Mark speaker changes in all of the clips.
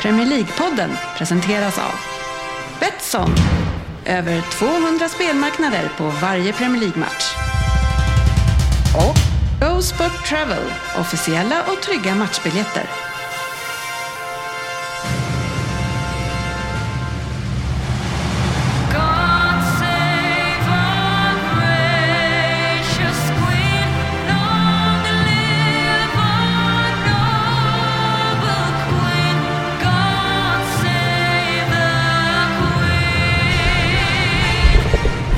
Speaker 1: Premier League-podden presenteras av Betsson. Över 200 spelmarknader på varje Premier League-match. Och Go Sport Travel. Officiella och trygga matchbiljetter.
Speaker 2: God save our gracious Queen. Long live our noble Queen. God save the Queen.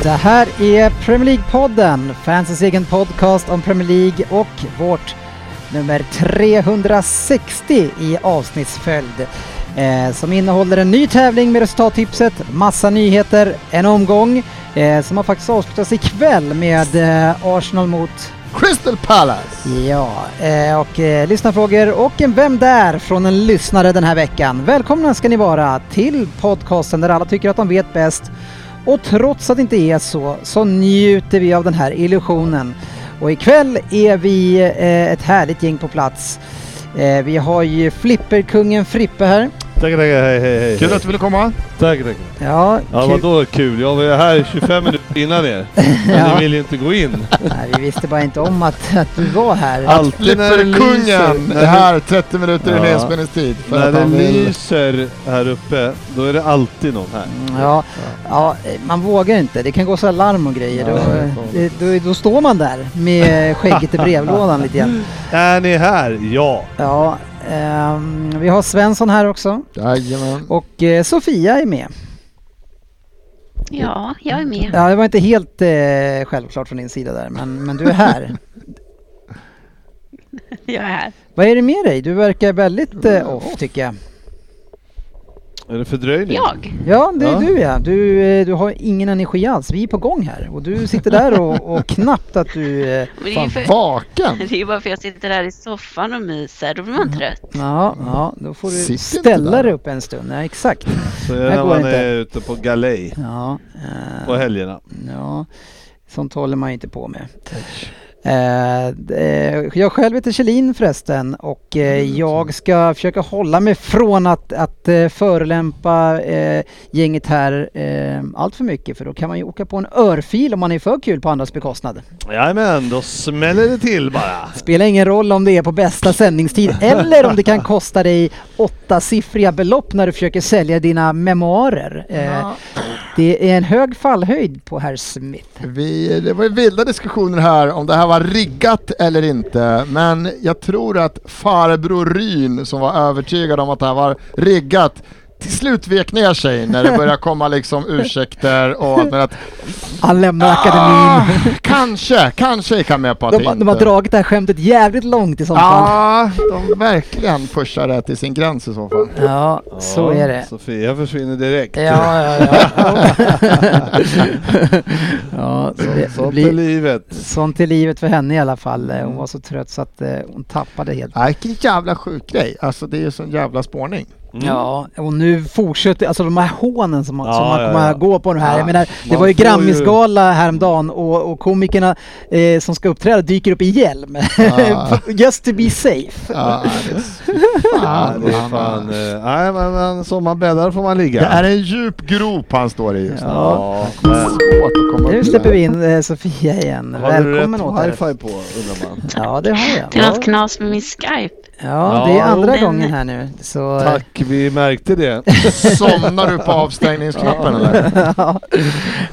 Speaker 3: Det här är Premier League-podden, fansens egen podcast om Premier League och vårt nummer 360 i avsnittsföljd. Eh, som innehåller en ny tävling med resultattipset, massa nyheter, en omgång eh, som har faktiskt avslutats ikväll med eh, Arsenal mot
Speaker 4: Crystal Palace!
Speaker 3: Ja, eh, och eh, lyssnarfrågor och en Vem där? från en lyssnare den här veckan. Välkomna ska ni vara till podcasten där alla tycker att de vet bäst. Och trots att det inte är så, så njuter vi av den här illusionen. Och ikväll är vi eh, ett härligt gäng på plats. Eh, vi har ju flipperkungen Frippe här.
Speaker 5: Tackar, tackar, hej, hej, hej.
Speaker 4: Kul att du ville komma!
Speaker 5: Tackar, tackar.
Speaker 3: Ja,
Speaker 5: Ja,
Speaker 3: kul.
Speaker 5: vadå kul? Jag var ju här 25 minuter innan er. Men
Speaker 3: Ja.
Speaker 5: ni ville ju inte gå in.
Speaker 3: Nej, vi visste bara inte om att, att du var här.
Speaker 5: Alltid när det lyser.
Speaker 4: Flipperkungen
Speaker 5: När
Speaker 4: är här 30 minuter
Speaker 5: Ja.
Speaker 4: i nedspelningstid. för
Speaker 5: När
Speaker 4: att
Speaker 5: det
Speaker 4: han vill-
Speaker 5: lyser här uppe, då är det alltid någon här.
Speaker 4: Mm.
Speaker 3: Ja, ja, eh, man vågar inte. Det kan gå så här larm och grejer.
Speaker 5: Ja,
Speaker 3: Då,
Speaker 5: det
Speaker 3: eh, det- då, då står man där med skägget i brevlådan lite grann.
Speaker 5: Är ni här? Ja.
Speaker 3: Ja, ehm, vi har Svensson här också
Speaker 4: Jajamän.
Speaker 3: och eh, Sofia är med.
Speaker 6: Ja, jag är med.
Speaker 3: Ja, det var inte helt eh, självklart från din sida där, men, men du är här.
Speaker 6: Jag är här.
Speaker 3: Vad är det med dig? Du verkar väldigt eh, off tycker jag.
Speaker 5: Är det fördröjning?
Speaker 6: Jag?
Speaker 3: Ja, det är
Speaker 5: Ja.
Speaker 3: du ja. Du, eh, du har ingen energi alls. Vi är på gång här och du sitter där och, och knappt att du... Eh,
Speaker 6: Men det, är
Speaker 4: Fan,
Speaker 6: ju för,
Speaker 4: vaken!
Speaker 6: det är ju bara för att jag sitter här i soffan och myser. Då blir man trött.
Speaker 3: Mm. ja, ja, då får
Speaker 4: Sitter
Speaker 3: du
Speaker 4: inte
Speaker 3: ställa
Speaker 4: där.
Speaker 3: dig upp en stund. Ja, exakt.
Speaker 5: Så är
Speaker 3: Det
Speaker 5: det när
Speaker 3: går
Speaker 5: man
Speaker 3: inte.
Speaker 5: är ute på galej
Speaker 3: Ja,
Speaker 5: på
Speaker 3: eh,
Speaker 5: helgerna.
Speaker 3: ja, sånt håller man ju inte på med. Eh, d- eh, jag själv heter Kjellin förresten och eh, jag ska försöka hålla mig från att, att eh, förolämpa eh, gänget här eh, allt för mycket för då kan man ju åka på en örfil om man är för kul på andras bekostnad.
Speaker 5: Jajamän, då smäller det till bara.
Speaker 3: Spelar ingen roll om det är på bästa sändningstid eller om det kan kosta dig åttasiffriga belopp när du försöker sälja dina memoarer. Eh,
Speaker 4: Ja.
Speaker 3: Det är en hög fallhöjd på herr Smith.
Speaker 4: Vi, det var ju vilda diskussioner här om det här var riggat eller inte, men jag tror att farbror Ryn som var övertygad om att det här var riggat till slut vek ner sig när det började komma liksom ursäkter och allt men att
Speaker 3: Han lämnar
Speaker 4: ah,
Speaker 3: akademin.
Speaker 4: kanske, kanske gick han med på att
Speaker 3: De,
Speaker 4: det
Speaker 3: har-
Speaker 4: inte...
Speaker 3: de har dragit det här skämtet jävligt långt i sånt fall.
Speaker 4: Ja, de verkligen pushar det till sin gräns i så fall.
Speaker 3: Ja, så
Speaker 5: Ja,
Speaker 3: är det. Eh,
Speaker 5: Sofia försvinner direkt.
Speaker 3: Ja, ja, ja. ja så det, det
Speaker 5: Sånt är
Speaker 3: blir,
Speaker 5: livet.
Speaker 3: sånt är livet för henne i alla fall. Hon var så trött så att eh, hon tappade helt.
Speaker 4: Nej, vilken jävla sjuk grej. Alltså det är ju sån jävla spårning.
Speaker 5: Mm.
Speaker 3: Ja, och nu fortsätter, alltså de här hånen som, man-
Speaker 5: Ja,
Speaker 3: som man
Speaker 5: ja,
Speaker 3: kommer
Speaker 5: ja.
Speaker 3: att gå på de här.
Speaker 4: Ja,
Speaker 3: Jag menar, det
Speaker 5: man
Speaker 3: var ju
Speaker 5: får ju-
Speaker 3: Grammisgala häromdagen och, och komikerna eh, som ska uppträda dyker upp i hjälm.
Speaker 4: Ja.
Speaker 3: Just to be safe.
Speaker 4: Ja, det är så-
Speaker 5: Ja, det är
Speaker 4: han-
Speaker 5: fan... eh, Nej, men, men som man bäddar får man ligga.
Speaker 4: Det är en djup grop han står i just nu.
Speaker 3: Ja.
Speaker 5: men-
Speaker 4: Svårt att komma
Speaker 3: Nu
Speaker 4: upp
Speaker 3: släpper vi in eh, Sofia igen.
Speaker 5: Har du
Speaker 3: Välkommen
Speaker 5: rätt
Speaker 3: åter.
Speaker 5: wifi på undrar man?
Speaker 3: Ja, det har jag.
Speaker 6: Det är
Speaker 3: Ja.
Speaker 6: något knas med min Skype.
Speaker 3: Ja, det är
Speaker 5: Ja,
Speaker 3: andra
Speaker 6: jo.
Speaker 3: gången här nu. Så,
Speaker 5: Tack, vi märkte det.
Speaker 4: Somnar du på avstängningsknappen eller?
Speaker 3: ja.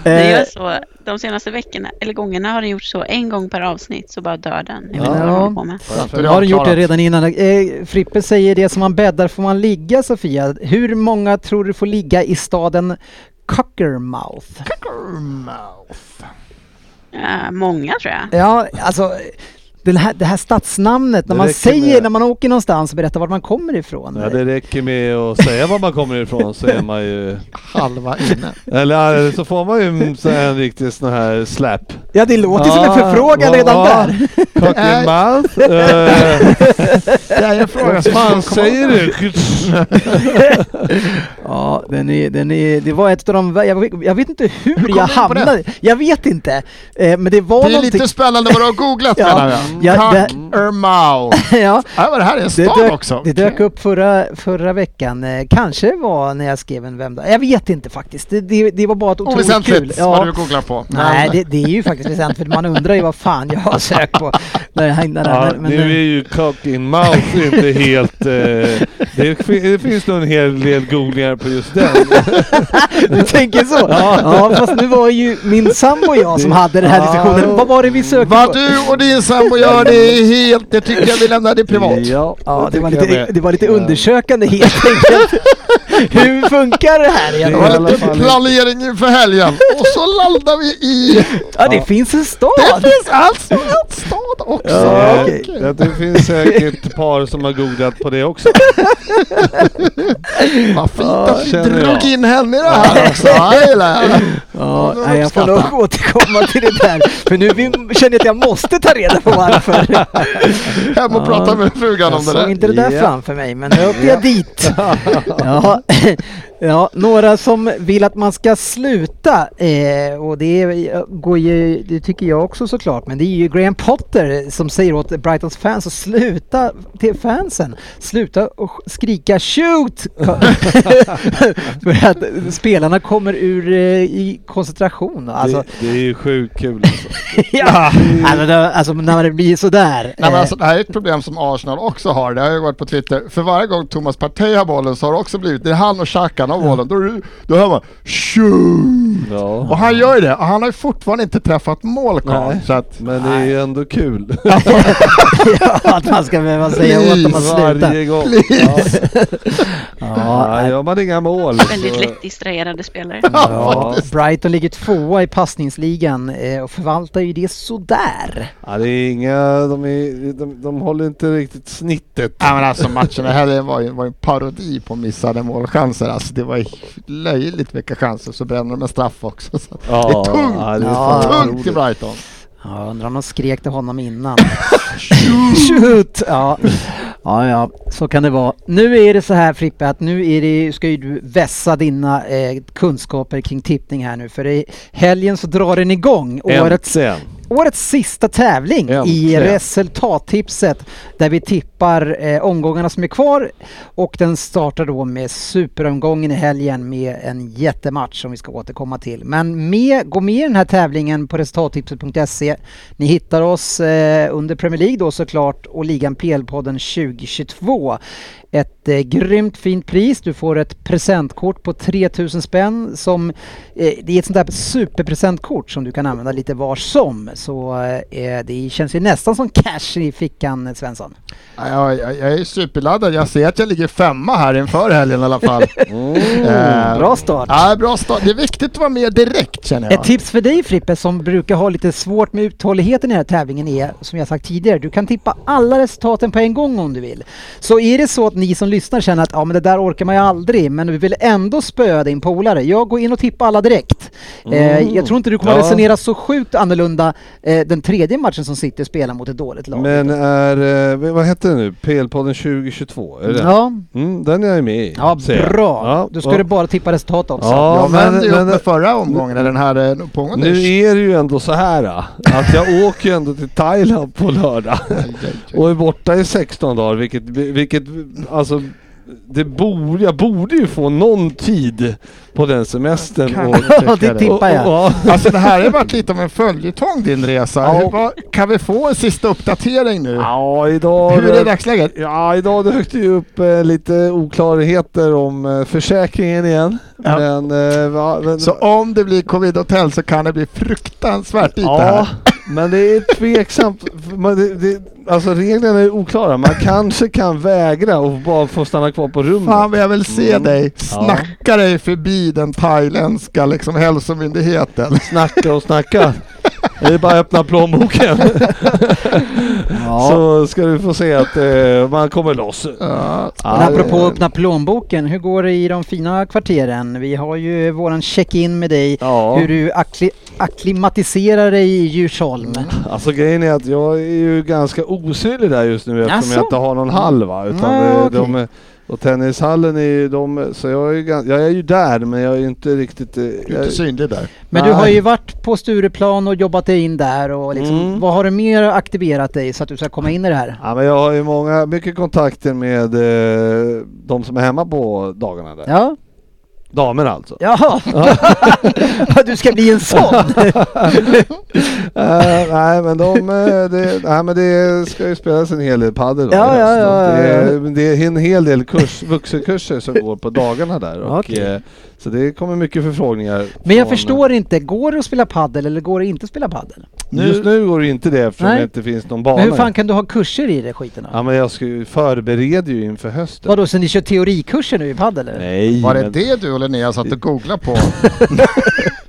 Speaker 6: Det
Speaker 3: Eh,
Speaker 6: gör så, de senaste veckorna, eller gångerna har den gjort så. En gång per avsnitt så bara dör den. Jag vet inte vad
Speaker 3: Ja.
Speaker 6: de håller på med.
Speaker 3: Då har du gjort det redan innan. Eh, Frippe säger det som man bäddar får man ligga Sofia. Hur många tror du får ligga i staden Cockermouth?
Speaker 6: Eh, många tror jag.
Speaker 3: Ja, alltså den här, det här stadsnamnet när
Speaker 5: Det
Speaker 3: man
Speaker 5: räcker
Speaker 3: säger
Speaker 5: med-
Speaker 3: när man åker någonstans och berättar vart man kommer ifrån.
Speaker 5: Ja, det räcker med att säga var man kommer ifrån så är man ju...
Speaker 4: Halva inne.
Speaker 5: Eller eller så får man ju så här en riktig sån här släp.
Speaker 3: Ja, det låter som en förfrågan redan där.
Speaker 5: Cocky mouth. eh,
Speaker 4: Det är en fråga
Speaker 5: Vad
Speaker 4: som
Speaker 5: fan säger du?
Speaker 3: Ja, den är, den är, det var ett av de... Jag, jag vet inte hur,
Speaker 4: kom
Speaker 3: jag
Speaker 4: du in på det?
Speaker 3: hamnade... Jag vet inte. Eh, men det var
Speaker 4: Det är
Speaker 3: någonting...
Speaker 4: lite spännande vad du har googlat
Speaker 3: Ja,
Speaker 4: menar jag.
Speaker 3: Ja,
Speaker 4: Tack
Speaker 3: det-
Speaker 4: Ermau!
Speaker 3: ja,
Speaker 4: Ja, men det här är en
Speaker 3: det,
Speaker 4: stad
Speaker 3: dök,
Speaker 4: också.
Speaker 3: det dök upp förra, förra veckan. Eh, Kanske var när jag skrev en vem där. Jag vet inte faktiskt. Det, det, det var bara ett otroligt kul.
Speaker 4: Oväsentligt vad
Speaker 3: Ja.
Speaker 4: du googlar på. Men-
Speaker 3: Nej, det, det är ju faktiskt väsentligt. Man undrar ju vad fan jag har sökt på. När jag hängde
Speaker 5: Ja,
Speaker 3: där. Men,
Speaker 5: nu är ju cock in mouth inte helt... Eh, det, fi- det finns nog en hel del googlingar på just den.
Speaker 3: Du tänker så? Ja, fast nu var ju min sambo och jag som hade den här diskussionen. Vad var det vi sökte
Speaker 4: Vad
Speaker 3: på?
Speaker 4: du och din sambo gör det är helt, det tycker jag vi lämnar det privat.
Speaker 5: Ja,
Speaker 3: Ja, det var,
Speaker 5: tycker
Speaker 3: lite,
Speaker 5: jag med.
Speaker 3: det var lite
Speaker 5: Ja.
Speaker 3: undersökande helt enkelt. Hur funkar det här
Speaker 4: Det
Speaker 5: i alla
Speaker 4: var
Speaker 3: egentligen?
Speaker 4: lite
Speaker 5: fall-
Speaker 4: planering inför helgen och så landar vi i...
Speaker 3: Ja, det finns en
Speaker 4: Det
Speaker 3: stad!
Speaker 4: finns alltså en stad också!
Speaker 5: Ja,
Speaker 3: okej.
Speaker 5: det, det finns säkert par som har googlat på det också.
Speaker 4: Vad fint att vi
Speaker 5: känner jag.
Speaker 4: drog in henne i det här också. Ja, jag gillar det.
Speaker 3: Ja,
Speaker 4: Ja,
Speaker 3: nej, jag får nog återkomma till det där. För nu vi- känner jag att jag måste ta reda på varför.
Speaker 4: Hem och
Speaker 3: Ja.
Speaker 4: prata med frugan om det
Speaker 3: Jag såg
Speaker 4: där.
Speaker 3: inte det där
Speaker 5: Ja.
Speaker 3: framför mig, men nu åkte jag dit. Ja. Ja, några som vill att man ska sluta, eh, och det, är- går ju, det tycker jag också såklart, men det är ju Graham Potter som säger åt Brightons fans att sluta, till fansen, sluta och sk- skrika shoot! För att spelarna kommer ur eh, i koncentration. Alltså,
Speaker 5: Det, det är ju sjukt kul alltså.
Speaker 3: ja. alltså, det- alltså när det blir sådär.
Speaker 4: Nej, men
Speaker 3: eh,
Speaker 4: alltså, det här är ett problem som Arsenal också har. Det har ju varit på Twitter. För varje gång Thomas Partey har bollen så har det också blivit, det är han och Xhaka har bollen, då, är det- då hör man shoot!
Speaker 5: Ja.
Speaker 4: Och han gör ju det. Och han har ju fortfarande inte träffat mål karln,
Speaker 5: Nej.
Speaker 4: så att
Speaker 5: Men det är ju ändå kul.
Speaker 3: ja, att man ska behöva säga åt dem att
Speaker 4: Please,
Speaker 3: sluta.
Speaker 5: Varje gång. Ja. Ja,
Speaker 3: Ja,
Speaker 5: gör man inga mål
Speaker 3: Eh.
Speaker 6: Väldigt
Speaker 5: så-
Speaker 6: lätt distraherade spelare.
Speaker 5: Ja.
Speaker 3: Brighton ligger tvåa i passningsligan eh, och förvaltar ju det sådär.
Speaker 5: Ja, det är inga, de, är, de, de håller inte riktigt snittet.
Speaker 4: Ja men alltså matchen i helgen var ju, var ju en parodi på missade målchanser. Alltså det var ju löjligt vilka chanser. Så brände de en straff också. Så att
Speaker 5: Ja,
Speaker 4: det är tungt.
Speaker 5: ja, det
Speaker 3: är
Speaker 4: det är
Speaker 3: fan
Speaker 4: tungt i Brighton.
Speaker 3: Ja, undrar om de skrek till honom innan. Shoot! Ja. ja, ja, så kan det vara. Nu är det så här Frippe att nu är det, ska ju du vässa dina eh, kunskaper kring tippning här nu. För i helgen så drar den igång. Årets
Speaker 5: Äntligen.
Speaker 3: Årets sista tävling i
Speaker 5: Äntligen.
Speaker 3: resultattipset där vi tippar eh, omgångarna som är kvar och den startar då med superomgången i helgen med en jättematch som vi ska återkomma till. Men med, gå med i den här tävlingen på resultattipset.se. Ni hittar oss eh, under Premier League då såklart och ligan PL-podden 2022. Ett eh, grymt fint pris. Du får ett presentkort på 3000 spänn som eh, det är ett sånt där superpresentkort som du kan använda lite var som. Så eh, det känns ju nästan som cash i fickan eh, Svensson.
Speaker 4: Ja, Jag, jag, jag är superladdad. Jag ser att jag ligger femma här inför helgen i alla fall. Eh,
Speaker 3: Bra start!
Speaker 4: Ja, bra start. Det är viktigt att vara med direkt känner jag.
Speaker 3: Ett tips för dig Frippe som brukar ha lite svårt med uthålligheten i den här tävlingen är, som jag sagt tidigare, du kan tippa alla resultaten på en gång om du vill. Så är det så att ni som lyssnar känner att ja men det där orkar man ju aldrig men vi vill ändå spöa din polare. Jag går in och tippar alla direkt. Eh, jag tror inte du kommer
Speaker 5: Mm. Ja.
Speaker 3: resonera så sjukt annorlunda eh, den tredje matchen som City spelar mot ett dåligt lag.
Speaker 5: Men är, eh, vad heter det nu? PL-podden 2022? Är det den?
Speaker 3: ja,
Speaker 5: Mm, den är jag med i.
Speaker 3: ja
Speaker 5: ser jag.
Speaker 3: bra.
Speaker 5: Ja,
Speaker 3: Då ska
Speaker 5: och-
Speaker 3: du bara tippa resultat också.
Speaker 5: Ja,
Speaker 4: jag vände ju upp
Speaker 5: men, men
Speaker 4: med förra omgången, eller den här eh, pågående.
Speaker 5: nu är det ju ändå så här ah, att jag åker ju ändå till Thailand på lördag och är borta i 16 dagar vilket, vilket alltså det borde, jag borde ju få någon tid på den semestern.
Speaker 4: Kan-
Speaker 5: och-
Speaker 3: Ja, det
Speaker 5: och- och-
Speaker 3: tippar jag.
Speaker 5: ja.
Speaker 4: Alltså det här har varit lite av en följetong din resa.
Speaker 5: Ja.
Speaker 4: Hur, vad, kan vi få en sista uppdatering nu?
Speaker 5: Ja, idag...
Speaker 4: Hur är dagsläget?
Speaker 5: Ja, idag dök det ju upp eh, lite oklarheter om eh, försäkringen igen.
Speaker 4: Ja.
Speaker 5: Men, eh, va, men,
Speaker 4: Så om det blir covid-hotell så kan det bli fruktansvärt dyrt det
Speaker 5: ja,
Speaker 4: här.
Speaker 5: men det är tveksamt. Men det, det, alltså reglerna är oklara. Man kanske kan vägra och bara få stanna kvar på rummet.
Speaker 4: Fan vad jag vill se
Speaker 5: Mm.
Speaker 4: dig snacka dig förbi den thailändska liksom, hälsomyndigheten.
Speaker 5: Snacka och snacka. Det är bara att öppna plånboken
Speaker 3: Ja.
Speaker 5: så ska du få se att eh, man kommer loss.
Speaker 4: Ja.
Speaker 5: Ja,
Speaker 3: Men apropå
Speaker 5: det-
Speaker 3: att öppna plånboken, hur går det i de fina kvarteren? Vi har ju våran check-in med dig,
Speaker 5: Ja.
Speaker 3: hur du akkli- akklimatiserar dig i Djursholm.
Speaker 5: Alltså grejen är att jag är ju ganska osynlig där just nu eftersom
Speaker 3: Jaså?
Speaker 5: jag inte har någon halva. Utan
Speaker 3: Ah,
Speaker 5: eh,
Speaker 3: okej.
Speaker 5: de, Och tennishallen är ju de, så jag är ju, gan- jag är ju där men jag är ju inte riktigt... eh,
Speaker 4: Du är
Speaker 5: jag-
Speaker 4: inte synlig där.
Speaker 3: Men du
Speaker 5: Nej.
Speaker 3: har ju varit på Stureplan och jobbat dig in där och liksom,
Speaker 5: Mm.
Speaker 3: vad har du mer aktiverat dig så att du ska komma in i det här?
Speaker 5: Ja, men jag har ju många, mycket kontakter med eh, de som är hemma på dagarna där.
Speaker 3: Ja,
Speaker 5: Damer alltså.
Speaker 3: jaha. du ska bli en sån.
Speaker 5: Eh, nej men de, eh, det, nej, men det ska ju spelas en hel del padel. då,
Speaker 3: Ja,
Speaker 5: i höst.
Speaker 3: ja, ja,
Speaker 5: Och
Speaker 3: ja, ja.
Speaker 5: Det, är- men det är en hel del kurs, vuxenkurser som går på dagarna där. Och,
Speaker 3: Okej.
Speaker 5: eh, så det kommer mycket förfrågningar.
Speaker 3: Men jag
Speaker 5: från- eh,
Speaker 3: förstår inte, går det att spela paddel eller går det inte att spela paddel?
Speaker 5: Just nu går det inte det eftersom
Speaker 3: Nej.
Speaker 5: det inte finns någon bana.
Speaker 3: Men hur fan kan du ha kurser i det skiten då?
Speaker 5: Ja men jag ska ju förbereda ju inför hösten.
Speaker 3: Vadå, så ni kör teorikurser nu i paddel eller?
Speaker 5: Nej.
Speaker 4: Var det
Speaker 5: men-
Speaker 4: det du och Linnea satt och googlade på?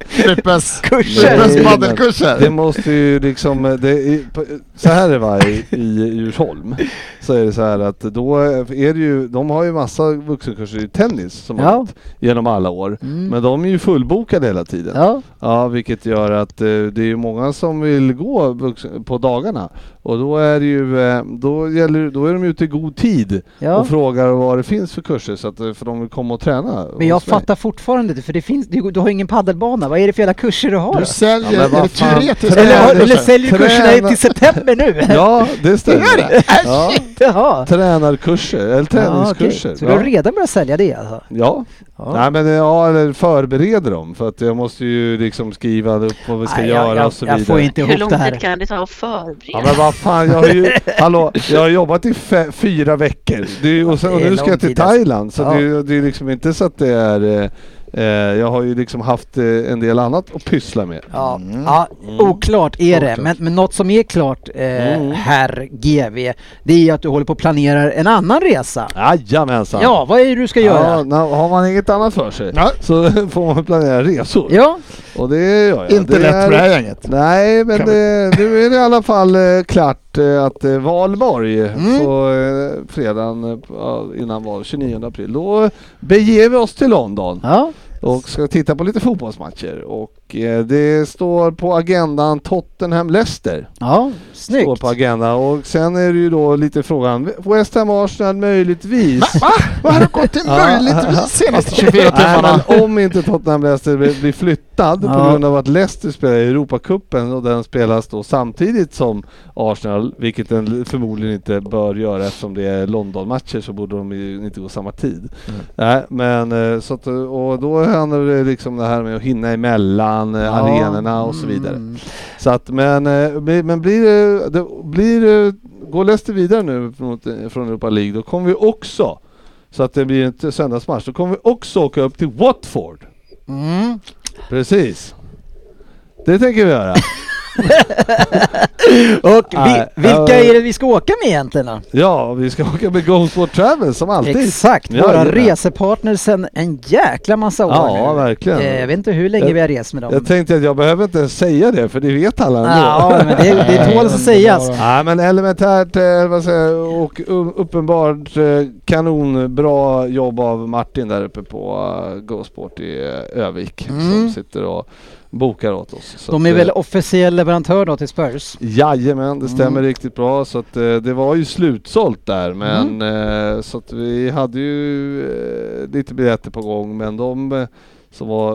Speaker 4: Frippes
Speaker 3: Kurser!
Speaker 5: Nej,
Speaker 4: Frippes
Speaker 5: men- Det
Speaker 4: padelkurser?
Speaker 5: måste ju liksom, eh, det, är- på- så här är det va, i, i Djursholm så är det så här att då är det ju, de har ju massa vuxenkurser i tennis som
Speaker 3: Ja.
Speaker 5: har gått genom alla år.
Speaker 3: Mm.
Speaker 5: Men de är ju fullbokade hela tiden. Ja,
Speaker 3: Ja,
Speaker 5: vilket gör att eh, det är ju många som vill gå vuxen- på dagarna och då är det ju, eh, då gäller, då är de ute i god tid
Speaker 3: ja.
Speaker 5: och frågar vad det finns för kurser så att eh, för de vill komma och träna.
Speaker 3: Men jag
Speaker 5: hos mig.
Speaker 3: fattar fortfarande inte, för det finns, du, du har ingen paddelbana. Vad är det för jävla kurser du har? typ-
Speaker 4: Du säljer,
Speaker 5: Ja, men
Speaker 4: är det
Speaker 5: vad fan.
Speaker 4: teoretiska
Speaker 3: Eller, har,
Speaker 5: tränar-
Speaker 3: eller säljer du kurserna
Speaker 5: tränar-
Speaker 3: till september nu?
Speaker 5: Ja, det stämmer.
Speaker 4: Gör det?
Speaker 5: Ja.
Speaker 3: Jaha.
Speaker 5: Tränarkurser, eller
Speaker 3: Ja, okej.
Speaker 5: träningskurser.
Speaker 3: Så du har redan börjat sälja det alltså?
Speaker 5: Ja.
Speaker 3: Ja.
Speaker 5: Nej men eh, ja, eller förbereder dem för att jag måste ju liksom skriva upp vad vi ska
Speaker 3: Nej, jag-
Speaker 5: göra
Speaker 3: jag,
Speaker 5: och så
Speaker 3: jag,
Speaker 5: vidare.
Speaker 3: jag får inte
Speaker 6: Hur lång
Speaker 3: ihop det här.
Speaker 6: tid kan det ta att
Speaker 5: Ja
Speaker 6: förbereda?
Speaker 5: men vad fan, jag har ju, hallå, jag har jobbat i fe, fyra veckor det är, ju- och, sen, och
Speaker 3: Det är
Speaker 5: nu ska
Speaker 3: lång
Speaker 5: jag till
Speaker 3: tid, alltså.
Speaker 5: Thailand så
Speaker 3: Ja.
Speaker 5: det, är- det är liksom inte så att det är eh, eh, jag har ju liksom haft eh, en del annat att pyssla med.
Speaker 3: Ja,
Speaker 5: Mm.
Speaker 3: ja, oklart är det. Men, men något som är klart, eh,
Speaker 5: Mm.
Speaker 3: herr GV, det är ju att du håller på och planerar en annan resa.
Speaker 5: Jajamensan!
Speaker 3: Ja, vad är det du ska
Speaker 5: ja
Speaker 3: göra?
Speaker 5: na, har man inget annat för sig
Speaker 4: Ja.
Speaker 5: så får man planera resor.
Speaker 3: Ja,
Speaker 5: Och det gör jag.
Speaker 4: Inte
Speaker 5: det
Speaker 4: lätt
Speaker 5: är-
Speaker 4: för det här gänget.
Speaker 5: Nej, men
Speaker 4: Kan
Speaker 5: det, nu är det i alla fall eh, klart eh, att eh, valborg, så eh, fredagen eh, ja, innan val, 29 april, då beger vi oss till London
Speaker 3: ja.
Speaker 5: och ska titta på lite fotbollsmatcher. Och eh, det står på agendan Tottenham-Leicester.
Speaker 3: ja
Speaker 5: Står
Speaker 3: snyggt.
Speaker 5: på agendan och sen är det ju då lite frågan, West Ham-Arsenal möjligtvis?
Speaker 4: Vad har det gått till möjligtvis de senaste 24
Speaker 5: Nej,
Speaker 4: timmarna?
Speaker 5: men om inte Tottenham Leicester blir blir flyttad
Speaker 3: Ja.
Speaker 5: på grund av att Leicester spelar i Europacupen och den spelas då samtidigt som Arsenal, vilket den förmodligen inte bör göra eftersom det är London-matcher så borde de ju inte gå samma tid. Nej, men eh, så att, och då handlar det liksom det här med att hinna emellan eh, arenorna och så vidare.
Speaker 3: Mm.
Speaker 5: Så att, men, eh, bli- men blir det, det blir det, går Leicester vidare nu mot, eh, från Europa League, då kommer vi också, så att det blir en t- söndagsmatch, då kommer vi också åka upp till Watford.
Speaker 3: Mm.
Speaker 5: Precis. Det tänker vi göra.
Speaker 3: Och vi,
Speaker 5: Nej,
Speaker 3: vilka
Speaker 5: eh,
Speaker 3: är det vi ska åka med egentligen då?
Speaker 5: Ja, vi ska åka med Goldsport Travel som alltid.
Speaker 3: Exakt,
Speaker 5: Ja,
Speaker 3: våra
Speaker 5: jajamän.
Speaker 3: resepartner sedan en jäkla massa år
Speaker 5: Ja,
Speaker 3: nu.
Speaker 5: verkligen.
Speaker 3: Eh, Jag vet inte hur länge
Speaker 5: Jag-
Speaker 3: vi har rest med dem.
Speaker 5: Jag tänkte att jag behöver inte ens säga det, för det vet alla ändå.
Speaker 3: ja, men det, det tål att sägas.
Speaker 5: Nej men elementärt eh, vad säger jag, och u- uppenbart eh, kanonbra jobb av Martin där uppe på eh, GoSport i eh, Övik
Speaker 3: Mm.
Speaker 5: som sitter och bokar åt oss. Så
Speaker 3: De
Speaker 5: att,
Speaker 3: är väl
Speaker 5: eh,
Speaker 3: officiell leverantör då till Spurs?
Speaker 5: Jajamän, det
Speaker 3: Mm.
Speaker 5: stämmer riktigt bra så att eh, det var ju slutsålt där men
Speaker 3: Mm.
Speaker 5: eh, så att vi hade ju eh, lite biljetter på gång men de eh, som var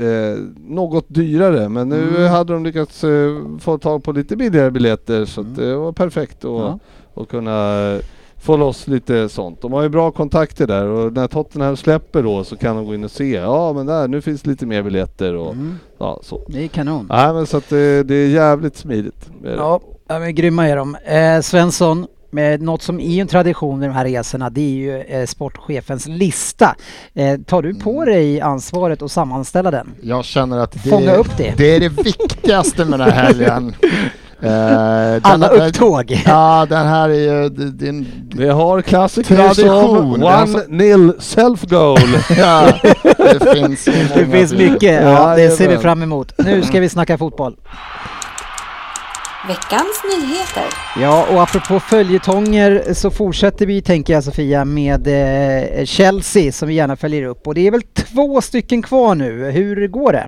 Speaker 5: eh, något dyrare men nu
Speaker 3: Mm.
Speaker 5: hade de lyckats eh, få tag på lite billigare biljetter så att eh,
Speaker 3: Mm.
Speaker 5: det var perfekt att
Speaker 3: Ja.
Speaker 5: och kunna eh, få loss lite sånt. De har ju bra kontakter där och när Tottenham släpper då så kan de gå in och se, ja men där nu finns lite mer biljetter och
Speaker 3: Mm.
Speaker 5: ja så.
Speaker 3: Det är kanon.
Speaker 5: Nej men så att eh, det, det är jävligt smidigt. är det.
Speaker 3: Ja, ja men grymma är de. Eh, Svensson, med något som är ju en tradition med de här resorna, det är ju eh, sportchefens lista. Eh, tar du
Speaker 5: Mm.
Speaker 3: på dig ansvaret att sammanställa den?
Speaker 4: Jag känner att det,
Speaker 3: Fånga upp det.
Speaker 4: det är det viktigaste med den här helgen. Eh, den-
Speaker 3: Alla
Speaker 4: den-
Speaker 3: upptåg!
Speaker 4: Ja, den här är ju... Det, det är en,
Speaker 5: Vi har klassiker som
Speaker 4: Tradition. Alltså-
Speaker 5: 1-0 self goal.
Speaker 4: ja, det finns så
Speaker 3: Det
Speaker 4: många
Speaker 3: finns
Speaker 4: bilar.
Speaker 3: mycket, ja,
Speaker 5: Ja,
Speaker 3: det ser vi
Speaker 5: jajamän.
Speaker 3: fram emot. Nu ska vi snacka fotboll.
Speaker 7: Veckans nyheter.
Speaker 3: Ja, och apropå följetonger så fortsätter vi, tänker jag Sofia, med eh, Chelsea som vi gärna följer upp. Och det är väl två stycken kvar nu. Hur går det?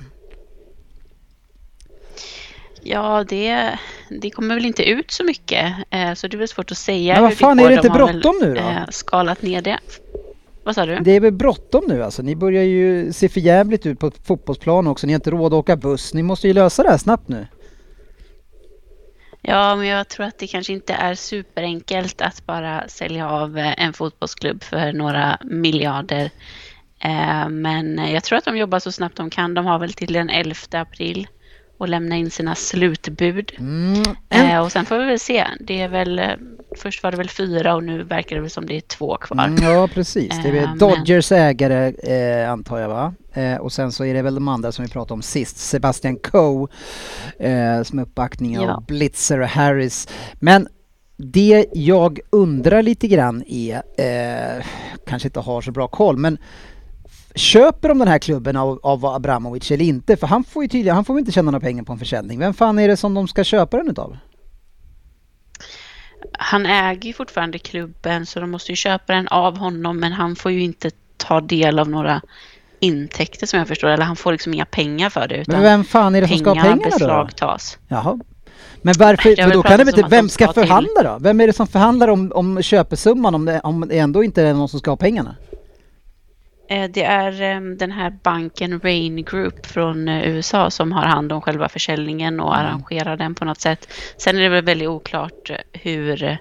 Speaker 6: Ja, det, det kommer väl inte ut så mycket, eh, så det är väl svårt att säga.
Speaker 3: Men vad
Speaker 6: hur
Speaker 3: fan,
Speaker 6: det
Speaker 3: är
Speaker 6: går.
Speaker 3: det inte
Speaker 6: De har väl,
Speaker 3: bråttom nu då?
Speaker 6: eh, skalat ner det. Vad sa du?
Speaker 3: Det är väl bråttom nu alltså. Ni börjar ju se för jävligt ut på fotbollsplan också. Ni har inte råd att åka buss. Ni måste ju lösa det här snabbt nu.
Speaker 6: Ja, men jag tror att det kanske inte är superenkelt att bara sälja av eh, en fotbollsklubb för några miljarder. Eh, Men jag tror att de jobbar så snabbt de kan. De har väl till den 11 april och lämna in sina slutbud.
Speaker 3: Mm. En,
Speaker 6: Eh, Och sen får vi väl se. Det är väl, eh, först var det väl fyra och nu verkar det väl som det är två kvar.
Speaker 3: Mm, ja precis, det är
Speaker 6: Eh,
Speaker 3: väl
Speaker 6: men-
Speaker 3: Dodgers ägare eh, antar jag va? Eh, och sen så är det väl de andra som vi pratade om sist, Sebastian Coe eh, som är uppbackning av
Speaker 6: Ja.
Speaker 3: Blitzer och Harris. Men det jag undrar lite grann är, eh, kanske inte har så bra koll, men Köper de den här klubben av, av Abramovic eller inte? För han får ju tydligen, han får ju inte tjäna några pengar på en försäljning. Vem fan är det som de ska köpa den utav?
Speaker 6: Han äger ju fortfarande klubben så de måste ju köpa den av honom men han får ju inte ta del av några intäkter som jag förstår eller han får liksom inga pengar för det
Speaker 3: Men
Speaker 6: utan
Speaker 3: vem fan är det som ska ha pengarna då?
Speaker 6: beslagtas.
Speaker 3: Jaha. Men
Speaker 6: Det har
Speaker 3: varför, för
Speaker 6: väl
Speaker 3: då kan det
Speaker 6: pratats
Speaker 3: väl inte,
Speaker 6: om att de
Speaker 3: vem ska
Speaker 6: ska till-
Speaker 3: förhandla då? Vem är det som förhandlar om, om köpesumman om det, om det ändå inte är någon som ska ha pengarna?
Speaker 6: Eh, Det är eh, den här banken Rain Group från eh, USA som har hand om själva försäljningen
Speaker 3: Mm.
Speaker 6: och arrangerar den på något sätt. Sen är det väl väldigt oklart eh, hur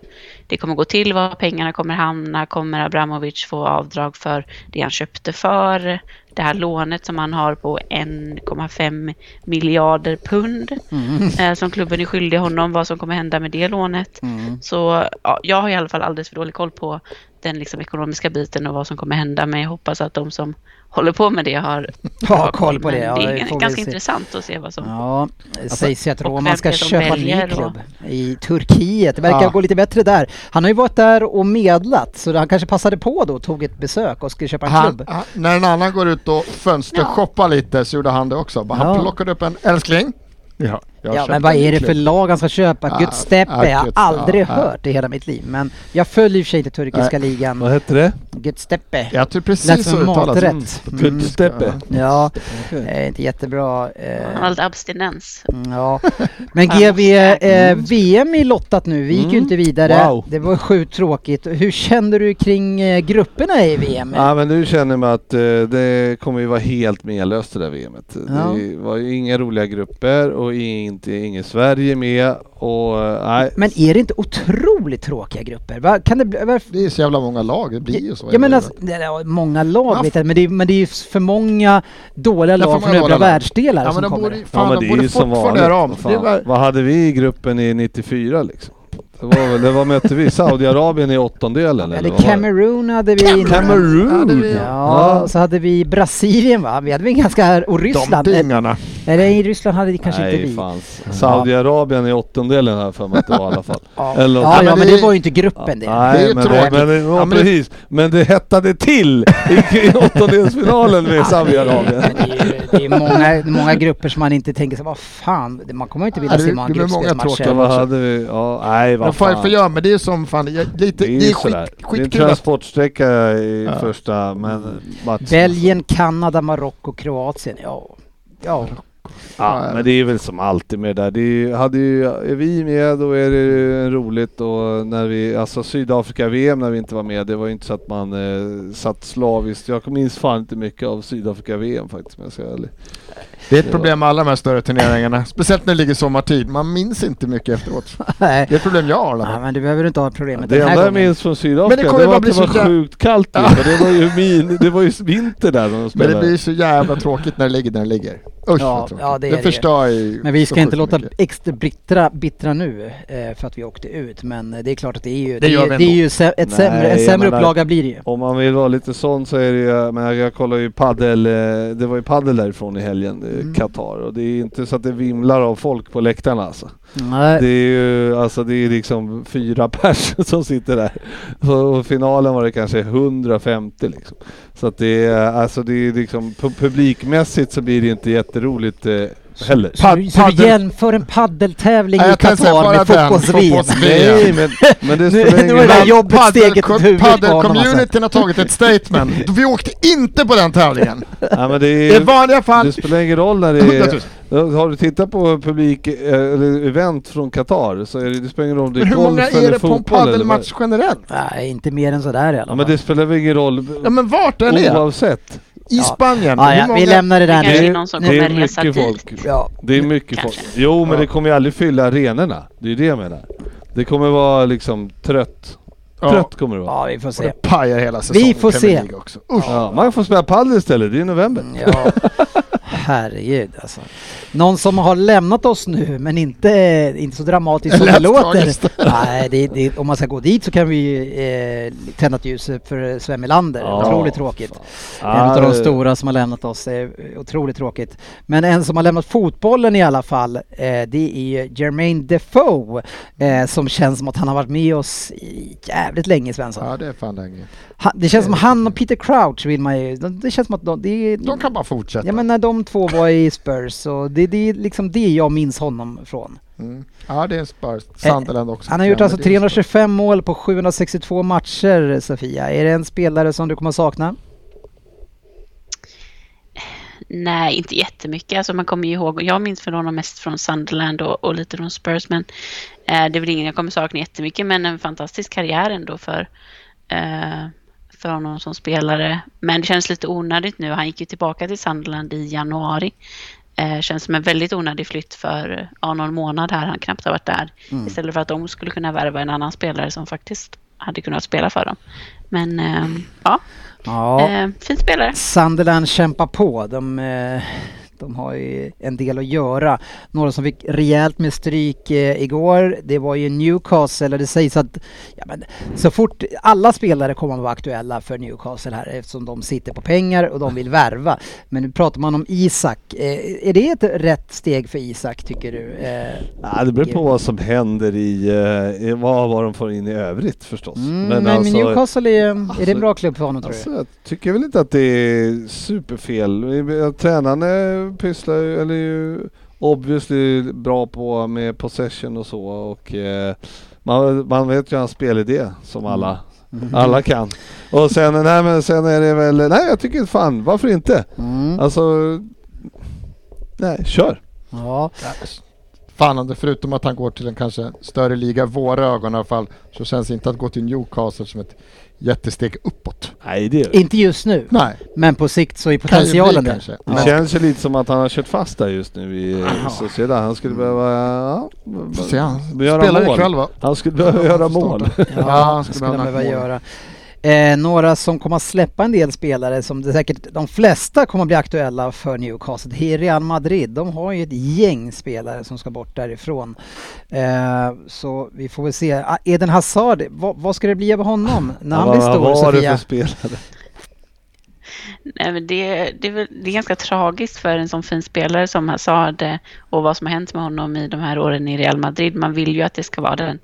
Speaker 6: det kommer gå till, var pengarna kommer hamna, kommer Abramovic få avdrag för det han köpte för, det här lånet som han har på 1,5 miljarder pund
Speaker 3: Mm.
Speaker 6: eh, som klubben är skyldig honom, vad som kommer hända med det lånet.
Speaker 3: Mm.
Speaker 6: Så ja, jag har i alla fall alldeles för dålig koll på den liksom ekonomiska biten och vad som kommer hända. Men jag hoppas att de som håller på med det har
Speaker 3: Ja, koll på det.
Speaker 6: Men
Speaker 3: Ja,
Speaker 6: det
Speaker 3: det
Speaker 6: är
Speaker 3: får vi se.
Speaker 6: ganska intressant att se vad som...
Speaker 3: Ja, det sägs ju att
Speaker 6: Alltså, och
Speaker 3: Roma
Speaker 6: vem
Speaker 3: ska
Speaker 6: är det som
Speaker 3: köpa en ny
Speaker 6: väljer då?
Speaker 3: klubb i Turkiet. Det verkar
Speaker 4: Ja.
Speaker 3: gå lite bättre där. Han har ju varit där och medlat så han kanske passade på då och tog ett besök och skulle köpa en
Speaker 4: Han,
Speaker 3: klubb.
Speaker 4: han, när en annan går ut och fönstershoppar lite så gjorde han det också. Bara,
Speaker 3: Ja.
Speaker 4: Han plockade upp en älskling. Ja, jag
Speaker 3: Ja,
Speaker 4: köpte
Speaker 3: men vad
Speaker 4: en
Speaker 3: är det
Speaker 4: klubb.
Speaker 3: för lag han ska köpa?
Speaker 4: Ja,
Speaker 3: Guds Steppe,
Speaker 4: ja,
Speaker 3: jag har
Speaker 4: Guds-
Speaker 3: aldrig
Speaker 4: ja, ja.
Speaker 3: hört i hela mitt liv. Men jag följer i och för sig inte turkiska ligan.
Speaker 5: Vad hette det?
Speaker 3: Guds Steppe.
Speaker 4: Jag tror
Speaker 3: Lät
Speaker 4: precis så
Speaker 3: som en
Speaker 4: uttalas det.
Speaker 3: maträtt.
Speaker 5: Typ
Speaker 3: Mm.
Speaker 5: Tutsteppe?
Speaker 3: Ja, eh, inte jättebra. eh,
Speaker 6: Han har lite abstinens.
Speaker 3: Mm, Ja, men GV, eh, VM är lottat nu. Vi gick ju
Speaker 5: Mm.
Speaker 3: inte vidare.
Speaker 5: Wow.
Speaker 3: Det var sjukt tråkigt. Hur kände du kring eh, grupperna i VM?
Speaker 5: Ja men nu känner man att eh, det kommer ju vara helt menlöst det där VMet.
Speaker 3: Ja.
Speaker 5: Det var ju inga roliga grupper och inte, inget Sverige med och eh, nej.
Speaker 3: Men är det inte otroligt tråkiga grupper? Va? Kan det bli, varför?
Speaker 4: Det är så jävla många lag, det blir ju så.
Speaker 3: Jag menar, alltså, det är många
Speaker 4: Ja,
Speaker 3: lag vet jag, men det är, men det är ju för många dåliga
Speaker 4: för
Speaker 3: lag
Speaker 4: många
Speaker 3: från övriga
Speaker 4: dåliga lag.
Speaker 3: världsdelar
Speaker 4: ja, men
Speaker 3: som
Speaker 4: de
Speaker 3: kommer.
Speaker 4: borde,
Speaker 5: ja,
Speaker 4: fan,
Speaker 5: men
Speaker 4: de
Speaker 5: det är
Speaker 4: borde
Speaker 5: ju som
Speaker 4: fortfarande
Speaker 5: vanligt.
Speaker 4: göra om.
Speaker 5: Fan,
Speaker 4: Det var,
Speaker 5: Vad hade vi i gruppen i 94 liksom? Det var väl, det var mötte vi Saudiarabien i åttondelen eller?
Speaker 3: Eller
Speaker 5: vad var det?
Speaker 3: Kamerun hade vi.
Speaker 4: Hade
Speaker 5: Kamerun!
Speaker 4: vi-
Speaker 3: Ja,
Speaker 5: Ja.
Speaker 3: så hade vi Brasilien va? Vi hade väl ganska... Och
Speaker 4: de
Speaker 3: Ryssland.
Speaker 4: dyngarna.
Speaker 3: Eller i Ryssland hade det kanske
Speaker 5: Nej,
Speaker 3: inte vi.
Speaker 5: fan. Saudiarabien i åttondelen här för mig att det var i alla fall.
Speaker 3: Ja,
Speaker 5: Eller-
Speaker 3: ja, ja, men det var ju inte
Speaker 5: Ja,
Speaker 3: gruppen det.
Speaker 4: Det är
Speaker 5: Nej,
Speaker 4: ju
Speaker 5: men, det,
Speaker 4: tråkigt.
Speaker 5: men, det, ja,
Speaker 4: Ja, men det-
Speaker 5: precis. men det hettade till i, i åttondelsfinalen med Saudiarabien.
Speaker 3: Men Det är, ju- det är många, många grupper som man inte tänker så vad fan, det- man kommer ju inte vilja
Speaker 4: Ja, det-
Speaker 3: se många
Speaker 4: det blir många
Speaker 5: Så
Speaker 4: tråkiga
Speaker 3: gruppspelsmatcher.
Speaker 5: vad hade vi? Ja, nej
Speaker 4: Men
Speaker 5: vad
Speaker 4: fan,
Speaker 5: fan.
Speaker 4: för jag, men det är som fan, jag, lite, det är,
Speaker 5: ju sådär.
Speaker 4: skit,
Speaker 5: Det är en
Speaker 4: skitkul att
Speaker 5: transportsträcka i
Speaker 4: Ja.
Speaker 5: första men matchen.
Speaker 3: Belgien, Kanada, Marocko, Kroatien, ja. Ja,
Speaker 5: Ja, men det är väl som alltid med det där. Det är, ju- hade ju, är vi med då är det ju roligt och när vi, alltså Sydafrika-VM när vi inte var med, det var ju inte så att man eh, satt slaviskt. Jag minns fan inte mycket av Sydafrika-VM faktiskt om jag ska vara ärlig.
Speaker 4: Det är ett problem med alla de här större turneringarna. Speciellt när det ligger sommartid. Man minns inte mycket efteråt.
Speaker 3: nej.
Speaker 4: Det är ett problem jag har i alla
Speaker 3: Ja,
Speaker 4: fall.
Speaker 3: men du behöver inte ha problemet
Speaker 5: Det
Speaker 3: den här
Speaker 5: enda jag
Speaker 3: gången.
Speaker 5: minns från Sydafrika
Speaker 4: Men det
Speaker 5: det,
Speaker 4: kommer ju
Speaker 5: var
Speaker 4: bara
Speaker 5: att
Speaker 4: bli
Speaker 5: det var
Speaker 4: så jä-
Speaker 5: sjukt kallt ja. det, var ju min, det var ju vinter där när de
Speaker 4: Men det
Speaker 5: spelade.
Speaker 4: blir så jävla tråkigt när det ligger där det ligger. Usch vad
Speaker 3: Ja,
Speaker 4: tråkigt.
Speaker 3: ja, det är det.
Speaker 4: förstör ju
Speaker 3: Men vi
Speaker 4: så
Speaker 3: ska inte
Speaker 4: sjukt
Speaker 3: låta
Speaker 4: mycket.
Speaker 3: extra bittra, bittra nu eh, för att vi åkte ut, men eh, det är klart att det är ju, det
Speaker 4: gör
Speaker 3: är,
Speaker 4: vi
Speaker 3: det är
Speaker 4: ändå.
Speaker 3: ju sä- ett
Speaker 5: Nej,
Speaker 3: sämre, en
Speaker 5: jag
Speaker 3: sämre
Speaker 5: menar-
Speaker 3: upplaga blir det ju.
Speaker 5: Om man vill vara lite sån så är det ju, men jag, jag kollar ju paddel, eh, det var ju paddel därifrån i helgen, eh,
Speaker 4: Mm.
Speaker 5: Qatar. Och det är inte så att det vimlar av folk på läktarna alltså.
Speaker 3: Nej.
Speaker 5: Det är ju alltså det är liksom fyra pers som sitter där. Så, och finalen var det kanske 150 liksom. Så att det är, alltså det är liksom pu- publikmässigt så blir det inte jätteroligt eh, heller.
Speaker 3: Så du- så du
Speaker 4: paddel-
Speaker 3: jämför en paddeltävling
Speaker 4: Ja,
Speaker 3: i
Speaker 4: jag tänkte
Speaker 3: Qatar
Speaker 4: bara
Speaker 3: med
Speaker 4: den,
Speaker 3: fotbolls-VM?
Speaker 4: fotbolls-
Speaker 5: Nej men, men det
Speaker 3: Nu-
Speaker 5: spelar
Speaker 3: nu är
Speaker 5: ingen
Speaker 3: det
Speaker 5: roll.
Speaker 3: jag- jobbigt steget åt
Speaker 4: paddelcom-
Speaker 3: huvudet på honom, alltså.
Speaker 4: Paddelcommunityn har tagit ett statement. Vi åkte inte på den tävlingen.
Speaker 5: Ja, men det
Speaker 4: I
Speaker 5: är,
Speaker 4: vanliga fall
Speaker 5: det spelar ingen roll när det
Speaker 4: 100
Speaker 5: är
Speaker 4: 000.
Speaker 5: Har du tittat på publik, eh, eller event från Qatar så är det, det spelar ingen roll om det
Speaker 4: Men
Speaker 5: är
Speaker 4: hur många
Speaker 5: golf eller
Speaker 4: är det på en
Speaker 5: fotboll eller vad-
Speaker 4: paddelmatch generellt?
Speaker 3: Nej, inte mer än sådär i alla
Speaker 5: Ja
Speaker 3: fall.
Speaker 5: men det spelar väl ingen roll
Speaker 4: Ja men vart är det?
Speaker 5: oavsett.
Speaker 4: I
Speaker 3: Ja.
Speaker 4: Spanien?
Speaker 3: ah,
Speaker 4: Hur
Speaker 3: ja,
Speaker 4: många-
Speaker 3: Vi lämnar det där
Speaker 6: Det
Speaker 3: nu.
Speaker 6: är ju någon som
Speaker 5: det är
Speaker 6: kommer resa
Speaker 5: mycket
Speaker 6: dit.
Speaker 5: folk.
Speaker 3: Ja.
Speaker 5: Det är mycket
Speaker 6: Kanske.
Speaker 5: folk. Jo men
Speaker 4: Ja.
Speaker 5: det kommer ju aldrig fylla arenorna. Det är ju det jag menar. Det kommer vara liksom trött.
Speaker 4: ja.
Speaker 5: Trött kommer det vara.
Speaker 3: ja, vi får
Speaker 4: Och
Speaker 3: se.
Speaker 4: det pajar hela säsongen.
Speaker 3: Vi får
Speaker 4: Premier
Speaker 3: se.
Speaker 4: League Också. Usch. Mm.
Speaker 5: Ja, man får spela padel istället, det är i november.
Speaker 3: Ja. Herregud alltså. Någon som har lämnat oss nu men inte, inte så dramatiskt som det
Speaker 4: Lät
Speaker 3: låter.
Speaker 4: tragiskt.
Speaker 3: Nej, det, det, om man ska gå dit så kan vi ju, eh, tända ett ljus för Sven Melander.
Speaker 5: Ja,
Speaker 3: Otroligt tråkigt. En
Speaker 5: Ja,
Speaker 3: av de
Speaker 5: det-
Speaker 3: stora som har lämnat oss. Det är otroligt tråkigt. Men en som har lämnat fotbollen i alla fall, eh, det är ju Jermaine Defoe. Eh, som känns som att han har varit med oss i jävligt länge Svensson.
Speaker 4: Ja, det är fan länge.
Speaker 3: Han, det känns som han och Peter Crouch vill man ju... de- Det känns som att de... Det är,
Speaker 4: De kan bara fortsätta.
Speaker 3: Ja men när de två var i Spurs så det, det är liksom det jag minns honom från.
Speaker 4: Mm. Ja, det är Spurs. Sunderland också.
Speaker 3: Eh, Han har gjort
Speaker 4: Ja,
Speaker 3: alltså
Speaker 4: men det är
Speaker 3: 325 mål på 762 matcher Sofia. Är det en spelare som du kommer sakna?
Speaker 6: Nej, inte jättemycket. Alltså man kommer ju ihåg, jag minns för honom mest från Sunderland och, och lite från Spurs, men eh, det är väl ingen jag kommer sakna jättemycket, men en fantastisk karriär ändå för, eh, för honom som spelare. Men det känns lite onödigt nu. Han gick ju tillbaka till Sunderland i januari. Eh, känns som en väldigt onödig flytt för ja, någon månad här. Han knappt har varit där. Istället för att de skulle kunna värva en annan spelare som faktiskt hade kunnat spela för dem. Men eh, ja,
Speaker 3: Ja.
Speaker 6: eh, fin spelare.
Speaker 3: Sunderland kämpar på. De, eh, de har ju en del att göra. Några som fick rejält med stryk eh, igår, det var ju Newcastle och det sägs att ja, men, så fort alla spelare kommer att vara aktuella för Newcastle här eftersom de sitter på pengar och de vill värva. Men nu pratar man om Isak. Eh, är det ett rätt steg för Isak tycker du? Eh,
Speaker 5: Ja, det beror på vad som händer i, eh, i vad, vad de får in i övrigt förstås.
Speaker 3: mm, men Newcastle är, är det en bra klubb för honom tror
Speaker 5: Alltså, jag tycker väl inte att det är superfel. Tränarna pysslar ju, eller är ju obviously bra på med possession och så och eh, man, man vet ju hans spelidé som alla,
Speaker 3: Mm.
Speaker 5: Alltså- alla kan. Och sen, nej men sen är det väl, nej jag tycker fan varför inte?
Speaker 3: du? Mm.
Speaker 5: Alltså, nej kör.
Speaker 3: Ja.
Speaker 4: Fan, om det- förutom att han går till en kanske större liga, i våra ögon i alla fall, så känns inte att gå till Newcastle som ett jättesteg uppåt.
Speaker 5: Nej det
Speaker 3: Inte just nu,
Speaker 4: Nej,
Speaker 3: men på sikt så är
Speaker 4: kan ju
Speaker 3: potentialen
Speaker 4: bli
Speaker 3: där.
Speaker 4: kanske.
Speaker 5: Det känns ju lite som att han har kört fast där just nu i Sociedad. Han skulle behöva... Ja,
Speaker 4: Får se, han
Speaker 5: göra
Speaker 4: spelar
Speaker 5: mål.
Speaker 4: ikväll va?
Speaker 5: Han skulle behöva göra mål.
Speaker 4: Ja,
Speaker 3: Ja,
Speaker 4: han
Speaker 3: det
Speaker 4: skulle
Speaker 3: skulle de
Speaker 4: behöva
Speaker 3: behöva
Speaker 4: göra.
Speaker 3: göra. Eh, några som kommer att släppa en del spelare som det säkert de flesta kommer att bli aktuella för Newcastle. Det är Real Madrid. De har ju ett gäng spelare som ska bort därifrån. Eh, så vi får väl se. Ah, Eden Hazard, vad, vad ska det bli av honom när han blir stor
Speaker 5: Vad var det
Speaker 3: Sofia?
Speaker 5: för spelare?
Speaker 6: Nej, men det, det, är väl, det är ganska tragiskt för en sån fin spelare som Hazard eh, och vad som har hänt med honom i de här åren i Real Madrid. Man vill ju att det ska vara den,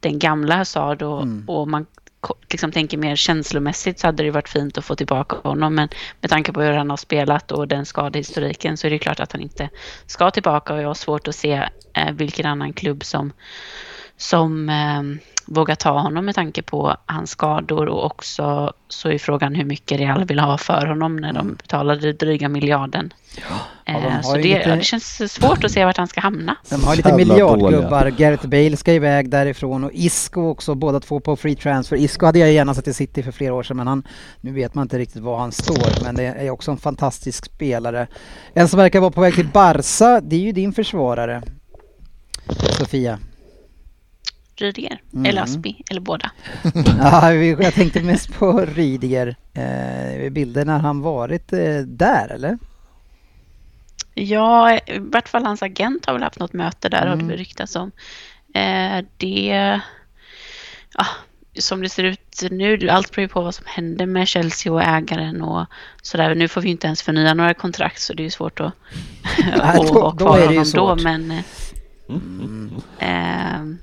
Speaker 6: den gamla Hazard och, och man ko- liksom tänker mer känslomässigt så hade det varit fint att få tillbaka honom. Men med tanke på hur han har spelat och den skadehistoriken så är det klart att han inte ska tillbaka och jag har svårt att se eh, vilken annan klubb som som eh, vågar ta honom med tanke på hans skador och också så är frågan hur mycket Real vill ha för honom när de betalade dryga miljarden.
Speaker 3: Mm. Ja, de
Speaker 6: Eh,
Speaker 3: har
Speaker 6: så
Speaker 3: ju
Speaker 6: det,
Speaker 3: lite-
Speaker 6: ja, det känns svårt att se vart han ska hamna.
Speaker 3: De har lite
Speaker 5: Jävla
Speaker 3: miljardgubbar. Gareth Bale ska iväg därifrån och Isco också, båda två på free transfer. Isco hade jag gärna satt i City för flera år sedan men han, nu vet man inte riktigt var han står. Men det är också en fantastisk spelare. En som verkar vara på väg till Barca, det är ju din försvarare. Sofia.
Speaker 6: Rydiger, eller
Speaker 3: Mm.
Speaker 6: Aspi, eller båda.
Speaker 3: Ja, vi- jag tänkte mest på Rydiger. Eh, bilder när han varit eh, där eller?
Speaker 6: Ja, i vart fall hans agent har väl haft något möte där har det
Speaker 3: Mm.
Speaker 6: väl ryktats om. Eh, det... Ja, som det ser ut nu, allt beror ju på vad som händer med Chelsea och ägaren och sådär. Nu får vi ju inte ens förnya några kontrakt så det är ju svårt att att
Speaker 3: då-
Speaker 6: ha
Speaker 3: då är
Speaker 6: kvar
Speaker 3: det ju
Speaker 6: honom då.
Speaker 3: svårt. Mm.
Speaker 6: Men, eh, ehm,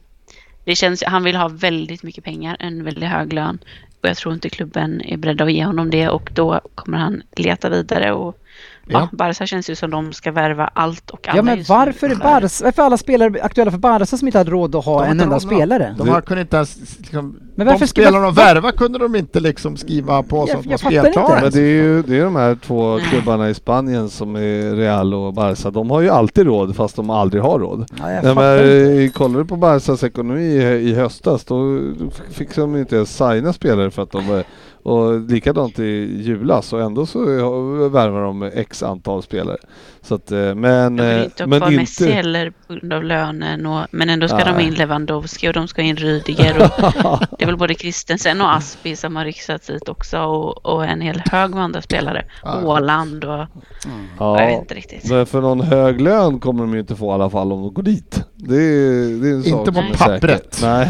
Speaker 6: det känns, han vill ha väldigt mycket pengar, en väldigt hög lön. Och jag tror inte klubben är beredd att ge honom det och då kommer han leta vidare. Och, ja. Barca känns ju som de ska värva allt och alla.
Speaker 3: Ja men
Speaker 6: just nu.
Speaker 3: varför är Barca, varför är alla spelare aktuella för Barca som inte hade råd att ha
Speaker 4: De har
Speaker 3: en
Speaker 4: inte
Speaker 3: enda
Speaker 4: råd med
Speaker 3: spelare?
Speaker 4: De har, kunde inte ens liksom,
Speaker 3: Men
Speaker 4: De
Speaker 3: varför ska
Speaker 4: spelarna
Speaker 3: man...
Speaker 4: de värva kunde de inte liksom skriva på
Speaker 3: Jag-
Speaker 4: som att de var
Speaker 3: jag fattar inte.
Speaker 4: spelklara.
Speaker 5: Men det är ju det är de här två klubbarna i Spanien som är Real och Barca. De har ju alltid råd fast de aldrig har råd.
Speaker 3: Ja, jag
Speaker 5: Nej,
Speaker 3: fattar
Speaker 5: men,
Speaker 3: inte.
Speaker 5: eh, kollar du på Barcas ekonomi i, i höstas då f- fick de inte ens signa spelare för att de var- och likadant i julas och ändå så eh, värvar de x antal spelare. Så att, eh, men,
Speaker 6: De
Speaker 5: eh,
Speaker 6: vill inte ha
Speaker 5: men
Speaker 6: kvar Messi
Speaker 5: inte...
Speaker 6: heller på grund av lönen. Och, men ändå ska de
Speaker 5: Nej.
Speaker 6: in Lewandowski och de ska in Rydiger. Och det är väl både Christensen och Aspi som har ryktats hit också. Och, och en hel hög med andra spelare.
Speaker 4: Ja.
Speaker 6: Åland och...
Speaker 3: Mm.
Speaker 6: Jag vet
Speaker 5: Ja,
Speaker 6: inte riktigt.
Speaker 5: men för någon hög lön kommer de ju inte få i alla fall om de går dit. Det är, det är en
Speaker 4: Inte
Speaker 5: sak
Speaker 4: på
Speaker 5: som är
Speaker 4: pappret.
Speaker 5: säker. Nej.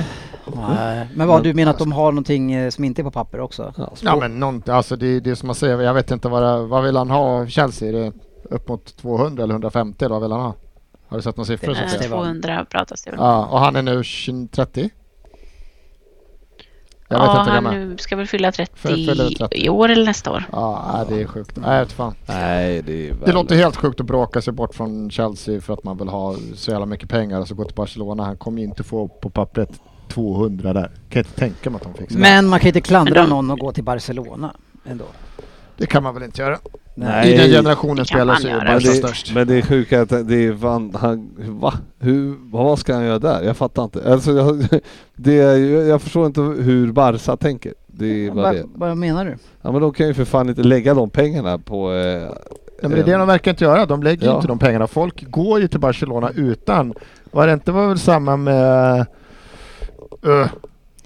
Speaker 3: Nej, men vad, du menar att de har någonting eh, som inte är på papper också?
Speaker 5: Ja,
Speaker 4: Ja men någon, alltså det, det är som man säger, jag vet inte vad, det, vad vill han ha av Chelsea? Är det upp mot 200 eller 150 eller vad vill han ha? Har du sett några siffror?
Speaker 3: Det
Speaker 4: så
Speaker 3: är
Speaker 4: att
Speaker 6: Eh,
Speaker 4: säga?
Speaker 3: det var-
Speaker 6: 200 pratas det väl om.
Speaker 4: Ja, och han är nu 20 30? Jag vet
Speaker 6: Ja,
Speaker 4: inte hur
Speaker 6: han
Speaker 4: gammal han är.
Speaker 6: nu ska väl fylla 30,
Speaker 4: Fyller 30.
Speaker 6: i år eller nästa år.
Speaker 4: Ja, nej, det är sjukt. Nej, jag vet fan.
Speaker 5: Nej, det är
Speaker 4: Det låter helt sjukt att bråka sig bort från Chelsea för att man vill ha så jävla mycket pengar och så gå till Barcelona. Han kommer ju inte få på pappret 200 där. Kan inte tänka mig att de fixar det.
Speaker 3: Men man kan ju inte klandra
Speaker 6: Men de-
Speaker 3: någon och gå till Barcelona ändå.
Speaker 4: Det kan man väl inte göra?
Speaker 5: Nej.
Speaker 4: I den generationen
Speaker 6: kan
Speaker 4: spelare
Speaker 6: man
Speaker 4: så är
Speaker 6: göra.
Speaker 4: Barca
Speaker 5: Men
Speaker 4: störst.
Speaker 5: det, men det är sjuka att det är van, han, va? Hur, vad ska han göra där? Jag fattar inte. Alltså, jag, det är, ju- jag förstår inte hur Barca tänker. Det är bara
Speaker 3: Vad-
Speaker 5: det.
Speaker 3: Vad menar du?
Speaker 5: Ja, men de kan ju för fan inte lägga de pengarna på... Eh,
Speaker 4: Nej, men det är det de verkar inte göra. De lägger ju
Speaker 5: Ja.
Speaker 4: inte de pengarna. Folk går ju till Barcelona utan. Var det inte var väl samma med... eh,
Speaker 5: Eh,
Speaker 4: Öh,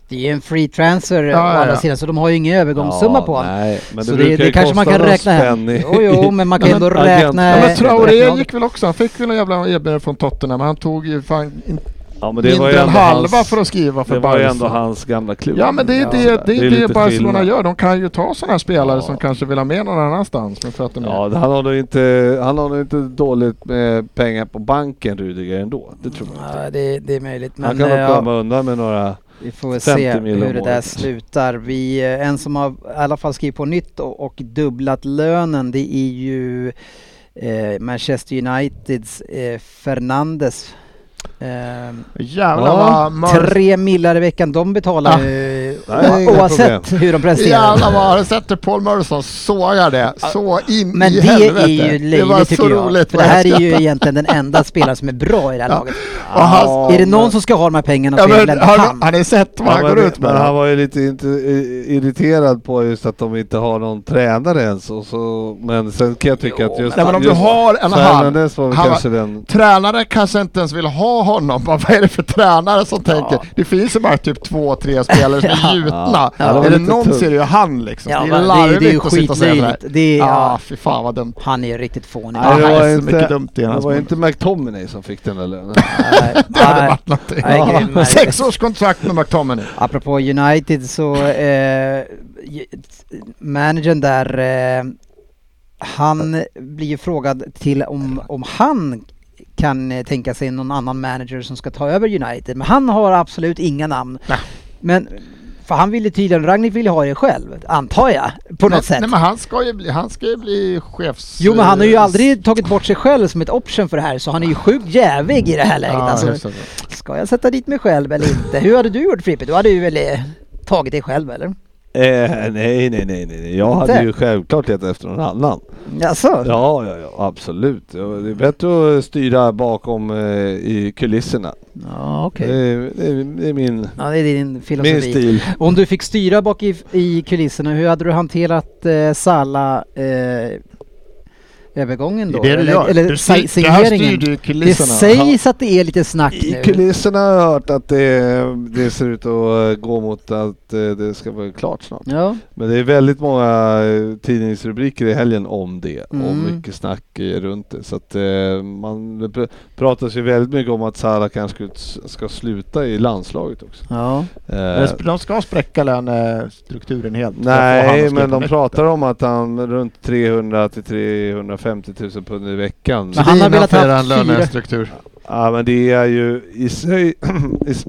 Speaker 3: Det är ju en free transfer
Speaker 4: Ja,
Speaker 3: å
Speaker 4: ja,
Speaker 3: andra
Speaker 4: ja.
Speaker 3: sidan så de har ju ingen övergångssumma på honom.
Speaker 5: Nej, men det,
Speaker 3: Så det-
Speaker 5: brukar
Speaker 3: det
Speaker 5: ju
Speaker 3: kanske man
Speaker 5: kosta
Speaker 3: kan
Speaker 5: någon
Speaker 3: räkna hem.
Speaker 5: spänn i-
Speaker 3: Jo, jo, men man kan
Speaker 4: Ja,
Speaker 3: ändå
Speaker 5: men agent-
Speaker 3: räkna...
Speaker 5: Ja,
Speaker 4: ja, men
Speaker 5: jag
Speaker 4: Traoré gick väl också. Han fick väl något jävla erbjudande från Tottenham. Han tog ju fan inte
Speaker 5: Ja, men det var ju
Speaker 4: mindre än
Speaker 5: ändå
Speaker 4: halva
Speaker 5: hans,
Speaker 4: för att skriva för
Speaker 5: Det var ju
Speaker 4: Barca.
Speaker 5: ändå hans gamla klubb.
Speaker 4: Ja men det är
Speaker 5: Ja,
Speaker 4: det, det, är
Speaker 5: lite
Speaker 4: det Barcelona
Speaker 5: skillnad.
Speaker 4: gör. De kan ju ta sådana här spelare
Speaker 5: Ja.
Speaker 4: som kanske vill ha med någon annanstans. Men för att de
Speaker 5: Ja, han har nog inte, han har nog inte dåligt med pengar på banken Rudiger ändå. Det tror jag inte.
Speaker 3: Ja, det, det är möjligt men...
Speaker 5: han kan
Speaker 3: eh,
Speaker 5: nog
Speaker 3: ja.
Speaker 5: komma undan med några...
Speaker 3: Vi får väl
Speaker 5: 50
Speaker 3: se
Speaker 5: miljoner
Speaker 3: hur det
Speaker 5: om
Speaker 3: där
Speaker 5: året.
Speaker 3: slutar. Vi, eh, en som har i alla fall skrivit på nytt och, och dubblat lönen det är ju eh, Manchester Uniteds eh, Fernandes. Eh,
Speaker 4: Jävlar
Speaker 5: Ja.
Speaker 4: vad Murphy...
Speaker 3: tre millar i veckan de betalar
Speaker 4: Ah.
Speaker 3: nu
Speaker 5: Nej,
Speaker 3: o-
Speaker 5: inga
Speaker 3: oavsett hur de presterar.
Speaker 4: Jävlar vad... Har du sett hur Paul Merson sågar det? Så in
Speaker 3: Men
Speaker 4: i
Speaker 3: det
Speaker 4: helvete.
Speaker 3: är ju
Speaker 4: Det var
Speaker 3: löjligt
Speaker 4: så
Speaker 3: tycker jag.
Speaker 4: roligt.
Speaker 3: För det här är ju egentligen den enda spelaren som är bra i det här laget.
Speaker 4: Och han,
Speaker 3: Är det någon som ska ha de här pengarna så
Speaker 4: Ja,
Speaker 3: är det
Speaker 4: men,
Speaker 3: väl
Speaker 4: har,
Speaker 3: han.
Speaker 4: har ni sett vad
Speaker 5: Ja,
Speaker 4: han
Speaker 5: men
Speaker 4: går
Speaker 5: det-
Speaker 4: ut med?
Speaker 5: men han var ju lite inte, i- irriterad på just att de inte har någon tränare ens. Och så, men sen kan jag tycka
Speaker 6: Jo,
Speaker 5: att just...
Speaker 4: Nej, men om du
Speaker 5: just
Speaker 4: har en halv...
Speaker 5: Fernandes var väl
Speaker 4: han
Speaker 5: kanske den...
Speaker 4: Tränare kanske inte ens vill ha honom. Vad är det för tränare som tänker? Det finns ju bara typ två, tre spelare som är gjutna.
Speaker 5: Ja, det var
Speaker 4: Är det
Speaker 5: lite
Speaker 4: någon
Speaker 5: tungt.
Speaker 4: så är det ju han liksom.
Speaker 3: Ja,
Speaker 4: det är
Speaker 3: men
Speaker 4: ju
Speaker 3: det är ju-
Speaker 4: larvigt
Speaker 3: det är ju
Speaker 4: att sitta och säga sådär.
Speaker 3: skitlöjligt. Det är,
Speaker 4: Ja,
Speaker 3: ja.
Speaker 4: fy fan vad dumt.
Speaker 3: Han är ju riktigt fånig.
Speaker 4: Nej, det
Speaker 5: det
Speaker 4: var
Speaker 5: var
Speaker 4: så
Speaker 5: inte-
Speaker 4: mycket dumt i
Speaker 5: Det
Speaker 4: hans
Speaker 5: var
Speaker 4: mun.
Speaker 5: inte McTominay som fick den där lönen.
Speaker 3: Nej,
Speaker 4: Det hade
Speaker 3: nej.
Speaker 4: varit någonting.
Speaker 3: Nej,
Speaker 4: Ja.
Speaker 3: grym märkning.
Speaker 4: Sex års kontrakt med McTominay.
Speaker 3: Apropå United så, eh, ju- managern där, eh, han blir ju frågad till om, om han kan eh, tänka sig någon annan manager som ska ta över United. Men han har absolut inga namn.
Speaker 4: Nej.
Speaker 3: Men, för han ville tydligen, Ragnik ville ha det själv, antar jag, på något
Speaker 4: nej,
Speaker 3: sätt.
Speaker 4: Nej, men han ska ju bli, han ska ju bli chefs...
Speaker 3: Jo men han har ju aldrig tagit bort sig själv som ett option för det här så han är ju sjukt jävig i det här läget.
Speaker 4: Ja,
Speaker 3: alltså,
Speaker 4: hyfsat.
Speaker 3: ska jag sätta dit mig själv eller inte? Hur hade du gjort Frippe? Du hade ju väl eh, tagit dig själv eller?
Speaker 5: eh, nej, nej, nej, nej, nej. Jag hade
Speaker 3: Inte?
Speaker 5: ju självklart letat efter någon annan.
Speaker 3: Jaså?
Speaker 5: Ja, ja, ja, absolut. Ja, Det är bättre att styra bakom eh, i kulisserna.
Speaker 3: Ja, okej.
Speaker 4: Eh,
Speaker 5: Det, är, det, är, det är min,
Speaker 3: Ja, det är din
Speaker 5: min
Speaker 3: filosofi.
Speaker 5: stil.
Speaker 3: Om du fick styra bak i, i kulisserna, hur hade du hanterat eh, Salla eh, övergången då?
Speaker 4: Det är det du
Speaker 3: eller
Speaker 4: gör.
Speaker 3: eller
Speaker 4: Du
Speaker 3: sig-
Speaker 4: styr- det här styr
Speaker 3: signeringen?
Speaker 4: du i
Speaker 3: Det
Speaker 4: kulisserna.
Speaker 3: sägs att det är lite snack
Speaker 5: I
Speaker 3: nu.
Speaker 5: kulisserna har jag hört att det, det ser ut att eh, gå mot att eh, det ska vara klart snart.
Speaker 3: Ja.
Speaker 5: Men det är väldigt många eh, tidningsrubriker i helgen om det och
Speaker 3: Mm.
Speaker 5: mycket snack eh, runt det. Så att eh, man det pr- pratas ju väldigt mycket om att Salah kanske skulle s- ska sluta i landslaget också.
Speaker 3: ja.
Speaker 5: Eh,
Speaker 4: Men De ska spräcka lönestrukturen helt. för att få han
Speaker 5: Nej,
Speaker 4: att
Speaker 5: men
Speaker 4: sluta
Speaker 5: de
Speaker 4: med-
Speaker 5: pratar om att han runt 300 till 350 000 pund i veckan.
Speaker 3: Men han har
Speaker 4: Dina
Speaker 3: velat ha
Speaker 4: för en
Speaker 3: fyra-
Speaker 4: lönestruktur.
Speaker 5: Ja, men det är ju i sig, i, s-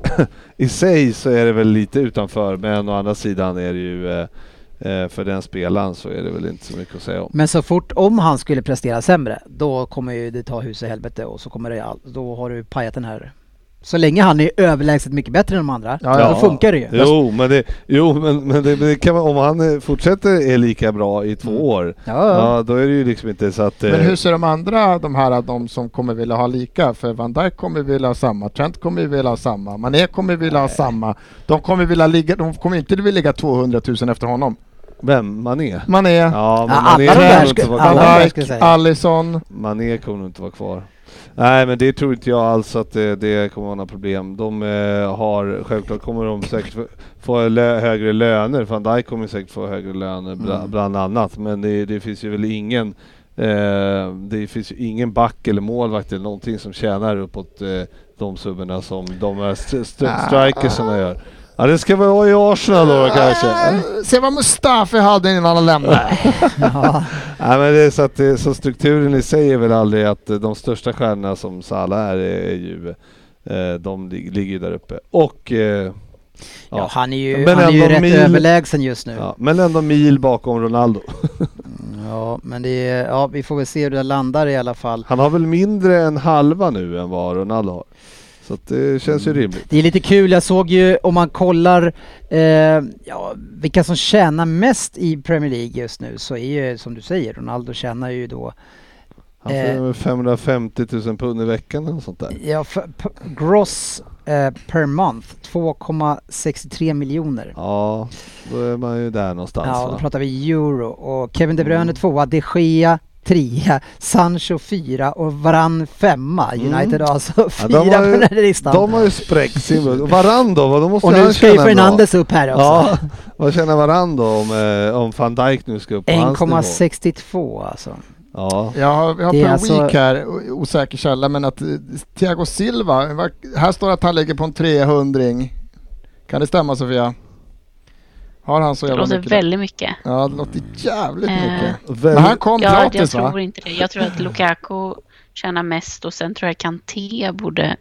Speaker 5: i sig så är det väl lite utanför, men å andra sidan är det ju eh, eh, för den spelaren så är det väl inte så mycket att säga om.
Speaker 3: Men så fort om han skulle prestera sämre, då kommer ju det ta hus i helvete och så kommer det all, då har du pajat den här Så länge han är överlägset mycket bättre än de andra,
Speaker 4: Ja,
Speaker 3: då funkar det ju.
Speaker 5: Jo, men det, jo, men, men det, men det kan, man- om han eh, fortsätter är lika bra i två år,
Speaker 3: Ja, ja.
Speaker 5: ja, då är det ju liksom inte så att... eh,
Speaker 4: Men hur ser de andra, de här, de som kommer vilja ha lika? För Van Dijk kommer vilja ha samma, Trent kommer vilja ha samma, Mané kommer vilja ha samma. De kommer vilja ligga, de kommer inte vilja ligga 200 000 efter honom.
Speaker 5: Vem? Mané?
Speaker 4: Mané,
Speaker 5: Ja,
Speaker 3: Ja,
Speaker 5: men
Speaker 3: alla de
Speaker 5: Mané kommer
Speaker 3: där
Speaker 5: nog
Speaker 3: ska-
Speaker 5: inte vara
Speaker 3: alla-
Speaker 5: kvar.
Speaker 4: Van
Speaker 3: där
Speaker 4: Dijk,
Speaker 3: ska jag säga.
Speaker 4: Alisson.
Speaker 5: Mané kommer nog inte vara kvar. Nej, men det tror inte jag alls att det, det kommer vara några problem. De eh, har, självklart kommer de säkert få- få lö, högre löner. Van Dijk kommer säkert få högre löner bla, bland annat. Men det, det finns ju väl ingen eh, det finns ju ingen back eller målvakt eller någonting som tjänar uppåt eh, de summorna som de här st- st- strikersarna gör. Ja, det ska vara i Arsenal då kanske.
Speaker 4: Äh, Se vad Mustafi hade innan han lämnade.
Speaker 5: Nej, men det är så, att, det- så strukturen i sig är väl aldrig att eh, de största stjärnorna som Salah är, eh, är ju, eh, de lig- ligger ju där uppe. Och, eh,
Speaker 3: Ja, han är ju,
Speaker 5: Men
Speaker 3: han är ju
Speaker 5: ändå
Speaker 3: rätt
Speaker 5: mil-
Speaker 3: överlägsen just nu. Ja.
Speaker 5: ja, men ändå mil bakom Ronaldo.
Speaker 3: men det är, ja, vi får väl se hur det landar i alla fall.
Speaker 5: Han har väl mindre än halva nu än vad Ronaldo har. Så att eh, det känns ju
Speaker 3: Mm.
Speaker 5: rimligt.
Speaker 3: Det är lite kul, jag såg ju om man kollar eh, ja, vilka som tjänar mest i Premier League just nu så är ju som du säger, Ronaldo tjänar ju då
Speaker 5: Han får
Speaker 3: Eh. Mm.
Speaker 5: väl 550 000 pund i veckan eller sånt där.
Speaker 3: ja, f- p- gross eh, per month 2,63 miljoner.
Speaker 5: Ja, då är man ju där någonstans
Speaker 3: Ja, då
Speaker 5: va?
Speaker 3: pratar vi euro och Kevin De Bruyne
Speaker 5: Mm.
Speaker 3: tvåa, de Gea trea, Sancho fyra och Varann femma. United har alltså
Speaker 5: Mm.
Speaker 3: fyra
Speaker 5: Ja, de har
Speaker 3: på
Speaker 5: ju-
Speaker 3: den här listan.
Speaker 5: De har ju spräckt sin budget. Varann då, vad- då måste
Speaker 3: och
Speaker 5: han
Speaker 3: nu ska ju
Speaker 5: tjäna bra.
Speaker 3: Fernandes upp här också.
Speaker 5: Ja, vad känner varann då om, eh, om van Dijk nu ska upp på hans nivå?
Speaker 3: 1,62 alltså.
Speaker 5: Ja.
Speaker 4: Jag har, jag har
Speaker 3: Det är
Speaker 4: per
Speaker 3: alltså-
Speaker 4: week här, o- osäker källa, men att eh, Thiago Silva, va- här står att han ligger på en 300 Kan det stämma Sofia? Har han så
Speaker 6: Det
Speaker 4: jävla
Speaker 6: låter
Speaker 4: mycket?
Speaker 6: väldigt mycket.
Speaker 4: Ja, det låter jävligt
Speaker 6: Eh.
Speaker 4: mycket.
Speaker 5: Väl,
Speaker 4: Men han kom
Speaker 6: Ja, jag
Speaker 4: gratis va?
Speaker 6: tror inte det. Jag tror att Lukaku tjänar mest och sen tror jag Kanté borde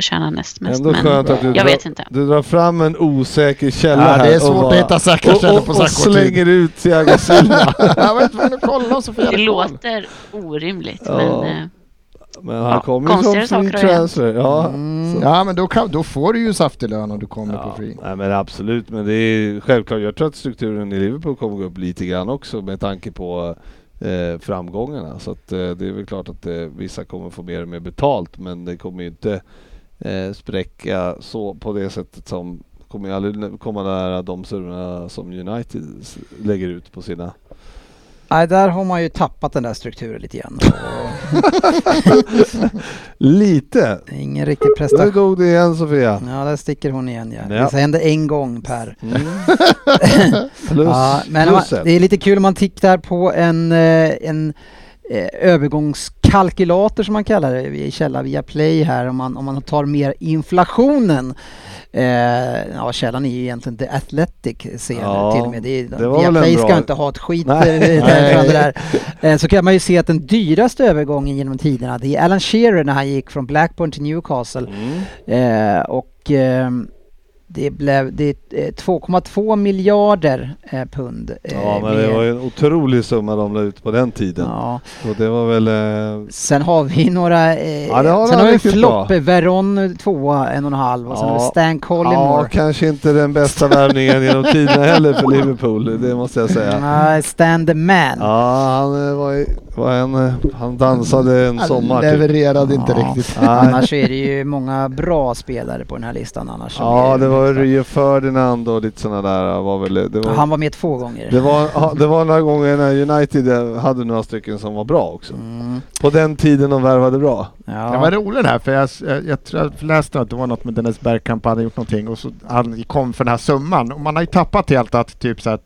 Speaker 6: tjäna näst mest.
Speaker 5: ändå skönt att du,
Speaker 6: jag
Speaker 5: drar-
Speaker 6: vet inte.
Speaker 5: du drar fram en osäker källa
Speaker 4: Ja,
Speaker 5: här.
Speaker 4: det är
Speaker 5: och
Speaker 4: svårt
Speaker 5: bara-
Speaker 4: att hitta säkra källor
Speaker 5: och,
Speaker 4: på
Speaker 5: och,
Speaker 4: så här
Speaker 5: och
Speaker 4: kort tid.
Speaker 5: slänger ut Thiago Silva.
Speaker 4: jag var tvungen att kolla Sofia.
Speaker 6: Det
Speaker 4: hade koll.
Speaker 6: låter orimligt,
Speaker 5: Ja.
Speaker 6: men eh,
Speaker 5: Men han
Speaker 6: Ja,
Speaker 5: kommer ju
Speaker 6: konstigare
Speaker 5: från free
Speaker 6: saker har hänt.
Speaker 5: transfer. Ja.
Speaker 4: Ja men då, kan, då får du ju saftig lön om du kommer på free.
Speaker 5: nej, men absolut, men det är självklart. Jag tror att strukturen i Liverpool kommer gå upp lite grann också med tanke på eh, framgångarna. Så att, eh, det är väl klart att eh, vissa kommer få mer och mer betalt, men det kommer ju inte eh, spräcka så på det sättet som kommer ju aldrig nä- komma nära de summorna som United s- lägger ut på sina.
Speaker 3: Nej, där har man ju tappat den där strukturen lite grann.
Speaker 5: Lite!
Speaker 3: Det är Ingen riktig
Speaker 5: Där
Speaker 3: prestation.
Speaker 5: dog det igen Sofia.
Speaker 3: Ja, där sticker hon igen ja.
Speaker 5: Ja.
Speaker 3: Det händer en gång per.
Speaker 5: Plus,
Speaker 3: Ja, Mm. men om man,
Speaker 5: plus
Speaker 3: det
Speaker 5: ett.
Speaker 3: är lite kul om man tittar på en, eh, en eh, övergångskalkylator som man kallar det i källa via Play här om man, om man tar mer inflationen. Eh, ja, källan är ju egentligen The Athletic ser jag
Speaker 5: Ja,
Speaker 3: nu till och med. Det, är-
Speaker 5: det var
Speaker 3: via
Speaker 5: väl en
Speaker 3: Play
Speaker 5: bra-
Speaker 3: ska inte ha ett skit
Speaker 5: Nej.
Speaker 3: eh, där från det där. Eh, så kan man ju se att den dyraste övergången genom tiderna det är Alan Shearer när han gick från Blackburn till Newcastle.
Speaker 5: Mm.
Speaker 3: Eh, och ehm, det blev det är, eh, 2,2 miljarder eh, pund. eh,
Speaker 5: Ja, men det
Speaker 3: mer.
Speaker 5: var ju en otrolig summa de la ut på den tiden.
Speaker 3: Ja.
Speaker 5: Och det var väl... Eh,
Speaker 3: Sen har vi några, eh,
Speaker 5: Ja, det har
Speaker 3: sen
Speaker 5: de
Speaker 3: har vi en
Speaker 5: riktigt
Speaker 3: flopp, Veron tvåa, en och en halv och sen
Speaker 5: Ja.
Speaker 3: har vi Stan
Speaker 5: ja,
Speaker 3: Collymore.
Speaker 5: kanske inte den bästa värvningen genom tiderna heller för Liverpool, det måste jag säga.
Speaker 3: Mm, Nej, Stan the man.
Speaker 5: Ja, han eh, var, i- var en... eh, Han dansade en sommar typ.
Speaker 4: levererade inte
Speaker 3: Ja.
Speaker 4: riktigt.
Speaker 5: Nej.
Speaker 3: Annars är det ju många bra spelare på den här listan annars. som
Speaker 5: Ja,
Speaker 3: är-
Speaker 5: det var Rio Ferdinand och lite sådana där var väl... Det
Speaker 3: Ja,
Speaker 5: var,
Speaker 3: Han var med två gånger.
Speaker 5: det var, ja, det var några gånger när United eh, hade några stycken som var bra också.
Speaker 3: Mm,
Speaker 5: På den tiden de värvade bra.
Speaker 4: Det var
Speaker 3: ja.
Speaker 4: rolig den här för jag, jag, jag, tror jag läste att det var något med Dennis Bergkamp hade gjort någonting och så han kom för den här summan och man har ju tappat helt att typ så här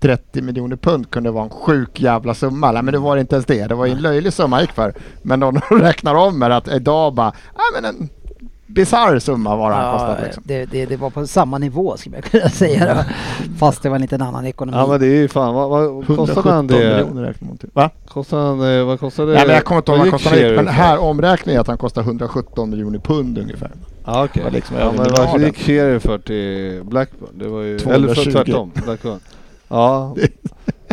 Speaker 4: 30 miljoner pund kunde vara en sjuk jävla summa. Nej, men det var inte ens det. Det var ju en löjlig summa gick för. Men om de räknar om med att idag bara, nej men en bisarr summa var det han
Speaker 3: Ja,
Speaker 4: kostat liksom.
Speaker 3: det, det, det var på samma nivå skulle jag kunna säga. då. Fast det var en liten annan ekonomi.
Speaker 5: Ja men det är ju fan, vad, vad kostade han
Speaker 4: 117
Speaker 5: det?
Speaker 4: miljoner räknar man till. Va?
Speaker 5: Kostade han, eh, vad kostade
Speaker 4: Nej men jag kommer inte ihåg vad han
Speaker 5: gick
Speaker 4: kostade ut,
Speaker 5: Shearer
Speaker 4: men
Speaker 5: för?
Speaker 4: här omräkningen är att han kostar 117 miljoner pund ungefär.
Speaker 5: Ja okej.
Speaker 4: var liksom
Speaker 5: ja,
Speaker 4: över
Speaker 5: men
Speaker 4: miljarden.
Speaker 5: vad gick Shearer för till Blackburn? Det var ju, eller för
Speaker 4: 220.
Speaker 5: tvärtom, Blackburn. Ja.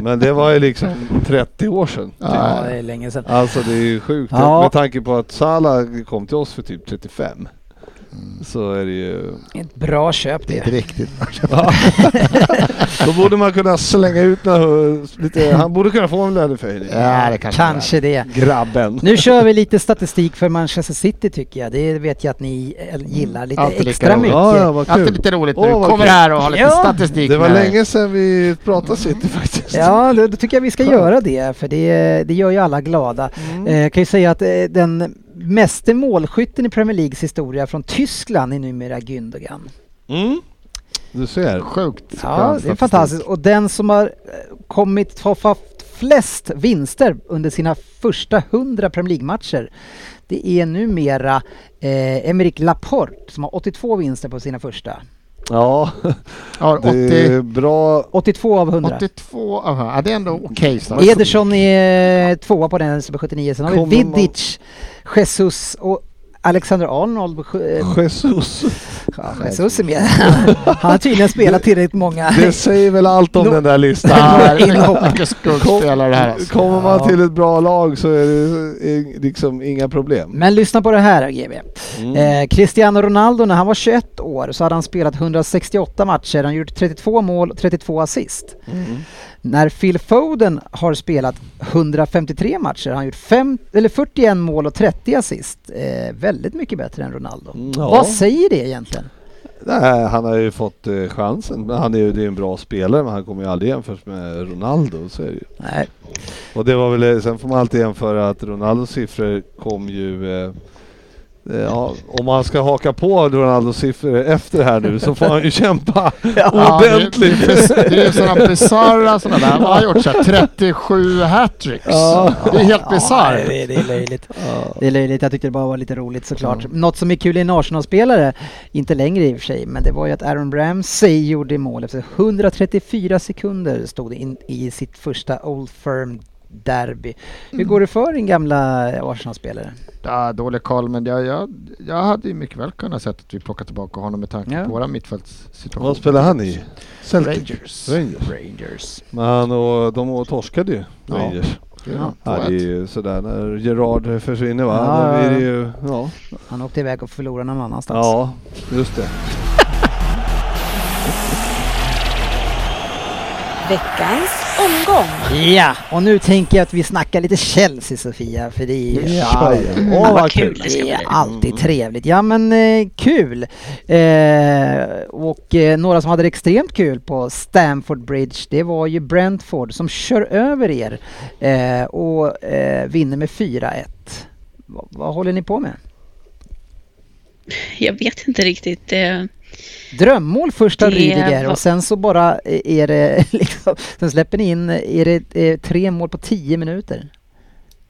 Speaker 5: Men det var ju liksom 30 år sedan. typ.
Speaker 3: ja, det är länge sedan.
Speaker 5: Alltså det är ju sjukt
Speaker 3: Ja.
Speaker 5: med tanke på att Salah kom till oss för typ 35. så är det ju...
Speaker 3: Ett bra köp
Speaker 4: Det är
Speaker 3: det.
Speaker 4: inte riktigt.
Speaker 5: Då borde man kunna slänga ut några, lite... Han borde kunna få en löneförhöjning.
Speaker 4: Ja, det kanske,
Speaker 3: Kanske det.
Speaker 5: Grabben.
Speaker 3: Nu kör vi lite statistik för Manchester City tycker jag. Det vet jag att ni eh, gillar lite
Speaker 4: alltid lika
Speaker 3: extra
Speaker 4: roligt.
Speaker 3: mycket.
Speaker 5: Ja, ja, vad
Speaker 4: Det är alltid
Speaker 5: kul.
Speaker 4: lite roligt när
Speaker 5: Åh,
Speaker 4: du
Speaker 5: vad
Speaker 4: kommer
Speaker 5: kul.
Speaker 4: här och har lite
Speaker 3: Ja.
Speaker 4: statistik
Speaker 5: Det var
Speaker 4: med dig.
Speaker 5: länge sedan vi pratade City faktiskt.
Speaker 3: Ja, då, då tycker jag vi ska göra det för det, det gör ju alla glada.
Speaker 4: Mm.
Speaker 3: Eh, kan ju säga att eh, den meste målskytten i Premier Leagues historia från Tyskland är numera Gündogan.
Speaker 5: Mm. Du ser.
Speaker 4: Sjukt.
Speaker 3: Ja, det är fantastiskt. Och den som har eh, kommit, har haft flest vinster under sina första 100 Premier League-matcher, det är numera eh, Emerick Laporte som har 82 vinster på sina första.
Speaker 5: Ja,
Speaker 4: Har
Speaker 5: det
Speaker 4: 80,
Speaker 5: är bra.
Speaker 3: 82 av 100.
Speaker 4: 82, aha, ja, det är ändå okej. Okay,
Speaker 3: Ederson är eh, tvåa på den som är 79. Sen har
Speaker 5: Kommer
Speaker 3: vi
Speaker 5: man-
Speaker 3: Vidic, Jesus och Alexander Arnold. på sju- eh,
Speaker 5: Jesus.
Speaker 3: Ja, Jesus är med. Han har tydligen spelat tillräckligt många.
Speaker 5: Det säger väl allt om
Speaker 3: Nå-
Speaker 5: den där listan.
Speaker 4: Där, mycket skuggspelare det här alltså.
Speaker 5: Kommer man
Speaker 3: Ja.
Speaker 5: till ett bra lag så är det är liksom inga problem.
Speaker 3: Men lyssna på det här GB.
Speaker 5: Mm.
Speaker 3: Eh, Cristiano Ronaldo när han var 21 år så hade han spelat 168 matcher, han gjort 32 mål och 32 assist.
Speaker 5: Mm.
Speaker 3: När Phil Foden har spelat 153 matcher har han gjort fem, eller 41 mål och 30 assist. Eh, väldigt mycket bättre än Ronaldo.
Speaker 5: Mm. Ja.
Speaker 3: Vad säger det egentligen?
Speaker 5: Nej, han har ju fått eh, chansen. Men Han är ju det är en bra spelare men han kommer ju aldrig jämföras med Ronaldo. Så är det ju.
Speaker 3: Nej.
Speaker 5: Och det var väl, eh, sen får man alltid jämföra att Ronaldos siffror kom ju eh, eh, Ja, om man ska haka på Ronaldos siffror efter här nu så får han ju kämpa ordentligt.
Speaker 4: Ja, det, det, det är ju sådana bisarra sådana där. Han har gjort så här 37 hattricks.
Speaker 5: Ja.
Speaker 4: Det är helt bisarrt.
Speaker 3: det, det är löjligt. Det är löjligt, jag tyckte det bara var lite roligt såklart.
Speaker 4: Mm.
Speaker 3: Något som är kul i en Arsenal-spelare, inte längre i och för sig, men det var ju att Aaron Ramsey gjorde mål efter 134 sekunder stod det in i sitt första Old Firm Derby.
Speaker 4: Mm.
Speaker 3: Hur går det för din gamla Arsenal-spelare?
Speaker 4: Ja, dålig koll, men jag, jag, jag hade ju mycket väl kunnat sett att vi plockar tillbaka honom med tanke
Speaker 3: Ja.
Speaker 4: på våra mittfältssituationer.
Speaker 5: Vad spelar han i? Celtic.
Speaker 4: Rangers.
Speaker 5: Rangers. Men han och, de torskade ju,
Speaker 4: Ja.
Speaker 5: Rangers.
Speaker 4: Ja,
Speaker 5: Ja, det är ju sådär när Gerard försvinner va?
Speaker 3: Ja,
Speaker 5: Då
Speaker 3: ja,
Speaker 5: blir det
Speaker 3: ja.
Speaker 5: ju, ja.
Speaker 3: Han åkte iväg och förlorade någon annanstans.
Speaker 5: ja, just det.
Speaker 7: Veckans omgång.
Speaker 3: Ja, och nu tänker jag att vi snackar lite Chelsea Sofia, för det är ju
Speaker 5: Ja, Åh
Speaker 3: Mm,
Speaker 6: Vad
Speaker 5: vad
Speaker 6: kul
Speaker 5: kul!
Speaker 6: det ska
Speaker 3: Det
Speaker 6: bli.
Speaker 3: är
Speaker 6: Mm.
Speaker 3: alltid trevligt. Ja men eh, kul! Eh, och eh, några som hade det extremt kul på Stamford Bridge, det var ju Brentford som kör över er eh, och eh, vinner med 4-1. Va, vad håller ni på med?
Speaker 6: Jag vet inte riktigt. eh,
Speaker 3: Drömmål först av
Speaker 6: Det
Speaker 3: Rydiger
Speaker 6: var-
Speaker 3: och sen så bara eh, är det liksom, sen släpper ni in, eh, är det eh, tre mål på 10 minuter?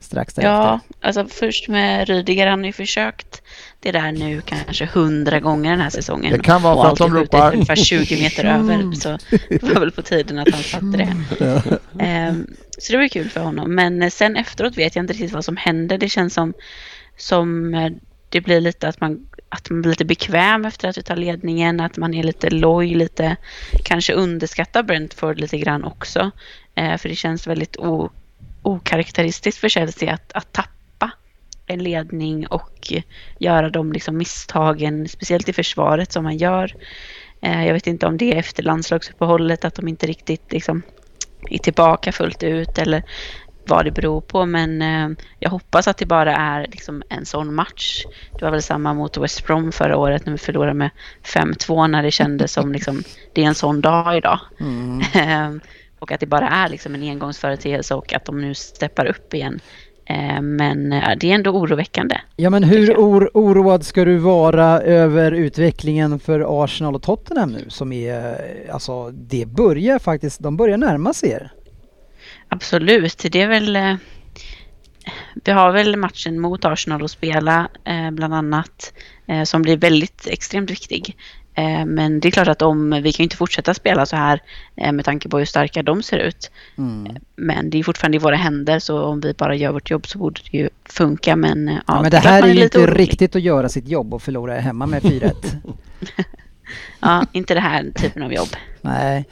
Speaker 3: Strax därefter.
Speaker 6: Ja, alltså först med Rydiger, han har ju försökt det där nu kanske hundra gånger den här säsongen.
Speaker 4: Det kan vara
Speaker 6: Och
Speaker 4: för att de
Speaker 6: alltid skjutit
Speaker 4: ropar-
Speaker 6: ungefär 20 meter över, så det var väl på tiden att han satte det. Ehm, så det var ju kul för honom, men eh, sen efteråt vet jag inte riktigt vad som händer. Det känns som, som eh, det blir lite att man, att man blir lite bekväm efter att vi tar ledningen, att man är lite loj, lite kanske underskattar Brentford lite grann också. Eh, för det känns väldigt o, okaraktäristiskt för Chelsea att, att tappa en ledning och göra de liksom misstagen, speciellt i försvaret som man gör. Eh, jag vet inte om det är efter landslagsuppehållet, att de inte riktigt liksom är tillbaka fullt ut eller vad det beror på. Men eh, jag hoppas att det bara är liksom en sån match. Det var väl samma mot West Brom förra året när vi förlorade med 5-2 när det kändes som liksom, det är en sån dag idag. Ehm, och att det bara är liksom en engångsföreteelse och att de nu steppar upp igen. Ehm, men eh, det är ändå oroväckande.
Speaker 3: Ja men hur or- oroad ska du vara över utvecklingen för Arsenal och Tottenham nu som är, eh, alltså det börjar faktiskt, de börjar närma sig er.
Speaker 6: Absolut, det är väl... eh, Vi har väl matchen mot Arsenal att spela eh, bland annat eh, som blir väldigt extremt viktig. Eh, Men det är klart att om, vi kan ju inte fortsätta spela så här eh, med tanke på hur starka de ser ut.
Speaker 3: Mm.
Speaker 6: Men det är fortfarande i våra händer så om vi bara gör vårt jobb så borde det ju funka. Men, eh, ja,
Speaker 3: Ja,
Speaker 6: det
Speaker 3: men
Speaker 6: är
Speaker 3: det
Speaker 6: klart
Speaker 3: här
Speaker 6: man
Speaker 3: är ju
Speaker 6: lite
Speaker 3: inte
Speaker 6: orolig.
Speaker 3: riktigt att göra sitt jobb och förlora hemma med 4-1.
Speaker 6: Ja, inte det här typen av jobb.
Speaker 3: Nej.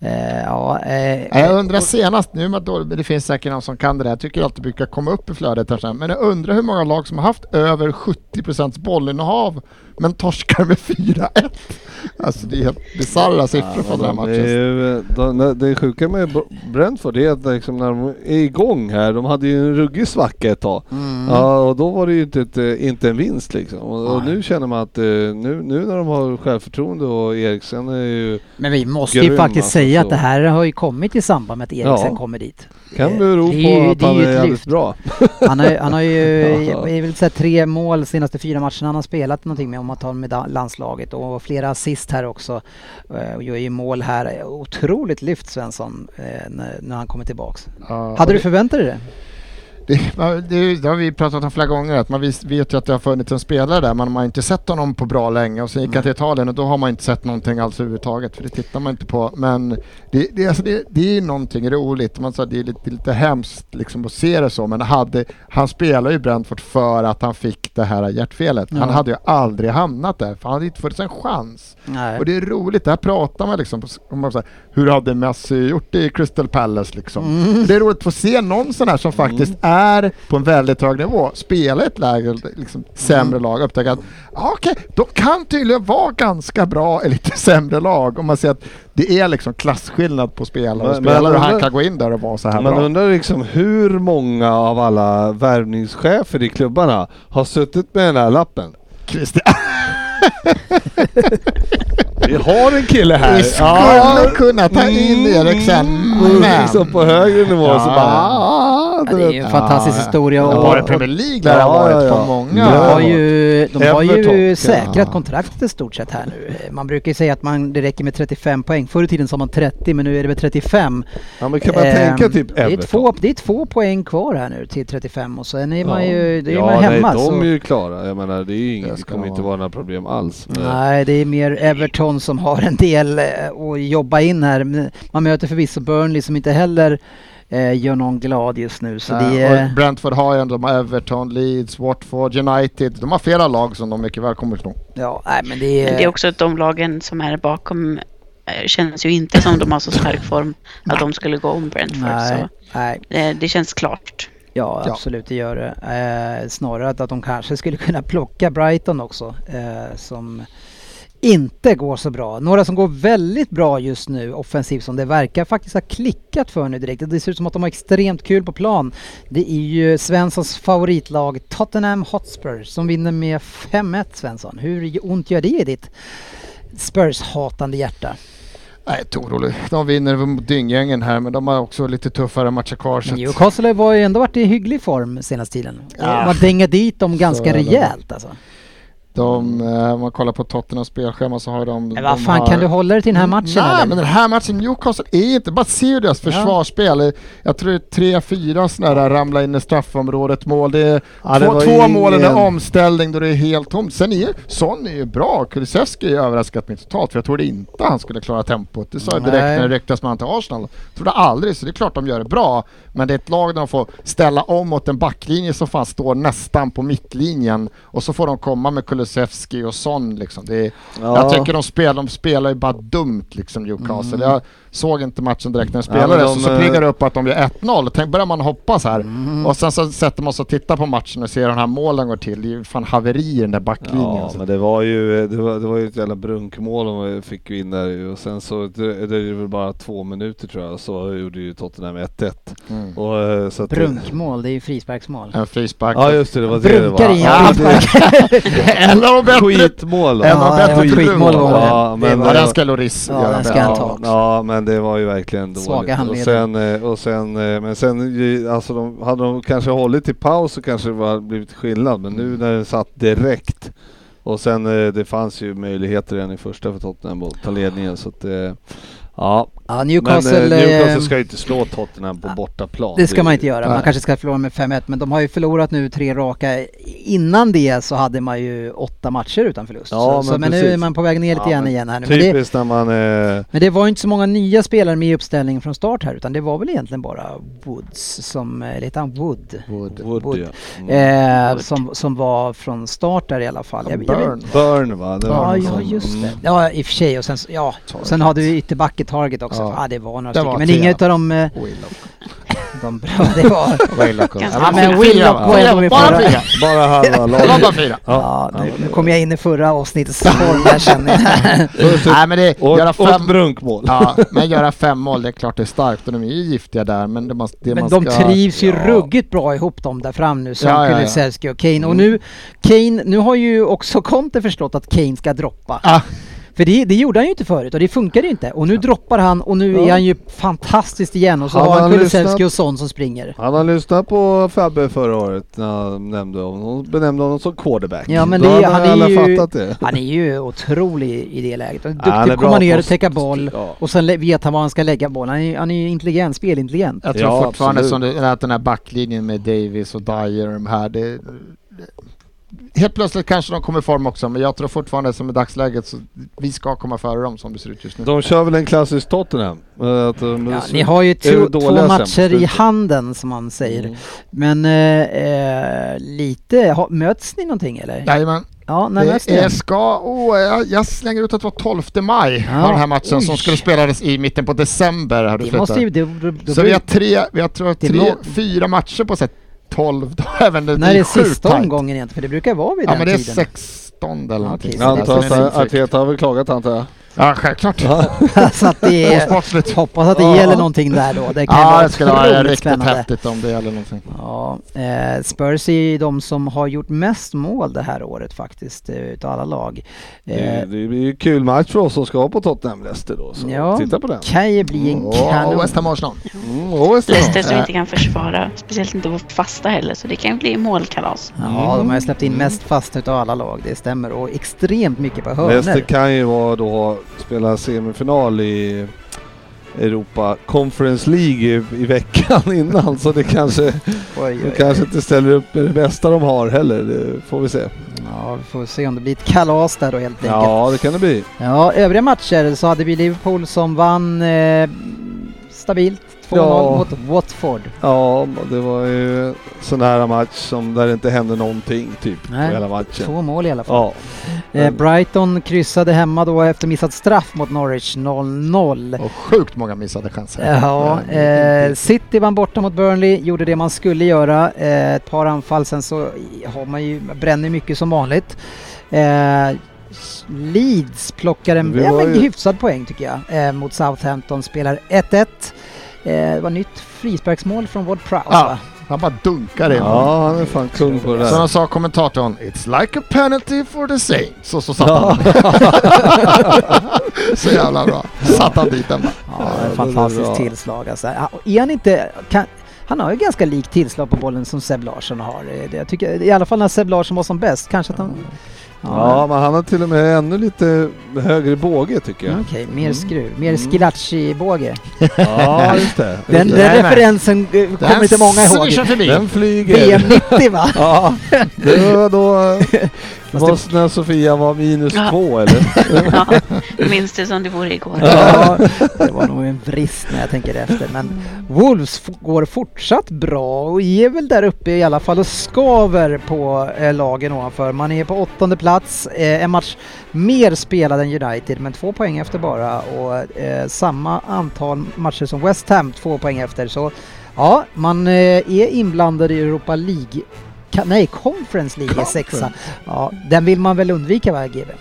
Speaker 3: Eh, ja, eh,
Speaker 4: Jag undrar senast, nu med att då- det finns säkert någon som kan det där, jag tycker alltid brukar komma upp i flödet här sen, men jag undrar hur många lag som har haft över 70 bollinnehav men torskar med 4-1. Alltså det är helt bisarra siffror från den här
Speaker 5: Det, är
Speaker 4: matchen.
Speaker 5: ju, eh, de, när- det sjuka med Br- Brentford är att liksom när de är igång här, de hade ju en ruggig svacka ett tag.
Speaker 3: Mm.
Speaker 5: Ja, och då var det ju inte, ett, inte en vinst liksom. Och, och nu känner man att eh, nu, nu när de har självförtroende och Eriksen är ju,
Speaker 3: men vi måste ju
Speaker 5: grym,
Speaker 3: faktiskt
Speaker 5: alltså,
Speaker 3: säga
Speaker 5: så.
Speaker 3: att det här har ju kommit i samband med att Eriksen
Speaker 5: Ja.
Speaker 3: kommer dit.
Speaker 5: kan
Speaker 3: Eh,
Speaker 5: bero
Speaker 3: det är ju-
Speaker 5: på att
Speaker 3: det är
Speaker 5: han
Speaker 3: ju
Speaker 5: är
Speaker 3: ett
Speaker 5: jävligt
Speaker 3: lyft.
Speaker 5: bra.
Speaker 3: Han har, ju- han har ju
Speaker 5: Ja.
Speaker 3: det är väl så här, tre mål senaste fyra matcherna han har spelat någonting med om man tar med da- landslaget och flera assist här också. Eh, Och gör ju mål här. Otroligt lyft Svensson eh, när, när han kommer tillbaks.
Speaker 4: Ja,
Speaker 3: Hade
Speaker 4: och
Speaker 3: du förväntat dig det?
Speaker 4: Det, man- det, det har vi pratat om flera gånger, att man vis- vet ju att det har funnits en spelare där, men man har inte sett honom på bra länge och sen gick han till Italien och då har man inte sett någonting alls överhuvudtaget, för det tittar man inte på. Men det, det, alltså det, det är någonting roligt, man sa, det är lite, lite hemskt liksom att se det så, men hade, han spelar ju Brentford för att han fick det här hjärtfelet. Han
Speaker 3: Ja.
Speaker 4: hade ju aldrig hamnat där, för han hade inte funnits en chans.
Speaker 3: Nej.
Speaker 4: Och det är roligt, det här pratar man liksom om. Man så här, hur hade Messi gjort det i Crystal Palace liksom?
Speaker 5: Mm.
Speaker 4: Det är roligt att få se någon sån här som faktiskt är på en väldigt hög nivå, spela i ett lägre, liksom,
Speaker 5: Mm.
Speaker 4: sämre lag och upptäcka att ah, okej, de kan tydligen vara ganska bra i lite sämre lag. Om man ser att det är liksom klasskillnad på spelare och
Speaker 5: Men-
Speaker 4: spelare och
Speaker 5: men-
Speaker 4: han kan gå in där och vara så här
Speaker 5: Man
Speaker 4: bra.
Speaker 5: undrar liksom hur många av alla värvningschefer i klubbarna har suttit med den här lappen?
Speaker 4: Christian,
Speaker 5: Vi har en kille här!
Speaker 4: vi skulle kunna ta in
Speaker 5: Mm.
Speaker 4: Eriksen,
Speaker 5: Och
Speaker 4: men...
Speaker 5: liksom på högre nivå så
Speaker 4: Ja.
Speaker 5: bara... Ah,
Speaker 3: Ja, det är ju en fantastisk
Speaker 4: Ja, ja.
Speaker 3: historia.
Speaker 5: Ja,
Speaker 3: Och,
Speaker 4: Bara
Speaker 5: och-
Speaker 4: Premier League lär det ha
Speaker 5: Ja,
Speaker 4: varit
Speaker 5: ja, ja.
Speaker 4: för många.
Speaker 5: Ja,
Speaker 3: de har
Speaker 5: ja.
Speaker 3: ju, de har
Speaker 5: Everton,
Speaker 3: ju
Speaker 5: ja.
Speaker 3: säkrat kontraktet i stort sett här nu. Eh, Man brukar ju säga att man, det räcker med 35 poäng. Förr i tiden sa man 30 men nu är det väl 35.
Speaker 5: Ja men kan man
Speaker 3: Ehm,
Speaker 5: tänka typ
Speaker 3: det är,
Speaker 5: Everton?
Speaker 3: två, det är två poäng kvar här nu till 35 och sen är man ju då är
Speaker 5: ja,
Speaker 3: man hemma.
Speaker 5: nej, de
Speaker 3: så.
Speaker 5: är ju klara. Jag menar, det, är ju
Speaker 4: Det
Speaker 5: inget, det
Speaker 4: ska
Speaker 5: kommer inte
Speaker 4: vara.
Speaker 5: vara några problem alls. Men-
Speaker 3: Nej, det är mer Everton som har en del eh, att jobba in här. Men Man möter förvisso Burnley som inte heller eh, gör någon glad just nu. Så det
Speaker 4: Eh, och
Speaker 3: är...
Speaker 4: Brentford har ju ändå, de har Everton, Leeds, Watford, United. De har flera lag som de mycket väl kommer ifrån.
Speaker 3: Ja, nej, men det är...
Speaker 6: Men det är också att de lagen som är bakom eh, känns ju inte som de har så stark form att de skulle gå om Brentford.
Speaker 3: Nej,
Speaker 6: Så
Speaker 3: nej,
Speaker 6: eh, det känns klart.
Speaker 3: ja,
Speaker 4: Ja.
Speaker 3: absolut det gör det. Eh, snarare att att de kanske skulle kunna plocka Brighton också eh, som inte går så bra. Några som går väldigt bra just nu offensivt som det verkar faktiskt ha klickat för nu direkt. Det ser ut som att de har extremt kul på plan. Det är ju Svenssons favoritlag Tottenham Hotspur som vinner med 5-1 Svensson. Hur ont gör det i ditt Spurs-hatande hjärta?
Speaker 4: Nej, inte orolig. De vinner mot dynggängen här, men de har också lite tuffare matcher kvar. så att-
Speaker 3: Newcastle har ju ändå varit i hygglig form senaste tiden.
Speaker 4: Ah.
Speaker 3: Man dänger dit dem
Speaker 4: är
Speaker 3: ganska
Speaker 4: det.
Speaker 3: rejält alltså.
Speaker 4: De, eh, om man kollar på Tottenhams spelschema så har de...
Speaker 3: Men vad
Speaker 4: de
Speaker 3: fan, Mm,
Speaker 4: har...
Speaker 3: kan du hålla dig till den här matchen
Speaker 4: Mm. Nej,
Speaker 3: eller?
Speaker 4: men den här matchen Newcastle är inte... Bara se hur deras försvarsspel. Jag tror det är tre, fyra sådana där ramla in i straffområdet mål. Det är
Speaker 5: Ja, det
Speaker 4: två,
Speaker 5: var
Speaker 4: två
Speaker 5: ingen-
Speaker 4: mål under omställning då det är helt tomt. Sen är Son är ju bra. Kulusevski har överraskat mig totalt för jag trodde inte han skulle klara tempot. Det sa jag direkt
Speaker 3: Nej.
Speaker 4: när det ryktades med han till Arsenal. Jag trodde aldrig, så det är klart de gör det bra. Men det är ett lag där de får ställa om mot en backlinje som fan står nästan på mittlinjen och så får de komma med Kulusevski och Son liksom. Det är,
Speaker 5: Ja.
Speaker 4: Jag tycker de spelar, de spelar ju bara dumt liksom Newcastle. Jag såg inte matchen direkt när de
Speaker 5: Ja, men
Speaker 4: spelade
Speaker 5: de,
Speaker 4: så, så
Speaker 5: eh,
Speaker 4: plingar det upp att de gör 1-0. Tänk, börjar man hoppas här. Och sen så sätter man sig och tittar på matchen och ser hur den här målen går till. Det är ju fan haveri i den där backlinjen. alltså.
Speaker 5: Ja,
Speaker 4: så.
Speaker 5: men det var ju, det var, det var ju ett jävla brunkmål de fick ju in där ju. och sen så, det, det är väl bara två minuter tror jag, så gjorde ju Tottenham 1-1.
Speaker 4: Mm.
Speaker 5: Och, eh, så att,
Speaker 3: Brunkmål, det är ju frisparksmål.
Speaker 4: En frispark.
Speaker 5: Ja just det, det var det det
Speaker 3: Brunkar
Speaker 5: var.
Speaker 3: i
Speaker 5: Ja,
Speaker 3: en
Speaker 5: det var
Speaker 3: frispark.
Speaker 4: en av de bättre...
Speaker 5: skitmål!
Speaker 4: En av
Speaker 3: Ja, det
Speaker 4: bättre
Speaker 3: var ett skitmål
Speaker 4: tribunmål.
Speaker 3: var det.
Speaker 5: Ja, men-
Speaker 4: Ja, alltså den ska Loris
Speaker 3: Ja,
Speaker 4: göra
Speaker 3: den ska
Speaker 4: bättre.
Speaker 3: han
Speaker 5: ja,
Speaker 3: ta också.
Speaker 5: Ja, men det var ju verkligen dåligt.
Speaker 3: Svaga
Speaker 5: och
Speaker 3: handleder.
Speaker 5: sen, eh, och sen, eh, men sen, ju- alltså de, hade de kanske hållit till paus så kanske det var blivit skillnad, men nu när den satt direkt och sen eh, det fanns ju möjligheter redan i första för Tottenham att ta ledningen så att eh, Ja,
Speaker 3: Ja, Newcastle,
Speaker 5: men eh, Newcastle
Speaker 3: eh,
Speaker 5: ska ju inte slå Tottenham på bortaplan.
Speaker 3: det ska man inte göra. Man
Speaker 4: Nej.
Speaker 3: kanske ska förlora med 5-1 men de har ju förlorat nu tre raka. Innan det så hade man ju åtta matcher utan förlust.
Speaker 5: Ja,
Speaker 3: så,
Speaker 5: men
Speaker 3: men, så, men nu
Speaker 5: precis.
Speaker 3: är man på väg ner lite
Speaker 5: Ja,
Speaker 3: grann
Speaker 5: men typ-
Speaker 3: igen här nu. Men det,
Speaker 5: Typiskt när man... Eh,
Speaker 3: men det var ju inte så många nya spelare med i uppställningen från start här utan det var väl egentligen bara Woods som, eller heter han Wood?
Speaker 4: Wood.
Speaker 5: Wood,
Speaker 3: Wood.
Speaker 5: ja. Mm.
Speaker 3: Eh, som, som var från start där i alla fall. Jag- jag vet-
Speaker 4: Burn.
Speaker 5: Burn va? Det var
Speaker 3: Ja,
Speaker 5: någon
Speaker 3: ja
Speaker 5: som-
Speaker 3: just det.
Speaker 5: Mm.
Speaker 3: Ja, i och för sig. Och sen, så- ja. sen har du ju ytterbacken Target
Speaker 8: Ja.
Speaker 3: också. Ja, det var några
Speaker 4: Det
Speaker 3: stycken.
Speaker 4: var
Speaker 3: Men
Speaker 4: tre,
Speaker 3: inga
Speaker 4: va?
Speaker 3: utav de, eh,
Speaker 4: Willow.
Speaker 3: de bra det var.
Speaker 8: Waylock och-
Speaker 6: Ganska
Speaker 8: Ja, men
Speaker 6: fina.
Speaker 8: Willock
Speaker 4: Fyra,
Speaker 8: och-
Speaker 3: var
Speaker 4: fyra,
Speaker 3: ändå min
Speaker 4: Bara
Speaker 3: förra.
Speaker 4: fyra.
Speaker 8: Bara halva
Speaker 4: Det var bara
Speaker 8: laget.
Speaker 4: fyra.
Speaker 3: Ja, nu, nu kommer jag in i förra avsnittets form här känner jag.
Speaker 5: Först
Speaker 4: Nej men det,
Speaker 5: och,
Speaker 4: göra
Speaker 5: och ett
Speaker 4: fem...
Speaker 5: brunkmål.
Speaker 4: Ja, men göra fem mål, det är klart det är starkt och de är ju giftiga där men det man, det
Speaker 3: Men
Speaker 4: man
Speaker 3: de
Speaker 4: ska...
Speaker 3: trivs ju
Speaker 4: ja.
Speaker 3: ruggigt bra ihop de där fram nu, Sön,
Speaker 4: Ja, Mm. ja, ja.
Speaker 3: Kulusevski och Kane. Och nu, Kane, nu har ju också Conte förstått att Kane ska droppa.
Speaker 4: Ah,
Speaker 3: För det, det gjorde han ju inte förut och det funkade ju inte. Och nu droppar han och nu är han ju fantastiskt igen och så
Speaker 5: Har
Speaker 3: har han
Speaker 5: han
Speaker 3: Kulusevski
Speaker 5: lyssnat?
Speaker 3: och Son som springer.
Speaker 5: Han har lyssnat på Fabbe förra året när han nämnde honom, benämnde honom som quarterback.
Speaker 3: Ja, men
Speaker 5: Då
Speaker 3: det-
Speaker 5: hade
Speaker 3: han är
Speaker 5: alla
Speaker 3: ju-
Speaker 5: fattat det.
Speaker 3: Han är ju otrolig i det läget. Han är
Speaker 5: Ja, han är
Speaker 3: duktig på att
Speaker 5: bra
Speaker 3: komma ner
Speaker 5: på
Speaker 3: och täcka
Speaker 5: st-
Speaker 3: boll
Speaker 5: st- ja.
Speaker 3: och sen lä- vet han var han ska lägga bollen. Han är, ju- han är ju intelligent, spelintelligent.
Speaker 4: jag tror
Speaker 5: Ja,
Speaker 4: fortfarande
Speaker 5: absolut.
Speaker 4: som det, att den här backlinjen med Davis och Dyer och de här, det, det, Helt plötsligt kanske de kommer i form också men jag tror fortfarande som i dagsläget så vi ska komma före dem som det ser ut just nu.
Speaker 5: De kör väl en klassisk Tottenham. eh, Att, de-
Speaker 3: Ja, ni har ju
Speaker 5: är
Speaker 3: två,
Speaker 5: det dåliga
Speaker 3: två
Speaker 5: sen på
Speaker 3: matcher i
Speaker 5: slutet?
Speaker 3: handen som man säger.
Speaker 4: Mm.
Speaker 3: Men eh, eh, lite, ha, möts ni någonting eller?
Speaker 4: Jajamän.
Speaker 3: Ja, när möts
Speaker 4: Det
Speaker 3: ni?
Speaker 4: är ska, åh, jag, jag slänger ut att det var 12 maj
Speaker 3: Ja.
Speaker 4: var den här matchen som
Speaker 3: Oj.
Speaker 4: skulle spelas i mitten på december. Här
Speaker 3: Det måste ju... Det, det, det,
Speaker 4: så vi har tre, vi har tror jag,
Speaker 3: Det är
Speaker 4: tre,
Speaker 3: nå-
Speaker 4: fyra matcher på sig 12 dagar. Även det,
Speaker 3: när
Speaker 4: det
Speaker 3: det är
Speaker 4: sjukt
Speaker 3: sista
Speaker 4: tajt.
Speaker 3: omgången egentligen? För det brukar vara vid
Speaker 4: Ja
Speaker 3: den
Speaker 4: men det är
Speaker 3: tiden.
Speaker 4: 16 eller någonting.
Speaker 3: okej,
Speaker 4: sånt
Speaker 5: Jag
Speaker 4: där.
Speaker 5: antar
Speaker 4: Så det är
Speaker 5: att
Speaker 4: sjukt.
Speaker 5: Arteta har väl klagat antar jag.
Speaker 4: Ja självklart.
Speaker 3: så att det
Speaker 4: Och
Speaker 3: är,
Speaker 4: sportsligt.
Speaker 3: hoppas att det
Speaker 5: Ja.
Speaker 3: gäller någonting där då. Det kan
Speaker 4: Ja
Speaker 3: vara
Speaker 4: det skulle vara
Speaker 3: otroligt
Speaker 4: riktigt
Speaker 3: spännande.
Speaker 4: häftigt om det gäller någonting.
Speaker 3: Ja, eh, Spurs är ju de som har gjort mest mål det här året faktiskt, eh, utav alla lag.
Speaker 5: Det är
Speaker 3: Eh,
Speaker 5: ju- Det blir ju kul match för oss som ska på Tottenham Leicester då. Så
Speaker 3: Ja.
Speaker 5: titta på den.
Speaker 3: kan ju bli en
Speaker 4: Och
Speaker 3: kanon.
Speaker 4: West Ham Arsenal.
Speaker 5: Mm, och West Ham.
Speaker 6: Leicester som inte kan försvara, speciellt inte på fasta heller, så det kan ju bli målkalas.
Speaker 3: Ja, de har ju släppt
Speaker 5: Mm.
Speaker 3: in mest fast utav alla lag, det stämmer. Och extremt mycket på
Speaker 5: Leicester
Speaker 3: hörnor.
Speaker 5: kan ju vara då spela semifinal i Europa Conference League i, i veckan innan så det kanske,
Speaker 3: Oj,
Speaker 5: de
Speaker 3: oj, oj.
Speaker 5: kanske inte ställer upp med det bästa de har heller. Det får vi se.
Speaker 3: Ja, vi får se om det blir ett kalas där då helt enkelt. Ja.
Speaker 5: Ja, det kan det bli.
Speaker 3: övriga matcher så hade vi Liverpool som vann eh, stabilt 2-0
Speaker 5: Ja.
Speaker 3: mot Watford.
Speaker 5: Ja, det var ju sån här match som där det inte hände någonting typ
Speaker 3: Nej.
Speaker 5: på hela matchen.
Speaker 3: Två mål i alla fall.
Speaker 5: Ja,
Speaker 3: Eh, Brighton kryssade hemma då efter missat straff mot Norwich 0-0.
Speaker 4: Och sjukt många missade chanser.
Speaker 3: Ja,
Speaker 4: det är
Speaker 3: eh,
Speaker 4: inte-
Speaker 3: City vann borta mot Burnley, gjorde det man skulle göra. Eh, ett par anfall, sen så har man ju, bränner mycket som vanligt. Eh, Leeds plockar en
Speaker 5: Vi
Speaker 3: ja,
Speaker 5: var
Speaker 3: men
Speaker 5: ju-
Speaker 3: hyfsad poäng tycker jag eh, mot Southampton, spelar 1-1. Eh, det var nytt frisparksmål från Ward Prowse
Speaker 4: Ja.
Speaker 3: va?
Speaker 4: Han bara dunkar in.
Speaker 5: ja han är fan kung på det
Speaker 4: Som
Speaker 5: där.
Speaker 4: de sa kommentatorn, it's like a penalty for the same. Så, så satt han Så jävla bra. Satt han dit den bara.
Speaker 3: Ja,
Speaker 5: det
Speaker 3: ett
Speaker 5: är
Speaker 3: fantastiskt
Speaker 5: bra.
Speaker 3: tillslag alltså. Ja, och Är han inte... Kan, han har ju ganska likt tillslag på bollen som Seb Larsson har. Eh, det- Jag tycker, I alla fall när Seb Larsson var som bäst. Kanske att han...
Speaker 5: Ja, men han har till och med ännu lite högre båge tycker jag.
Speaker 3: Okej, mer skruv, mer Schillaci-båge.
Speaker 5: Ja, just det.
Speaker 3: Den, den
Speaker 4: Jajamän.
Speaker 3: referensen eh, kommer inte många
Speaker 4: svischar
Speaker 3: ihåg.
Speaker 4: förbi.
Speaker 5: Den flyger.
Speaker 3: VM 90 va?
Speaker 5: Ja, det var då...
Speaker 3: Fast
Speaker 5: var det... när Sofia var minus
Speaker 6: Ja.
Speaker 5: två eller?
Speaker 6: Ja, minns det som det vore igår.
Speaker 3: Ja, det var nog en brist när jag tänker efter. Men Wolves f- går fortsatt bra och är väl där uppe i alla fall och skaver på eh, lagen ovanför. Man är på åttonde plats, eh, en match mer spelad än United men två poäng efter bara och eh, samma antal matcher som West Ham, två poäng efter. Så ja, man eh, är inblandad i Europa League Ka- Nej, Conference League är sexa. Ja, den vill man väl undvika va, GB?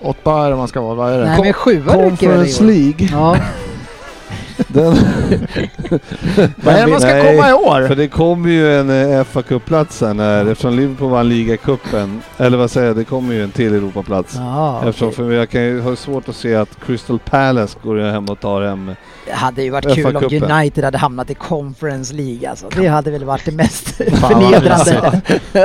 Speaker 4: Åtta är det man ska vara, vad är det?
Speaker 3: Nej, men sjua räcker väl i
Speaker 5: Conference
Speaker 3: år?
Speaker 5: League.
Speaker 3: Ja,
Speaker 5: Den...
Speaker 4: vad är det man ska
Speaker 5: Nej,
Speaker 4: komma i år?
Speaker 5: För det kommer ju en eh, fa Cup-plats här när, eftersom Liverpool vann ligacupen. Eller vad säger jag, det kommer ju en till Europaplats.
Speaker 3: ja
Speaker 5: Eftersom för jag kan ju ha svårt att se att Crystal Palace går ju hem och tar hem.
Speaker 3: Det hade ju varit
Speaker 5: FA
Speaker 3: kul om
Speaker 5: Cupen.
Speaker 3: United hade hamnat i Conference League alltså. Det hade väl varit det mest
Speaker 4: vad
Speaker 3: förnedrande.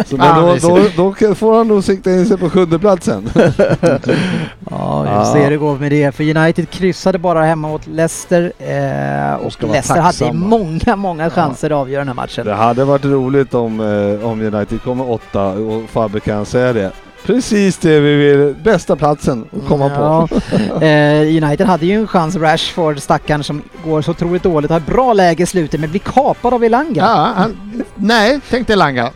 Speaker 5: Så
Speaker 4: Fan,
Speaker 5: men då,
Speaker 4: det ser-
Speaker 5: då, då kan- får han nog sikta in sig på sjundeplatsen.
Speaker 3: Ja, vi får se hur det går med det. För United kryssade bara hemma mot Leicester eh, och
Speaker 4: ska vara
Speaker 3: Leicester hade
Speaker 4: tacksamma.
Speaker 3: många, många chanser att avgöra den här matchen.
Speaker 5: Det hade varit roligt om, eh, om United kommer åtta och Fabbe kan säga det. Precis det vi vill. Bästa platsen att komma
Speaker 3: Ja.
Speaker 5: på.
Speaker 3: Eh, United hade ju en chans, Rashford stackaren som går så otroligt dåligt, har ett bra läge i slutet men blir kapad av Elanga.
Speaker 4: Ja, han, nej, tänk dig Langa.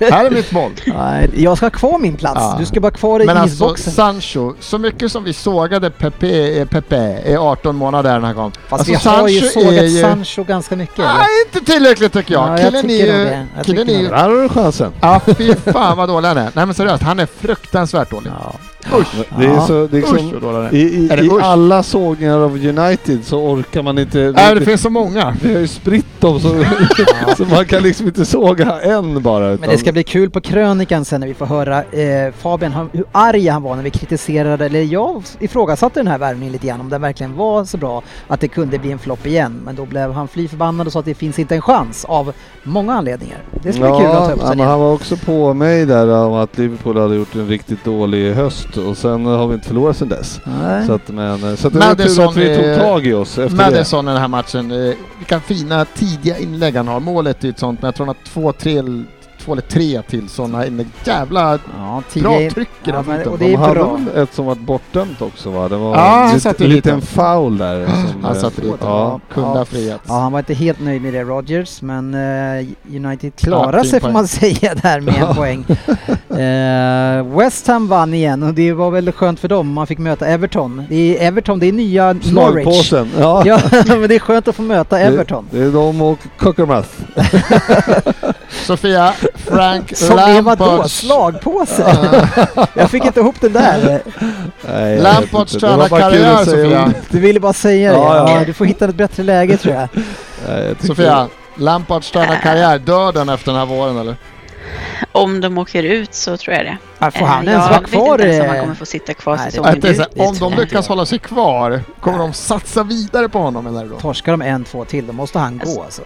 Speaker 4: Här är mitt mål.
Speaker 3: Nej, jag ska ha kvar min plats,
Speaker 4: Ja.
Speaker 3: du ska vara kvar i
Speaker 4: Men
Speaker 3: isboxen.
Speaker 4: alltså Sancho, så mycket som vi sågade Pepe, eh, Pepe i 18 månader när han kom.
Speaker 3: Fast
Speaker 4: alltså,
Speaker 3: vi har ju
Speaker 4: Sancho
Speaker 3: sågat
Speaker 4: är ju-
Speaker 3: Sancho ganska mycket.
Speaker 4: Nej,
Speaker 3: eller?
Speaker 4: inte tillräckligt tycker jag.
Speaker 3: Ja, jag
Speaker 4: killen
Speaker 3: tycker nog
Speaker 4: är
Speaker 3: det.
Speaker 4: ju...
Speaker 3: Jag
Speaker 4: Killen
Speaker 3: tycker
Speaker 4: är
Speaker 3: nog
Speaker 4: ju...
Speaker 3: det.
Speaker 5: Där har du chansen.
Speaker 4: Ja, fy fan vad dålig han är. Nej men seriöst, han är fruktansvärt dålig.
Speaker 3: Ja.
Speaker 4: Usch!
Speaker 5: Det är
Speaker 3: Ja.
Speaker 5: så, det är
Speaker 4: Usch
Speaker 5: liksom,
Speaker 4: vad dålig han är.
Speaker 5: I, i,
Speaker 4: Är det
Speaker 5: i
Speaker 4: usch?
Speaker 5: alla sågningar av United så orkar man inte...
Speaker 4: Nej, det finns så många.
Speaker 5: Vi har ju spritt dem så, så man kan liksom inte såga en bara. Utan,
Speaker 3: Men det ska bli kul på krönikan sen när vi får höra eh, Fabian han- hur arg han var när vi kritiserade, eller jag ifrågasatte den här värvningen lite grann om den verkligen var så bra att det kunde bli en flopp igen. Men då blev han fly förbannad och sa att det finns inte en chans av många anledningar. Det ska bli kul att ta upp sen
Speaker 5: ja, men
Speaker 3: igen.
Speaker 5: han var också på mig där om att Liverpool hade gjort en riktigt dålig höst och sen har vi inte förlorat sen dess.
Speaker 3: Nej. eh,
Speaker 5: Så att, men, så att det var tur
Speaker 4: Madison
Speaker 5: att vi
Speaker 4: är-
Speaker 5: tog tag i oss efter
Speaker 4: Madison i den här matchen, eh, vilka fina tidiga inlägg han har. Målet är ju ett sånt, men jag tror han har två, tre, två eller tre till sådana inlägg. Jävla
Speaker 3: Ja,
Speaker 4: bra
Speaker 3: tio,
Speaker 4: tryck i
Speaker 3: Ja,
Speaker 4: den
Speaker 3: men- och
Speaker 4: foten.
Speaker 5: det.
Speaker 3: det är
Speaker 5: De hade
Speaker 3: bra.
Speaker 5: väl ett som var bortdömt också va? Det var
Speaker 4: Ja, han
Speaker 5: en
Speaker 4: satte
Speaker 5: liten,
Speaker 4: ju dit
Speaker 5: liten
Speaker 4: den.
Speaker 5: foul där. Som,
Speaker 4: Han satte
Speaker 5: eh,
Speaker 4: dit den.
Speaker 5: ja.
Speaker 4: Kunde
Speaker 3: Ja.
Speaker 4: ha friats.
Speaker 3: Ja, han var inte helt nöjd med det, Rodgers, men eh, United klarar
Speaker 4: Ja, fin
Speaker 3: sig får
Speaker 4: poäng.
Speaker 3: man säga där med en poäng. Eh, West Ham vann igen och det var väl skönt för dem, man fick möta Everton. Det är Everton, det är nya Norwich.
Speaker 5: Slagpåsen. Ja.
Speaker 3: Ja, men det är skönt att få möta
Speaker 5: Det-
Speaker 3: Everton.
Speaker 5: Det är de och Cockermouth.
Speaker 4: Sofia Frank
Speaker 3: Som är vadå?
Speaker 4: Lampards-
Speaker 3: Slagpåse? Jag fick inte ihop den där.
Speaker 5: Nej, jag
Speaker 4: Lampards
Speaker 5: vet inte. Det var bara
Speaker 4: tränarkarriär,
Speaker 5: kul att säga.
Speaker 4: Sofia.
Speaker 3: Du ville bara säga det.
Speaker 5: Ja, ja.
Speaker 3: Ja, du får hitta ett bättre läge tror jag.
Speaker 5: Nej, jag tycker-
Speaker 4: Sofia, Lampards tränarkarriär, dör den efter den här våren eller?
Speaker 6: Om de åker ut så tror jag det.
Speaker 3: Ja, Får han
Speaker 6: Eh,
Speaker 3: ens vara
Speaker 6: Jag
Speaker 3: kvar?
Speaker 6: vet inte ens om han
Speaker 3: eh,
Speaker 6: kommer få sitta kvar
Speaker 3: Nej, det-
Speaker 6: säsongen
Speaker 4: Jag tänkte
Speaker 6: ut.
Speaker 4: säga, om de
Speaker 6: Eh,
Speaker 4: lyckas hålla sig kvar, kommer de satsa vidare på honom eller då?
Speaker 3: Torskar de en, två till, då måste han gå alltså.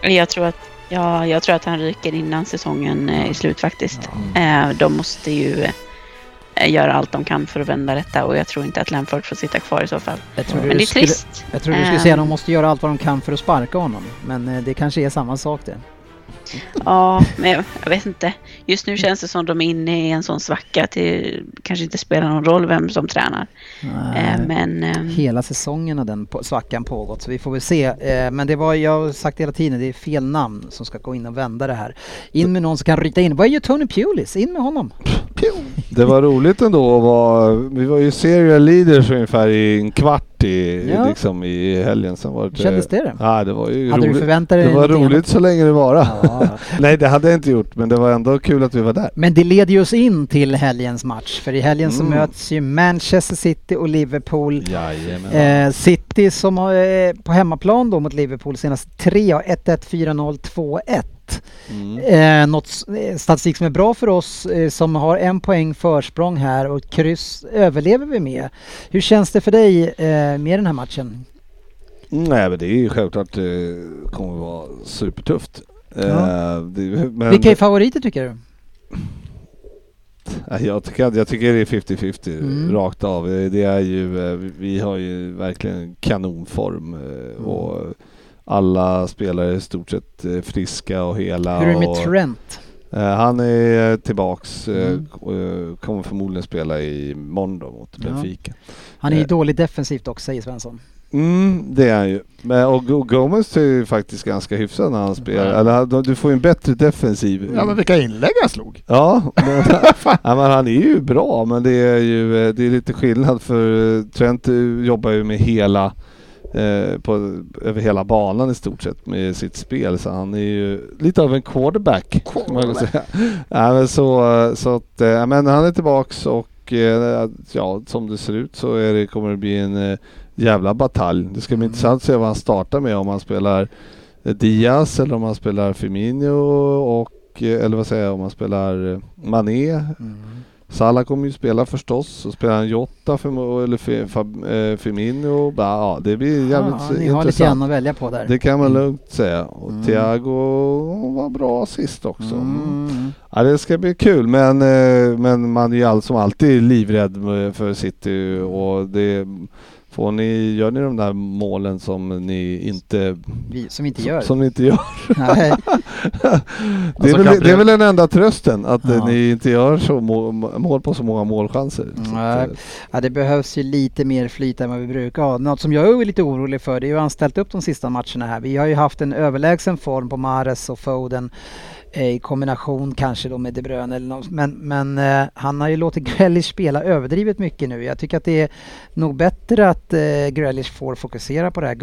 Speaker 4: Ja.
Speaker 6: Jag tror att, ja, jag tror att han ryker innan säsongen eh, är slut faktiskt. Eh, De måste ju eh, göra allt de kan för att vända detta och jag tror inte att Lampard får sitta kvar i så fall.
Speaker 3: Jag trodde
Speaker 6: Men det
Speaker 3: du
Speaker 6: är
Speaker 3: skulle,
Speaker 6: trist.
Speaker 3: jag trodde du skulle
Speaker 6: Ehm.
Speaker 3: säga att de måste göra allt vad de kan för att sparka honom. Men eh, det kanske är samma sak det.
Speaker 6: Ja, men jag- jag vet inte. Just nu känns det som de är inne i en sån svacka att det kanske inte spelar någon roll vem som tränar. Eh, Men ehm,
Speaker 3: Hela säsongen har den på- svackan pågått så vi får väl se. Eh, Men det var, jag har sagt hela tiden, det är fel namn som ska gå in och vända det här. In med någon som kan ryta in. Vad gör Tony Pulis? In med honom!
Speaker 5: Det var roligt ändå att vara, vi var ju serial leaders ungefär i en kvart i,
Speaker 3: Ja.
Speaker 5: liksom i helgen. Sen var det,
Speaker 3: Kändes det det?
Speaker 5: Ja, det var ju
Speaker 3: Hade du
Speaker 5: roligt.
Speaker 3: förväntat dig
Speaker 5: det var
Speaker 3: någonting
Speaker 5: roligt
Speaker 3: annat?
Speaker 5: så länge det vara.
Speaker 3: Ja.
Speaker 5: Nej, det hade jag inte gjort, men det var ändå kul att vi var där.
Speaker 3: Men det leder ju oss in till helgens match. För i helgen så
Speaker 5: Mm.
Speaker 3: möts ju Manchester City och Liverpool.
Speaker 5: Jajamän.
Speaker 3: Eh, City som har, eh, på hemmaplan då mot Liverpool senast 3 har 1-1, 4-0, 2-1.
Speaker 5: Mm.
Speaker 3: Eh, något s- eh, statistik som är bra för oss eh, som har en poäng försprång här och ett kryss överlever vi med. Hur känns det för dig eh, med den här matchen?
Speaker 5: Nej, men det är ju självklart, eh, kommer att vara supertufft. Eh,
Speaker 3: Ja.
Speaker 5: det, men,
Speaker 3: Vilka är favoriter tycker du?
Speaker 5: Ja, Jag tycker, jag tycker det är 50-50
Speaker 3: Mm.
Speaker 5: rakt av. Eh, Det är ju, eh, vi- vi har ju verkligen kanonform eh,
Speaker 3: Mm.
Speaker 5: och alla spelare är i stort sett eh, friska och hela.
Speaker 3: Hur är det med
Speaker 5: och,
Speaker 3: Trent?
Speaker 5: eh, han är eh, tillbaks eh,
Speaker 3: Mm.
Speaker 5: och eh, kommer förmodligen spela i måndag mot
Speaker 3: Ja.
Speaker 5: Benfica.
Speaker 3: Han är ju
Speaker 5: eh.
Speaker 3: dålig defensivt också säger Svensson.
Speaker 5: Mm, det är han ju. Men, och, och Gomez är ju faktiskt ganska hyfsad när han spelar. Eller, han- du får ju en bättre defensiv.
Speaker 4: ja men vilka inlägg han slog!
Speaker 5: Ja, men, ja, men han är ju bra men det är ju eh, det är lite skillnad för eh, Trent eh, jobbar ju med hela eh, på, över hela banan i stort sett med sitt spel så han är ju lite av en quarterback. kan Man väl säga. ja, men så, eh, så att, eh, ja, men han är tillbaks och eh, ja, som det ser ut så är det, kommer det bli en eh, jävla batalj. Det
Speaker 3: Mm.
Speaker 5: ska bli intressant att se vad han startar med om han spelar eh, Diaz eller om han spelar Firmino och eh, eller vad säger jag, om han spelar eh, Mané
Speaker 3: Mm.
Speaker 5: Salah kommer ju spela förstås, så spelar han Jota Firmo- eller Fi- Fab- eh, Firmino. Ba- Ja, det blir jävligt
Speaker 3: Ja, ni har lite grann
Speaker 5: intressant.
Speaker 3: att välja på där.
Speaker 5: Det kan man lugnt säga. Och
Speaker 3: Mm.
Speaker 5: Thiago var bra sist också.
Speaker 3: Mm.
Speaker 5: Ja, det ska bli kul, men, eh, men man är ju all, som alltid livrädd med- för City och det Får ni, gör ni de där målen som ni inte,
Speaker 3: Vi, som inte gör. Alltså,
Speaker 5: som ni inte gör?
Speaker 3: Nej.
Speaker 5: Det är,
Speaker 4: Alltså,
Speaker 5: väl,
Speaker 4: Gabriel-
Speaker 5: det är väl den enda trösten, att eh,
Speaker 3: Ja.
Speaker 5: ni inte gör så må, mål på så många målchanser. Så
Speaker 3: Nej. typ
Speaker 5: att, eh,
Speaker 3: Ja, det behövs ju lite mer flyt än vad vi brukar ha. Något som jag är lite orolig för det är ju hur han ställt upp de sista matcherna här. Vi har ju haft en överlägsen form på Mares och Foden eh, i kombination kanske då med De Bruyne eller något. Men, men eh, han har ju låtit Grealish spela överdrivet mycket nu. Jag tycker att det är nog bättre att eh, Grealish får fokusera på det här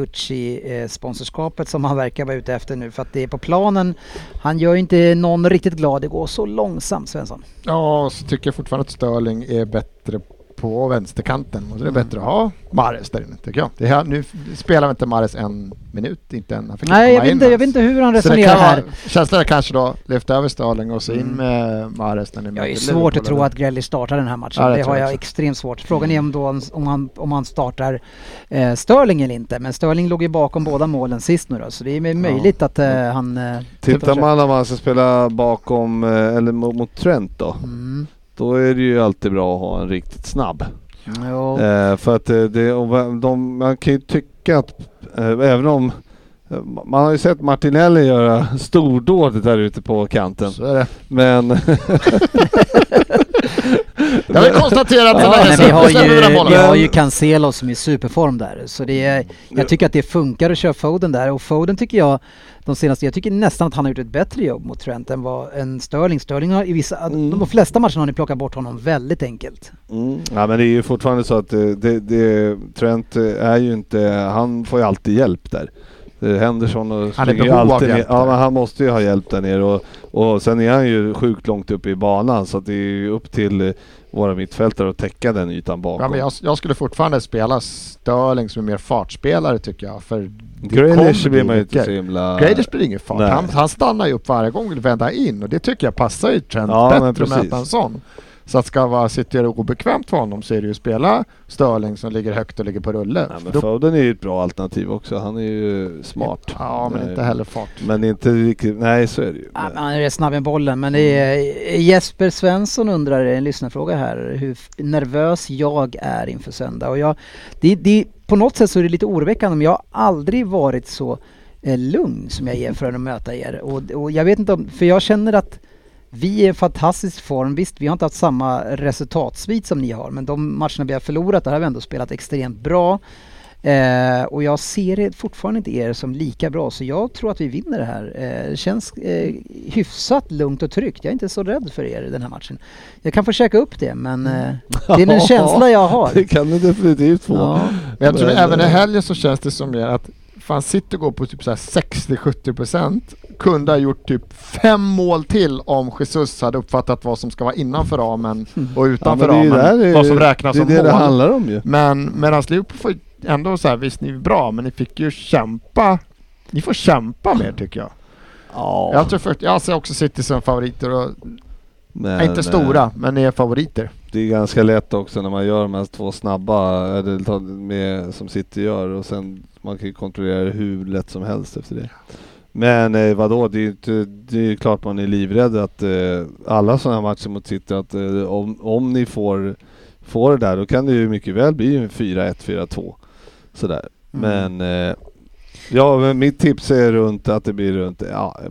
Speaker 3: Gucci-sponsorskapet som han verkar vara ute efter nu för att det är på planen. Han gör ju inte någon riktigt glad. Det går så långsamt Svensson.
Speaker 4: Ja, och så tycker jag fortfarande att Sterling är bättre på vänsterkanten. Och så är
Speaker 3: Mm.
Speaker 4: det bättre att ha Mares där inne tycker jag. Det här, nu spelar inte Mares en minut, inte en. Han fick
Speaker 3: Nej,
Speaker 4: inte
Speaker 3: jag
Speaker 4: komma
Speaker 3: vet,
Speaker 4: in
Speaker 3: inte, jag
Speaker 4: ens.
Speaker 3: vet inte hur han
Speaker 4: Så det
Speaker 3: resonerar
Speaker 4: kan
Speaker 3: här.
Speaker 4: vara, känslan är kanske då, lyfta över Sterling och så in
Speaker 3: Mm.
Speaker 4: med Mares när ni
Speaker 3: Jag är
Speaker 4: möter
Speaker 3: svårt att
Speaker 4: Liverpool,
Speaker 3: tro
Speaker 4: eller?
Speaker 3: att Grealish startar den här matchen.
Speaker 4: Ja, det
Speaker 3: det
Speaker 4: tror
Speaker 3: har
Speaker 4: jag
Speaker 3: jag
Speaker 4: också.
Speaker 3: extremt svårt. Frågan är om, då, han- om, han, om han startar eh, Sterling eller inte. Men Sterling låg ju bakom båda målen sist nu då, så det är ju möjligt att eh, han... Eh,
Speaker 5: Tittar man om man ska spela bakom, eh, eller mot, mot Trent då,
Speaker 3: Mm.
Speaker 5: då är det ju alltid bra att ha en riktigt snabb.
Speaker 3: Jo.
Speaker 5: Eh, för att eh, det, och va- de, man kan ju tycka att, eh, även om eh, man har ju sett Martinelli göra stordåd där ute på kanten.
Speaker 4: Så är det.
Speaker 5: Men...
Speaker 4: Jag vill konstatera att den
Speaker 5: Ja,
Speaker 4: här
Speaker 3: men vi har,
Speaker 4: släpper vi den här
Speaker 3: ju, vi
Speaker 4: bollen.
Speaker 3: har ju Cancelo som är i superform där. Så det
Speaker 5: Mm.
Speaker 3: är, jag tycker att det funkar att köra Foden där. Och Foden tycker jag, de senaste, jag tycker nästan att han har gjort ett bättre jobb mot Trent än vad en Sterling. Sterling har i vissa,
Speaker 5: Mm.
Speaker 3: de flesta matcherna har ni plockat bort honom väldigt enkelt.
Speaker 5: Mm. Ja men det är ju fortfarande så att eh, det, det, Trent eh, är ju inte, han får ju alltid hjälp där. Eh, Henderson och
Speaker 4: Han är i
Speaker 5: springer ju
Speaker 4: behov av
Speaker 5: alltid ner.
Speaker 4: hjälp
Speaker 5: Ja
Speaker 4: där.
Speaker 5: men han måste ju ha hjälp där nere och, och sen är han ju sjukt långt upp i banan så att det är ju upp till eh, våra mittfältare att täcka den ytan bakom.
Speaker 4: Ja, men jag, jag skulle fortfarande spela Sterling som är mer fartspelare tycker jag. För det
Speaker 5: Grealish
Speaker 4: kommer
Speaker 5: blir man ju
Speaker 4: mycket.
Speaker 5: inte så himla...
Speaker 4: Graders blir ingen fart.
Speaker 5: Nej.
Speaker 4: Han, han stannar ju upp varje gång och vill vända in och det tycker jag passar ju Trent
Speaker 5: Ja, men
Speaker 4: bättre att
Speaker 5: precis.
Speaker 4: möta en sån. Så att ska vara, sitter det obekvämt för honom så är det ju att spela Sterling som ligger högt och ligger på rulle.
Speaker 5: Nej, men
Speaker 4: Då-
Speaker 5: Foden är ju ett bra alternativ också. Han är ju smart.
Speaker 4: Ja, men
Speaker 5: Nej.
Speaker 4: inte heller fart.
Speaker 5: Men inte riktigt, nej så är det ju.
Speaker 3: Ja, men
Speaker 5: Men-
Speaker 3: han är rätt snabb med bollen, men det är Jesper Svensson undrar, en lyssnarfråga här, hur f- nervös jag är inför söndag. Och jag, det, det, på något sätt så är det lite oroväckande, men jag har aldrig varit så eh, lugn som jag är för att möta er. Och, och jag vet inte om, för jag känner att vi är i fantastisk form. Visst, vi har inte haft samma resultatsvit som ni har, men de matcherna vi har förlorat, där har vi ändå spelat extremt bra. Eh, och jag ser det fortfarande inte er som lika bra, så jag tror att vi vinner det här. Eh, det känns eh, hyfsat lugnt och tryggt. Jag är inte så rädd för er i den här matchen. Jag kan få käka upp det, men eh, det är den känsla jag har.
Speaker 5: Det kan du definitivt få.
Speaker 3: Ja. Mm.
Speaker 4: Men jag tror
Speaker 5: Men,
Speaker 4: även i
Speaker 5: eh,
Speaker 4: helgen så känns det som mer att fan City går på typ så här 60-70 procent. Kunde ha gjort typ fem mål till om Jesus hade uppfattat vad som ska vara innanför ramen och utanför
Speaker 5: men det är ju
Speaker 4: ramen.
Speaker 5: där det-
Speaker 4: vad som räknas
Speaker 5: Det är
Speaker 4: som
Speaker 5: det
Speaker 4: mål.
Speaker 5: det handlar om ju.
Speaker 4: Men medan Liverpool får ändå så här, visst ni är bra, men ni fick ju kämpa. Ni får kämpa mer tycker jag. Jag tror först, jag ser också City som favoriter och,
Speaker 5: Men, eh,
Speaker 4: inte stora, men ni är favoriter.
Speaker 5: Det är ganska lätt också när man gör de här två snabba eller tar med, som City gör och sen man kan ju kontrollera det hur lätt som helst efter det. Men eh, vadå, det är ju inte, det är ju klart man är livrädd att eh, alla sådana här matcher mot City att eh, om, om ni får, får det där då kan det ju mycket väl bli en 4-1, 4-2 sådär.
Speaker 3: Mm.
Speaker 5: Men eh, ja, men mitt tips är runt att det blir runt ja,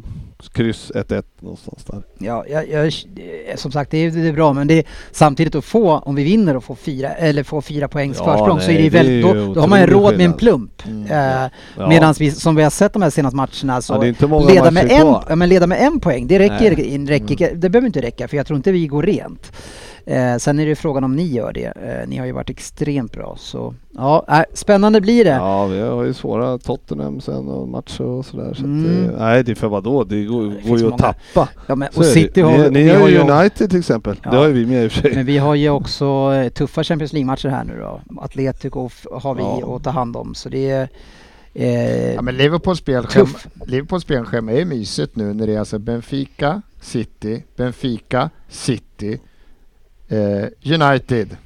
Speaker 5: kryss 1-1 någonstans där.
Speaker 3: Ja, jag, jag, det- som sagt, det är, det är bra, men det är, samtidigt att få, om vi vinner och får fyra, eller får fyra poängs
Speaker 5: Ja,
Speaker 3: försprång, så
Speaker 5: nej,
Speaker 3: är det, ju
Speaker 5: det är
Speaker 3: väldigt,
Speaker 5: ju
Speaker 3: då, då har man ju
Speaker 5: otrolig
Speaker 3: råd med en
Speaker 5: skillnad. Mm.
Speaker 3: plump. Eh,
Speaker 5: Ja.
Speaker 3: Medan vi, som vi har sett de här senaste matcherna,
Speaker 5: ja,
Speaker 3: så
Speaker 5: det är inte många
Speaker 3: leda,
Speaker 5: matcher
Speaker 3: med en,
Speaker 5: kvar.
Speaker 3: ja, men leda med en poäng, det räcker,
Speaker 5: Nej. Mm.
Speaker 3: in, räcker Det behöver inte räcka, för jag tror inte vi går rent. Eh, sen är det ju frågan om ni gör det. Eh, ni har ju varit extremt bra, så ja, äh, spännande blir det.
Speaker 5: Ja, vi har ju svåra Tottenham sen och matcher och sådär. Så
Speaker 3: Mm.
Speaker 5: att det, nej, det är för vadå? Det går,
Speaker 3: det
Speaker 5: går
Speaker 3: finns
Speaker 5: ju
Speaker 3: många.
Speaker 5: att tappa.
Speaker 3: Ja, men,
Speaker 5: Så
Speaker 3: och
Speaker 5: är det.
Speaker 3: City har,
Speaker 5: ni, ni
Speaker 3: vi
Speaker 5: har
Speaker 3: har
Speaker 5: ju
Speaker 3: ju
Speaker 5: United till exempel.
Speaker 3: Ja.
Speaker 5: Det har ju vi med i och för sig.
Speaker 3: Men vi har ju också eh, tuffa Champions League-matcher här nu då. Atletico f- har vi
Speaker 5: Ja.
Speaker 3: att ta hand om, så det är... Eh,
Speaker 4: Ja, men Liverpools spelschema,
Speaker 3: tuff.
Speaker 4: Liverpools spelschema är mysigt nu när det är alltså Benfica, City, Benfica, City, eh, United.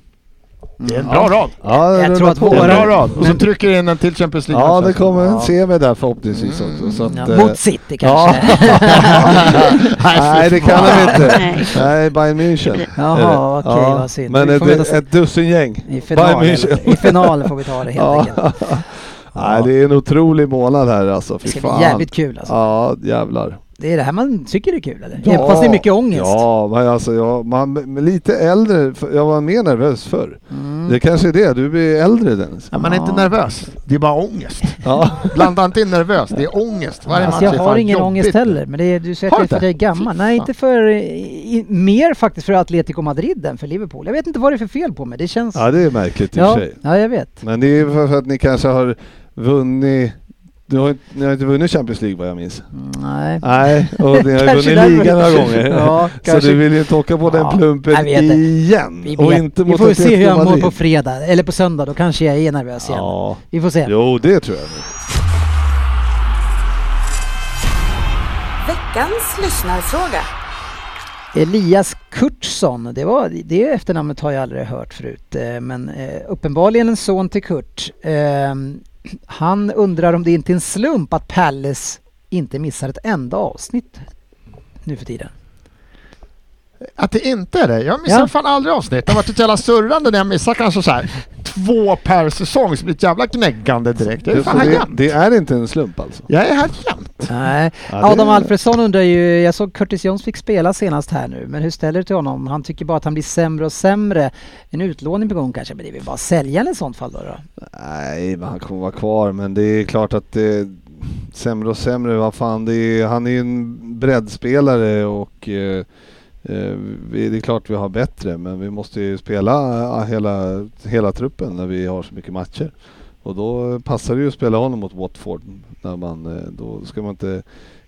Speaker 8: Det
Speaker 3: mm.
Speaker 8: är en bra rad.
Speaker 5: Ja,
Speaker 3: Jag
Speaker 5: runda
Speaker 3: tror att
Speaker 5: två.
Speaker 4: Det är en
Speaker 3: våra-
Speaker 4: bra rad. Och så trycker in en till Champions League.
Speaker 5: Ja,
Speaker 4: matchen.
Speaker 5: det kommer en
Speaker 4: Ja.
Speaker 5: semi där förhoppningsvis också. Så att, eh,
Speaker 3: Mot City kanske?
Speaker 5: Nej, det kan de inte.
Speaker 6: Nej.
Speaker 5: Nej, Bayern München.
Speaker 3: Jaha,
Speaker 5: är det.
Speaker 3: okej, vad synd.
Speaker 5: Men
Speaker 3: Vi får
Speaker 5: ett,
Speaker 3: mötas-
Speaker 5: ett dussingäng.
Speaker 3: I final,
Speaker 5: Bayern München.
Speaker 3: I final får vi ta det helt
Speaker 5: Ja.
Speaker 3: enkelt.
Speaker 5: Nej, det är en otrolig månad här alltså. Fy
Speaker 3: Det ska
Speaker 5: fan.
Speaker 3: bli jävligt kul alltså.
Speaker 5: Ja, jävlar.
Speaker 3: Det är det här man tycker är kul eller? Fast det är mycket ångest.
Speaker 5: Ja, men alltså jag, man, men lite äldre, för- jag var mer nervös förr.
Speaker 3: Mm.
Speaker 5: Det kanske är det, du blir äldre Dennis.
Speaker 4: Ja, man är inte nervös. Det är bara ångest.
Speaker 5: Ja.
Speaker 4: Blanda inte in nervös. Det är ångest. Varje
Speaker 3: Alltså
Speaker 4: match
Speaker 3: jag
Speaker 4: är
Speaker 3: har
Speaker 4: fan
Speaker 3: ingen
Speaker 4: jobbigt.
Speaker 3: ångest heller, men det är, du säger
Speaker 4: Har
Speaker 3: att jag
Speaker 4: du
Speaker 3: är för
Speaker 4: inte?
Speaker 3: gammal. Nej,
Speaker 4: Fy
Speaker 3: inte för... I, mer faktiskt för Atletico Madrid än för Liverpool. Jag vet inte vad det är för fel på mig. Det känns...
Speaker 5: ja, det är märkligt i och för
Speaker 3: ja,
Speaker 5: sig.
Speaker 3: ja, jag vet.
Speaker 5: Men det är ju för för att ni kanske har vunnit du har, inte- ni har inte vunnit Champions League vad jag minns?
Speaker 3: Mm, Nej.
Speaker 5: Nej, och ni har ju
Speaker 3: Kanske
Speaker 5: vunnit ligan några
Speaker 3: därför.
Speaker 5: gånger.
Speaker 3: Ja,
Speaker 5: så
Speaker 3: kanske.
Speaker 5: du vill ju inte åka på
Speaker 3: Ja,
Speaker 5: den
Speaker 3: jag
Speaker 5: plumpen
Speaker 3: vet det.
Speaker 5: igen.
Speaker 3: Vi,
Speaker 5: och
Speaker 3: vet.
Speaker 5: inte
Speaker 3: vi
Speaker 5: mot
Speaker 3: får se hur
Speaker 5: Atletico
Speaker 3: jag mår
Speaker 5: Madrid.
Speaker 3: på fredag, eller på söndag. Då kanske jag är nervös igen.
Speaker 5: Ja,
Speaker 3: Vi får se.
Speaker 5: jo det tror jag.
Speaker 7: Veckans lyssnarfråga.
Speaker 3: Elias Kurtsson, det, var, det efternamnet har jag aldrig hört förut. eh, Men eh, uppenbarligen en son till Kurt. Eh, Han undrar om det inte är en slump att Palace inte missar ett enda avsnitt nu för tiden.
Speaker 4: Att det inte är det. Jag missar
Speaker 3: Ja.
Speaker 4: fan aldrig avsnitt. Det har varit ett jävla surrande när jag missar kanske så här två per säsong. Så blir det ett jävla gnäggande direkt. Jag är
Speaker 5: Det,
Speaker 4: fan
Speaker 5: så
Speaker 4: här
Speaker 5: det,
Speaker 4: jämt.
Speaker 5: det är inte en slump alltså.
Speaker 4: Jag är här jämt.
Speaker 3: Nej.
Speaker 5: Ja, det-
Speaker 3: Adam Alfredsson undrar ju, jag såg Curtis Jones fick spela senast här nu, men hur ställer du till honom? Han tycker bara att han blir sämre och sämre. En utlåning på gång kanske, men det är väl bara att sälja han i sånt fall då? då?
Speaker 5: Nej, men han kommer vara kvar. Men det är klart att det är sämre och sämre. Vad fan, det är, han är ju en breddspelare och eh, eh, vi, det är klart vi har bättre. Men vi måste ju spela eh, hela, hela truppen när vi har så mycket matcher. Och då passar det ju att spela honom mot Watford. När man, eh, då ska man inte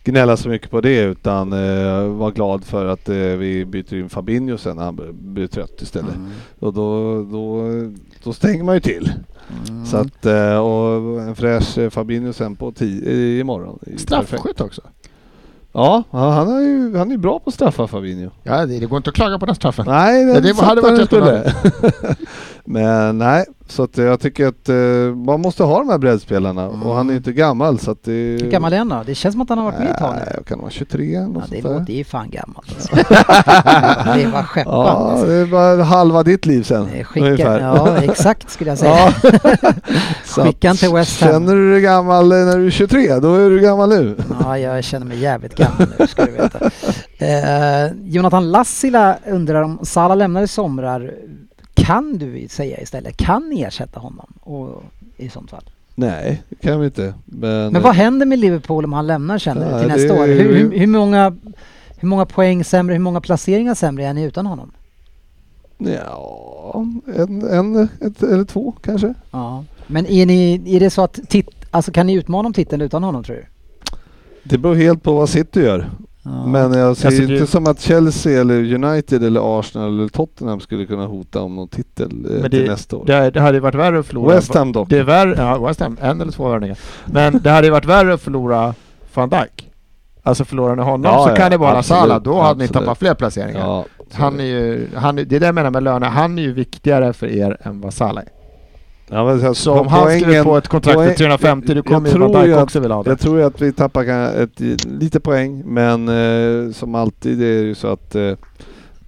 Speaker 5: gnälla så mycket på det utan eh, vara glad för att eh, vi byter in Fabinho sen när han blir- blir trött istället.
Speaker 4: Mm.
Speaker 5: Och då, då, då stänger man ju till.
Speaker 4: Mm.
Speaker 5: Så att, eh, och en fräsch eh, Fabinho sen på tio, eh, imorgon. Det är ju perfekt.
Speaker 4: Straffskytt också.
Speaker 5: Ja, han han är ju han är ju bra på att straffa Fabinho.
Speaker 4: Ja, det, det går inte att klaga på den straffen.
Speaker 5: Nej,
Speaker 4: Ja,
Speaker 5: den
Speaker 4: det hade
Speaker 5: satt där
Speaker 4: varit
Speaker 5: den skulle. Men nej, så att eh, jag tycker att eh, man måste ha de här breddspelarna och han är inte gammal så att det...
Speaker 3: Hur gammal är han då? Det känns som att han har varit med ett tag nu.
Speaker 5: Nej, jag kan vara 23 eller
Speaker 3: Ja,
Speaker 5: något
Speaker 3: det
Speaker 5: sånt där.
Speaker 3: låter ju fan gammalt alltså. Det var skäppande.
Speaker 5: Ja, det är bara halva ditt liv sen
Speaker 3: Eh, Skicka,
Speaker 5: ungefär.
Speaker 3: ja, exakt skulle jag säga.
Speaker 5: Ja. Så att
Speaker 3: Skicka han till West Ham.
Speaker 5: Känner du dig gammal eh, när du är 23, då är du gammal nu.
Speaker 3: Ja, jag känner mig jävligt gammal nu ska du veta. Eh, Jonathan Lassila undrar om Sala lämnar i somrar. Kan du säga istället, kan ni ersätta honom? Och, i sånt fall.
Speaker 5: Nej, det kan vi inte. Men,
Speaker 3: Men vad händer med Liverpool om han lämnar känner du, till
Speaker 5: Ja,
Speaker 3: nästa
Speaker 5: det-
Speaker 3: år? Hur, hur, hur, många, hur många poäng sämre, hur många placeringar sämre är ni utan honom?
Speaker 5: Ja, en, en ett, eller två kanske.
Speaker 3: Ja. Men är, ni, är det så att tit, alltså kan ni utmana om titeln utan honom tror du?
Speaker 5: Det beror helt på vad City gör.
Speaker 3: Ja.
Speaker 5: Men jag ser
Speaker 4: Alltså,
Speaker 5: inte
Speaker 4: det-
Speaker 5: som att Chelsea eller United eller Arsenal eller Tottenham skulle kunna hota om någon titel eh,
Speaker 4: Men
Speaker 5: till
Speaker 4: det-
Speaker 5: nästa år.
Speaker 4: Det, det hade ju varit värre att förlora.
Speaker 5: West Ham dock.
Speaker 4: Det är värre, ja, West Ham, en eller två värvningar. Men det hade ju varit värre att förlora van Dijk. Alltså förlorar ni honom
Speaker 5: Ja,
Speaker 4: så
Speaker 5: ja,
Speaker 4: kan det vara
Speaker 5: absolut,
Speaker 4: Salah, då hade ni
Speaker 5: absolut.
Speaker 4: tappat fler placeringar.
Speaker 5: Ja,
Speaker 4: Han är ju, han, är- det är det jag menar med löner, han är ju viktigare för er än vad Salah är.
Speaker 5: ja, men alltså,
Speaker 4: Så om han skriver
Speaker 5: poängen-
Speaker 4: på ett kontrakt för
Speaker 5: poäng-
Speaker 4: 350, då
Speaker 5: jag
Speaker 4: kommer ju
Speaker 5: tror
Speaker 4: van Dijk
Speaker 5: att-
Speaker 4: också vilja ha det.
Speaker 5: Jag tror ju att vi tappar ka- ett, lite poäng, men eh, som alltid är det ju så att eh,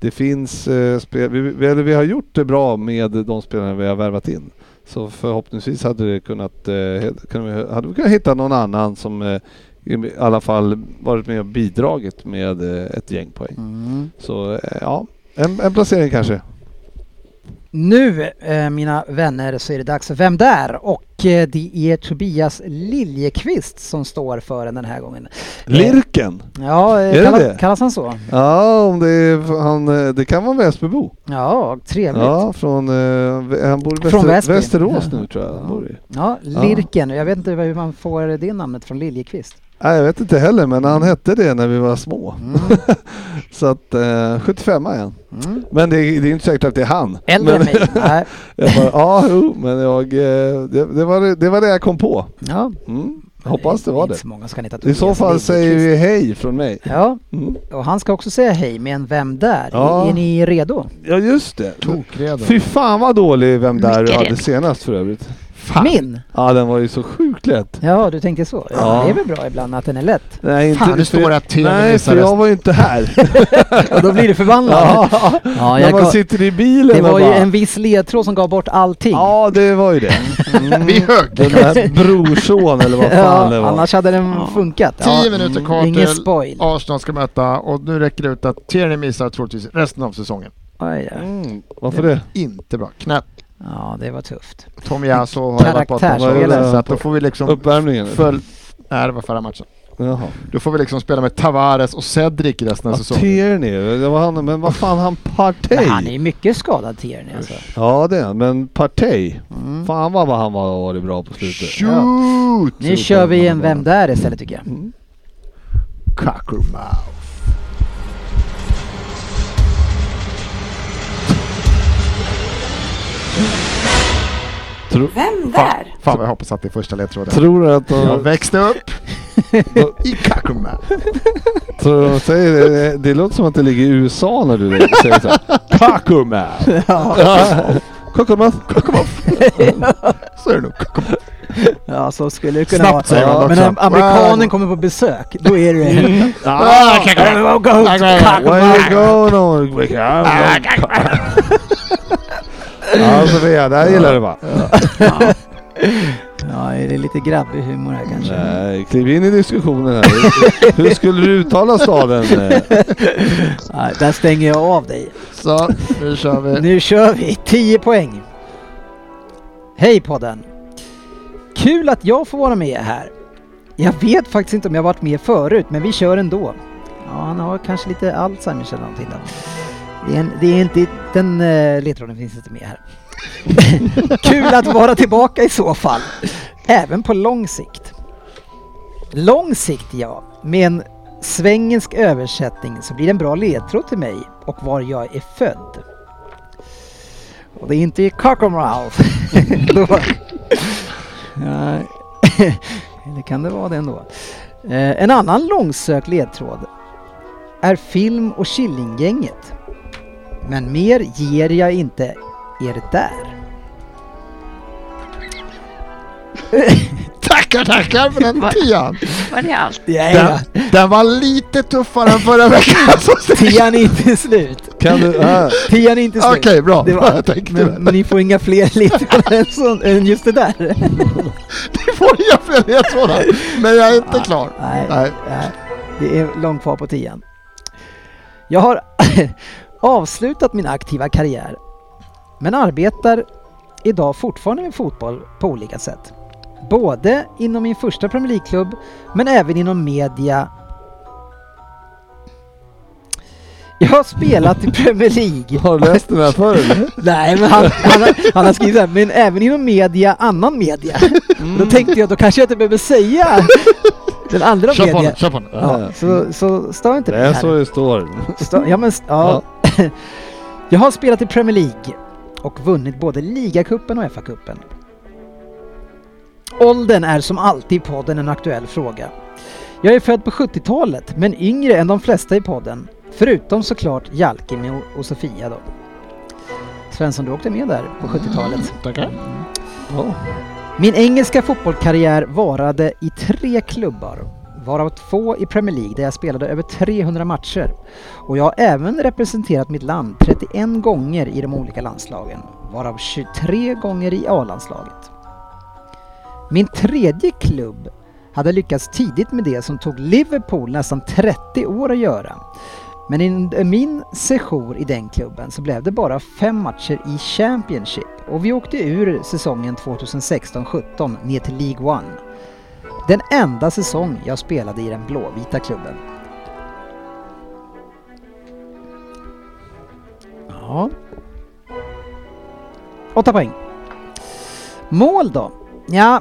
Speaker 5: det finns eh, spel... Vi, vi, eller vi har gjort det bra med de spelarna vi har värvat in. Så förhoppningsvis hade, det kunnat, eh, he- kunde vi, hade vi kunnat hitta någon annan som eh, i alla fall varit med och bidragit med eh, ett gäng poäng. Så eh, ja, en, en placering kanske.
Speaker 3: Nu eh, mina vänner så är det dags för Vem där? Och eh, det är Tobias Liljekvist som står för den den här gången.
Speaker 5: Lirken!
Speaker 3: Ja,
Speaker 5: Är det
Speaker 3: eh, kallas,
Speaker 5: det?
Speaker 3: kallas han så?
Speaker 5: Ja, om det, är, han, eh, det kan vara Väsbybo.
Speaker 3: Ja, trevligt. Ja,
Speaker 5: Ja, från, eh, han bor i
Speaker 3: Från
Speaker 5: Väster-
Speaker 3: Väsby.
Speaker 5: Västerås nu tror jag. Han bor i.
Speaker 3: Lirken. Jag vet inte hur man får det namnet från Liljekvist.
Speaker 5: Nej, jag vet inte heller, men han hette det när vi var små. så att eh, 75 är han. Men det, är- det är inte säkert att det är han.
Speaker 3: Äldre än
Speaker 5: men,
Speaker 3: Mm. mig. Nej.
Speaker 5: jag bara, ja, jo, men jag, eh, det, det, var, det- det var det jag kom på.
Speaker 3: Ja,
Speaker 5: Mm. Hoppas det var
Speaker 3: Inte
Speaker 5: det.
Speaker 3: så många som kan heta
Speaker 5: I så
Speaker 3: Tobias
Speaker 5: fall
Speaker 3: Lindqvist.
Speaker 5: säger vi hej från mig.
Speaker 3: Ja,
Speaker 5: Mm.
Speaker 3: och han ska också säga hej med en Vem där?
Speaker 5: Ja.
Speaker 3: Är ni redo?
Speaker 5: Ja just det.
Speaker 4: Tokredo.
Speaker 5: Fy fan vad dålig Vem där du
Speaker 6: Mycket
Speaker 5: hade
Speaker 6: rätt.
Speaker 5: senast för övrigt.
Speaker 3: Min?
Speaker 5: Ja den var ju så sjukt lätt.
Speaker 3: Ja, du tänker så. Ja.
Speaker 5: Ja.
Speaker 3: Det är väl bra ibland att den är lätt.
Speaker 5: Nej,
Speaker 4: Fan, det
Speaker 5: för-
Speaker 4: står att Telia
Speaker 5: Nej, för
Speaker 4: missade.
Speaker 5: jag var ju inte här.
Speaker 3: Och då blir du
Speaker 5: ja,
Speaker 3: förbannad. ja,
Speaker 5: när
Speaker 3: jag
Speaker 5: man
Speaker 3: gav,
Speaker 5: sitter i bilen
Speaker 3: det var
Speaker 5: och
Speaker 3: ju
Speaker 5: bara,
Speaker 3: en viss ledtråd som gav bort allting.
Speaker 5: Ja, det var ju det. Mm.
Speaker 4: Vi högg.
Speaker 5: Den där brorson eller vad fan det
Speaker 3: ja,
Speaker 5: var.
Speaker 3: annars hade den
Speaker 6: Ja.
Speaker 3: funkat. Ja.
Speaker 4: Tio minuter kvar
Speaker 3: Ingen
Speaker 4: till
Speaker 3: spoil.
Speaker 4: Arsenal ska möta och nu räcker det ut att Tierney missar troligtvis resten av säsongen.
Speaker 3: Aj, ja.
Speaker 5: Mm. Varför det?
Speaker 4: Inte bra. Knäpp.
Speaker 3: ja, det var tufft.
Speaker 4: Tom Yasso har jag varit borta
Speaker 3: Karaktärsspelare.
Speaker 4: från matchen, så att då får vi liksom
Speaker 5: Uppvärmningen?
Speaker 4: följ... Nej, det var förra matchen.
Speaker 5: Jaha.
Speaker 4: Då får vi liksom spela med Tavares och Cedric resten av
Speaker 5: Ja,
Speaker 4: säsongen.
Speaker 5: Tierney, det var han, men vad fan han
Speaker 3: Men han är
Speaker 5: Partey?
Speaker 3: ju mycket skadad Tierney alltså.
Speaker 5: Ja det är han, men Partey.
Speaker 3: Mm.
Speaker 5: Fan vad, vad han var, var bra på slutet.
Speaker 4: Shoot!
Speaker 3: Nu kör vi en Vem där Mm. istället tycker jag.
Speaker 4: Cockermouth.
Speaker 7: Vem där?
Speaker 4: Fan vad jag hoppas att det är första ledtråden.
Speaker 5: Tror du att
Speaker 4: Jag
Speaker 5: de,
Speaker 4: växte upp i Cockermouth.
Speaker 5: tror du de säger det? det? Det låter som att det ligger i USA när du säger såhär. Kakumath! Kakumath!
Speaker 4: Så är det nog. Cockermouth.
Speaker 3: Ja, så skulle det kunna
Speaker 4: Snabbt säger man
Speaker 3: vara.
Speaker 4: också.
Speaker 3: Men när amerikanen
Speaker 4: Wow.
Speaker 3: kommer på besök, då är det...
Speaker 5: Ah,
Speaker 3: Kack.
Speaker 5: Where you going on? We can- Ja Sofia, det här gillar du va?
Speaker 3: Ja, är det lite grabbig humor här kanske?
Speaker 5: Nej, kliv in i diskussionen här. Hur skulle du uttala staden? eh?
Speaker 3: Nej, där stänger jag av dig.
Speaker 4: Så, nu kör vi.
Speaker 3: Nu kör vi! 10 poäng! Hej podden! Kul att jag får vara med här. Jag vet faktiskt inte om jag varit med förut, men vi kör ändå. Ja, han har kanske lite Alzheimers eller någonting då. Det är, en, det är inte, den uh, ledtråden finns inte med här. Kul att vara tillbaka i så fall. Även på lång sikt. Lång sikt ja, med en svängensk översättning så blir det en bra ledtråd till mig och var jag är född. Och det är inte i Cockermouth. Då- Nej. Eller kan det vara det ändå? Eh, en annan långsökt ledtråd är film och Killinggänget. Men mer ger jag inte er där.
Speaker 4: Tackar, tackar för den
Speaker 6: Vad-
Speaker 4: tian.
Speaker 6: Var det allt?
Speaker 3: Nej,
Speaker 4: Den, den var lite tuffare än förra veckan. så att säga. äh.
Speaker 3: Tian är inte slut.
Speaker 5: Kan du... ah,
Speaker 3: Tian är inte slut.
Speaker 4: Okej, bra.
Speaker 3: Det var-
Speaker 4: jag tänkte det.
Speaker 3: Men, men ni får inga fler ledtrådar än, så- än just det där.
Speaker 4: Du får inga fler ledtrådar. Men jag är inte klar.
Speaker 3: Nej,
Speaker 4: Nej.
Speaker 3: nej. Det är långt kvar på tian. Jag har avslutat min aktiva karriär men arbetar idag fortfarande med fotboll på olika sätt. Både inom min första Premier League-klubb men även inom media. Jag har spelat i Premier League.
Speaker 5: Har du läst den här förr eller?
Speaker 3: Nej, men han, han, har, han har skrivit så här, men även inom media, annan media. Då tänkte jag, då kanske jag inte behöver säga den andra
Speaker 4: Kör på
Speaker 3: media.
Speaker 4: den, kör på den.
Speaker 5: Ja.
Speaker 3: Ja, så, så stör inte
Speaker 5: Det
Speaker 3: det
Speaker 5: är så
Speaker 3: här.
Speaker 5: det står.
Speaker 3: Stör, ja, men, st- ja. Jag har spelat i Premier League och vunnit både ligacupen och FA-cupen. Åldern är som alltid i podden en aktuell fråga. Jag är född på 70-talet, men yngre än de flesta i podden. Förutom såklart Jalkemi och- och Sofia då. Svensson, du åkte med där på 70-talet.
Speaker 4: Tackar.
Speaker 5: Ja.
Speaker 3: Min engelska fotbollskarriär varade i tre klubbar, varav två i Premier League där jag spelade över 300 matcher. Och jag har även representerat mitt land 31 gånger i de olika landslagen, varav 23 gånger i A-landslaget. Min tredje klubb hade lyckats tidigt med det som tog Liverpool nästan 30 år att göra. Men i min sejour i den klubben så blev det bara fem matcher i Championship och vi åkte ur säsongen 2016-17 ner till League One. Den enda säsong jag spelade i den blåvita klubben. Ja. Åtta poäng. Mål då? Ja,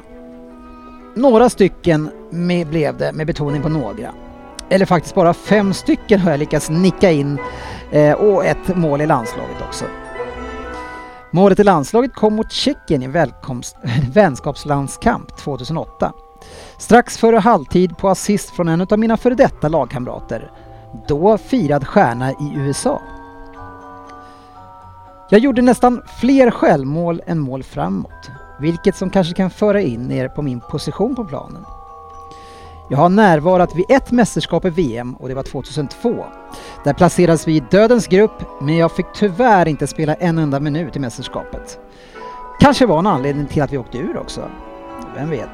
Speaker 3: några stycken med, blev det med betoning på några eller faktiskt bara fem stycken har jag lyckats nicka in eh, och ett mål i landslaget också. Målet i landslaget kom mot Tjeckien i välkomst- vänskapslandskamp 2008. Strax före halvtid på assist från en av mina före detta lagkamrater. Då firad stjärna i USA. Jag gjorde nästan fler självmål än mål framåt, vilket som kanske kan föra in er på min position på planen. Jag har närvarat vid ett mästerskap i VM och det var 2002. Där placerades vi i dödens grupp, men jag fick tyvärr inte spela en enda minut i mästerskapet. Kanske var en anledning till att vi åkte ur också. Vem vet?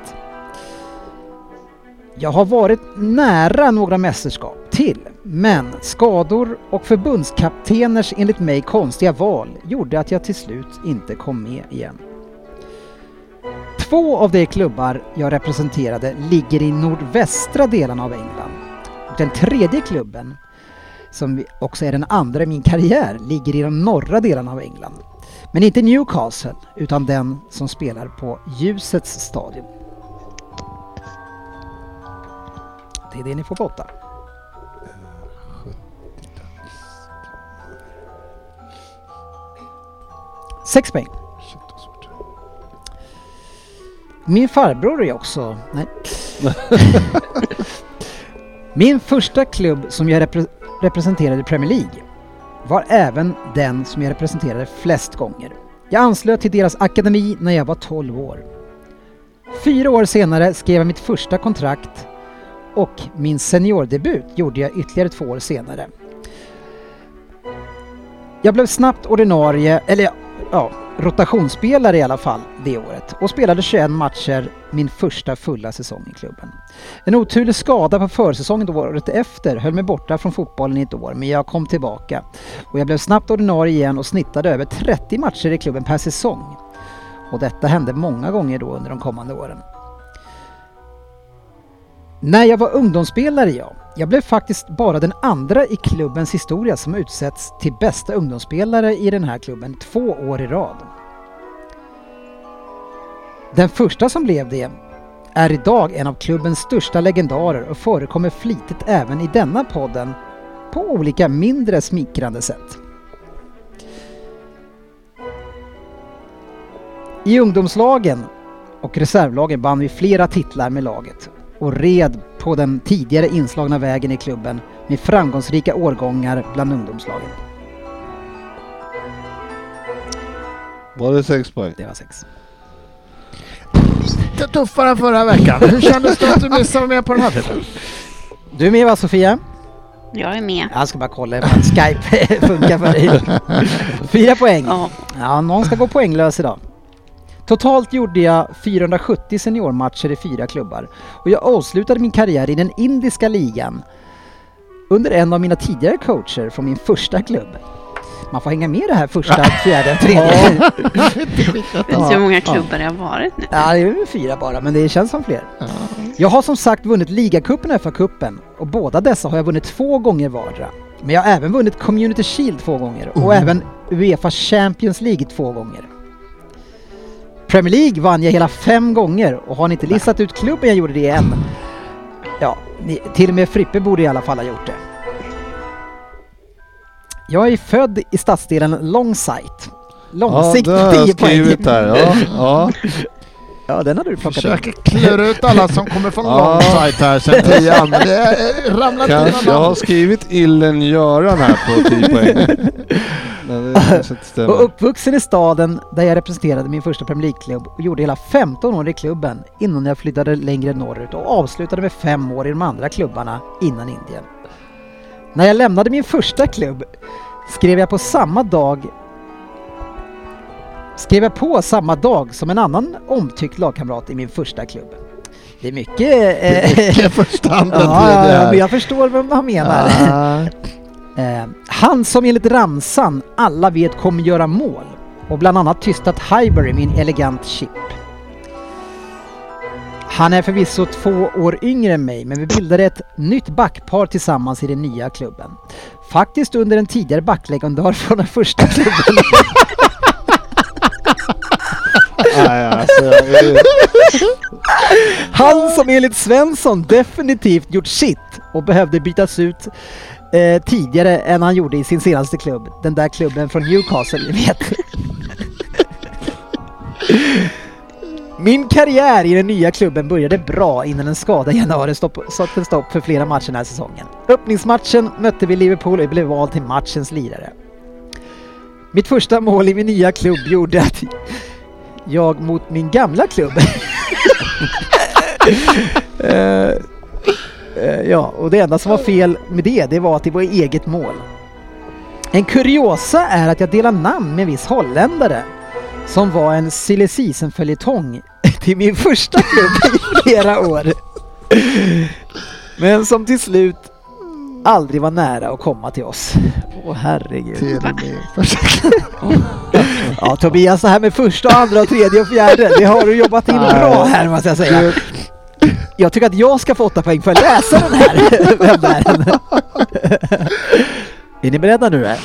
Speaker 3: Jag har varit nära några mästerskap till, men skador och förbundskapteners enligt mig konstiga val gjorde att jag till slut inte kom med igen. Två av de klubbar jag representerade ligger i nordvästra delarna av England. Och Den tredje klubben, som också är den andra i min karriär, ligger i de norra delarna av England. Men inte Newcastle, utan den som spelar på Ljusets stadion. Det är det ni får på åtta. Sex poäng.
Speaker 4: Shit, vad svårt.
Speaker 3: Min farbror är också... Nej. Min första klubb som jag repre- representerade i Premier League var även den som jag representerade flest gånger. Jag anslöt till deras akademi när jag var 12 år. Fyra år senare skrev jag mitt första kontrakt och min seniordebut gjorde jag ytterligare två år senare. Jag blev snabbt ordinarie, eller ja, rotationsspelare i alla fall det året och spelade 21 matcher min första fulla säsong i klubben. En oturlig skada på försäsongen då året efter höll mig borta från fotbollen i ett år men jag kom tillbaka och jag blev snabbt ordinarie igen och snittade över 30 matcher i klubben per säsong. Och detta hände många gånger då under de kommande åren. När jag var ungdomsspelare ja, jag blev faktiskt bara den andra i klubbens historia som utsätts till bästa ungdomsspelare i den här klubben två år i rad. Den första som blev det är idag en av klubbens största legendarer och förekommer flitigt även i denna podden på olika mindre smickrande sätt. I ungdomslagen och reservlagen vann vi flera titlar med laget och red på den tidigare inslagna vägen i klubben med framgångsrika årgångar bland ungdomslagen.
Speaker 5: Var det sex poäng?
Speaker 3: Det var sex.
Speaker 4: Lite tuffare än förra veckan. Hur kändes det att du missade med på den här titeln?
Speaker 3: Du är med va Sofia?
Speaker 6: Jag är med.
Speaker 3: Jag ska bara kolla om Skype funkar för dig. Fyra poäng.
Speaker 6: Ja.
Speaker 3: Ja, någon ska gå poänglös idag. Totalt gjorde jag 470 seniormatcher i fyra klubbar och jag avslutade min karriär i den indiska ligan under en av mina tidigare coacher från min första klubb. Man får hänga med i det här första, fjärde, tredje.
Speaker 6: Jag vet inte hur många klubbar jag har varit nu.
Speaker 3: Ja, det är väl fyra bara, men det känns som fler. Jag har som sagt vunnit ligacupen och FA-cupen och båda dessa har jag vunnit två gånger vardera. Men jag har även vunnit Community Shield två gånger och
Speaker 5: Mm.
Speaker 3: även Uefa Champions League två gånger. Premier League vann jag hela fem gånger och har ni inte listat ut klubben jag gjorde det än? Ja, ni, till och med Frippe borde i alla fall ha gjort det. Jag är född i stadsdelen Långsight. Långsikt,
Speaker 5: det har jag
Speaker 3: 10 poäng.
Speaker 5: skrivit här. Ja, ja.
Speaker 3: Ja, den har du plockat in.
Speaker 4: Försöker klura ut alla som kommer från
Speaker 5: Ja.
Speaker 4: lång sajt här sen tian. Det är- ramlar till
Speaker 5: Kanske, jag
Speaker 4: någon
Speaker 5: har
Speaker 4: annan.
Speaker 5: skrivit Illen-Göran här på 10 poäng. Nej, det kanske inte
Speaker 3: Och
Speaker 5: stämmer.
Speaker 3: uppvuxen i staden där jag representerade min första Premier League-klubb och gjorde hela 15 år i klubben innan jag flyttade längre norrut och avslutade med fem år i de andra klubbarna innan Indien. När jag lämnade min första klubb skrev jag på samma dag skrev jag på samma dag som en annan omtyckt lagkamrat i min första klubb. Det är mycket... eh,
Speaker 4: Det är första handen
Speaker 3: ja,
Speaker 4: till
Speaker 3: ja,
Speaker 4: det
Speaker 3: ja,
Speaker 4: här.
Speaker 3: men jag förstår vad han menar.
Speaker 4: Ah,
Speaker 3: Eh, han som enligt ramsan alla vet kommer göra mål och bland annat tystat Highbury med en elegant chip. Han är förvisso två år yngre än mig men vi bildade ett nytt backpar tillsammans i den nya klubben. Faktiskt under en tidigare backlegendar från den första klubben.
Speaker 5: Nej, alltså, jag är-
Speaker 3: Han som enligt Svensson definitivt gjort sitt och behövde bytas ut eh, tidigare än han gjorde i sin senaste klubb. Den där klubben från Newcastle, ni vet. Min karriär i den nya klubben började bra innan en skada i januari stopp- satte stopp för flera matcher den här säsongen. Öppningsmatchen mötte vi Liverpool och jag blev vald till matchens lirare. Mitt första mål i min nya klubb gjorde att jag mot min gamla klubb... Eh, eh, ja, och det enda som var fel med det, det var att det var eget mål. En kuriosa är att jag delar namn med en viss holländare som var en silly season-följetong till min första klubb i flera år. Men som till slut aldrig var nära att komma till oss. Åh herregud.
Speaker 4: Till min första
Speaker 3: Ja Tobias, det här med första, andra, tredje och fjärde, det har du jobbat in bra här måste jag säga. Jag tycker att jag ska få åtta poäng för att läsa den här webbären. Är ni beredda nu? eller?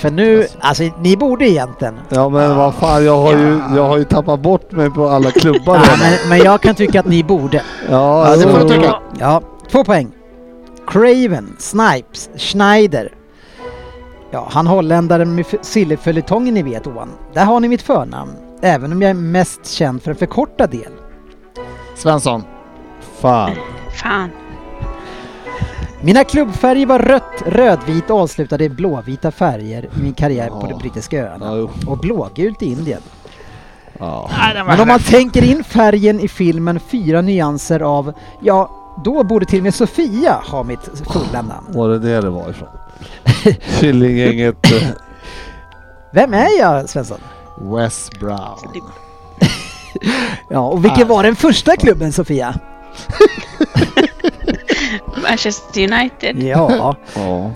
Speaker 3: För nu, alltså ni borde egentligen
Speaker 5: Ja men vad fan, jag har, ju, jag har ju tappat bort mig på alla klubbar
Speaker 3: Ja,
Speaker 5: redan.
Speaker 3: men, men jag kan tycka att ni borde.
Speaker 5: Ja, alltså,
Speaker 4: det får du
Speaker 5: jo, jo.
Speaker 4: tycka.
Speaker 3: Ja, två poäng. Craven, Snipes, Schneider. Ja, han holländaren med f- silleföljetongen ni vet Ovan. Där har ni mitt förnamn. Även om jag är mest känd för en förkortad del.
Speaker 4: Svensson.
Speaker 5: Fan.
Speaker 6: Fan.
Speaker 3: Mina klubbfärger var rött, rödvit och avslutade i blåvita färger i min karriär på de brittiska
Speaker 5: Ja,
Speaker 3: öarna.
Speaker 5: jo.
Speaker 3: Och blågult i Indien.
Speaker 5: Ja.
Speaker 3: Men om man tänker in färgen i filmen Fyra nyanser av, ja, då borde till och med Sofia ha mitt fulla namn.
Speaker 5: Var det det det var ifrån? Killinggänget. eh,
Speaker 3: Vem är jag Svensson?
Speaker 4: Wes Brown.
Speaker 3: Ja, och vilken
Speaker 5: Ah.
Speaker 3: var den första klubben Sofia?
Speaker 6: Manchester United.
Speaker 3: Ja.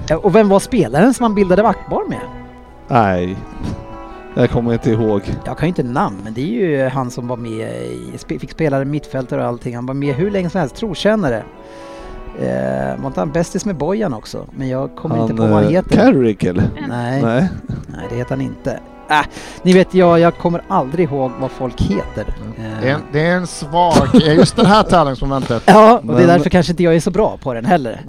Speaker 5: Ja.
Speaker 3: Och vem var spelaren som han bildade vaktbar med?
Speaker 5: Nej. Jag kommer inte ihåg.
Speaker 3: Jag kan ju inte namn, men det är ju han som var med i, sp- fick spela mittfältare och allting. Han var med hur länge som helst, trotjänare. Eh, var inte han bästis med Bojan också? Men jag kommer inte på vad han
Speaker 5: eh,
Speaker 3: heter.
Speaker 5: Carrick eller?
Speaker 3: Nej, nej.
Speaker 5: Nej.
Speaker 3: det heter han inte. Äh, ni vet, jag, jag kommer aldrig ihåg vad folk heter.
Speaker 4: Det är,
Speaker 3: Eh,
Speaker 4: en, det är en svag... eh, Just det här tävlingsmomentet.
Speaker 3: ja, och det är
Speaker 5: Men-
Speaker 3: därför kanske inte jag är så bra på den heller.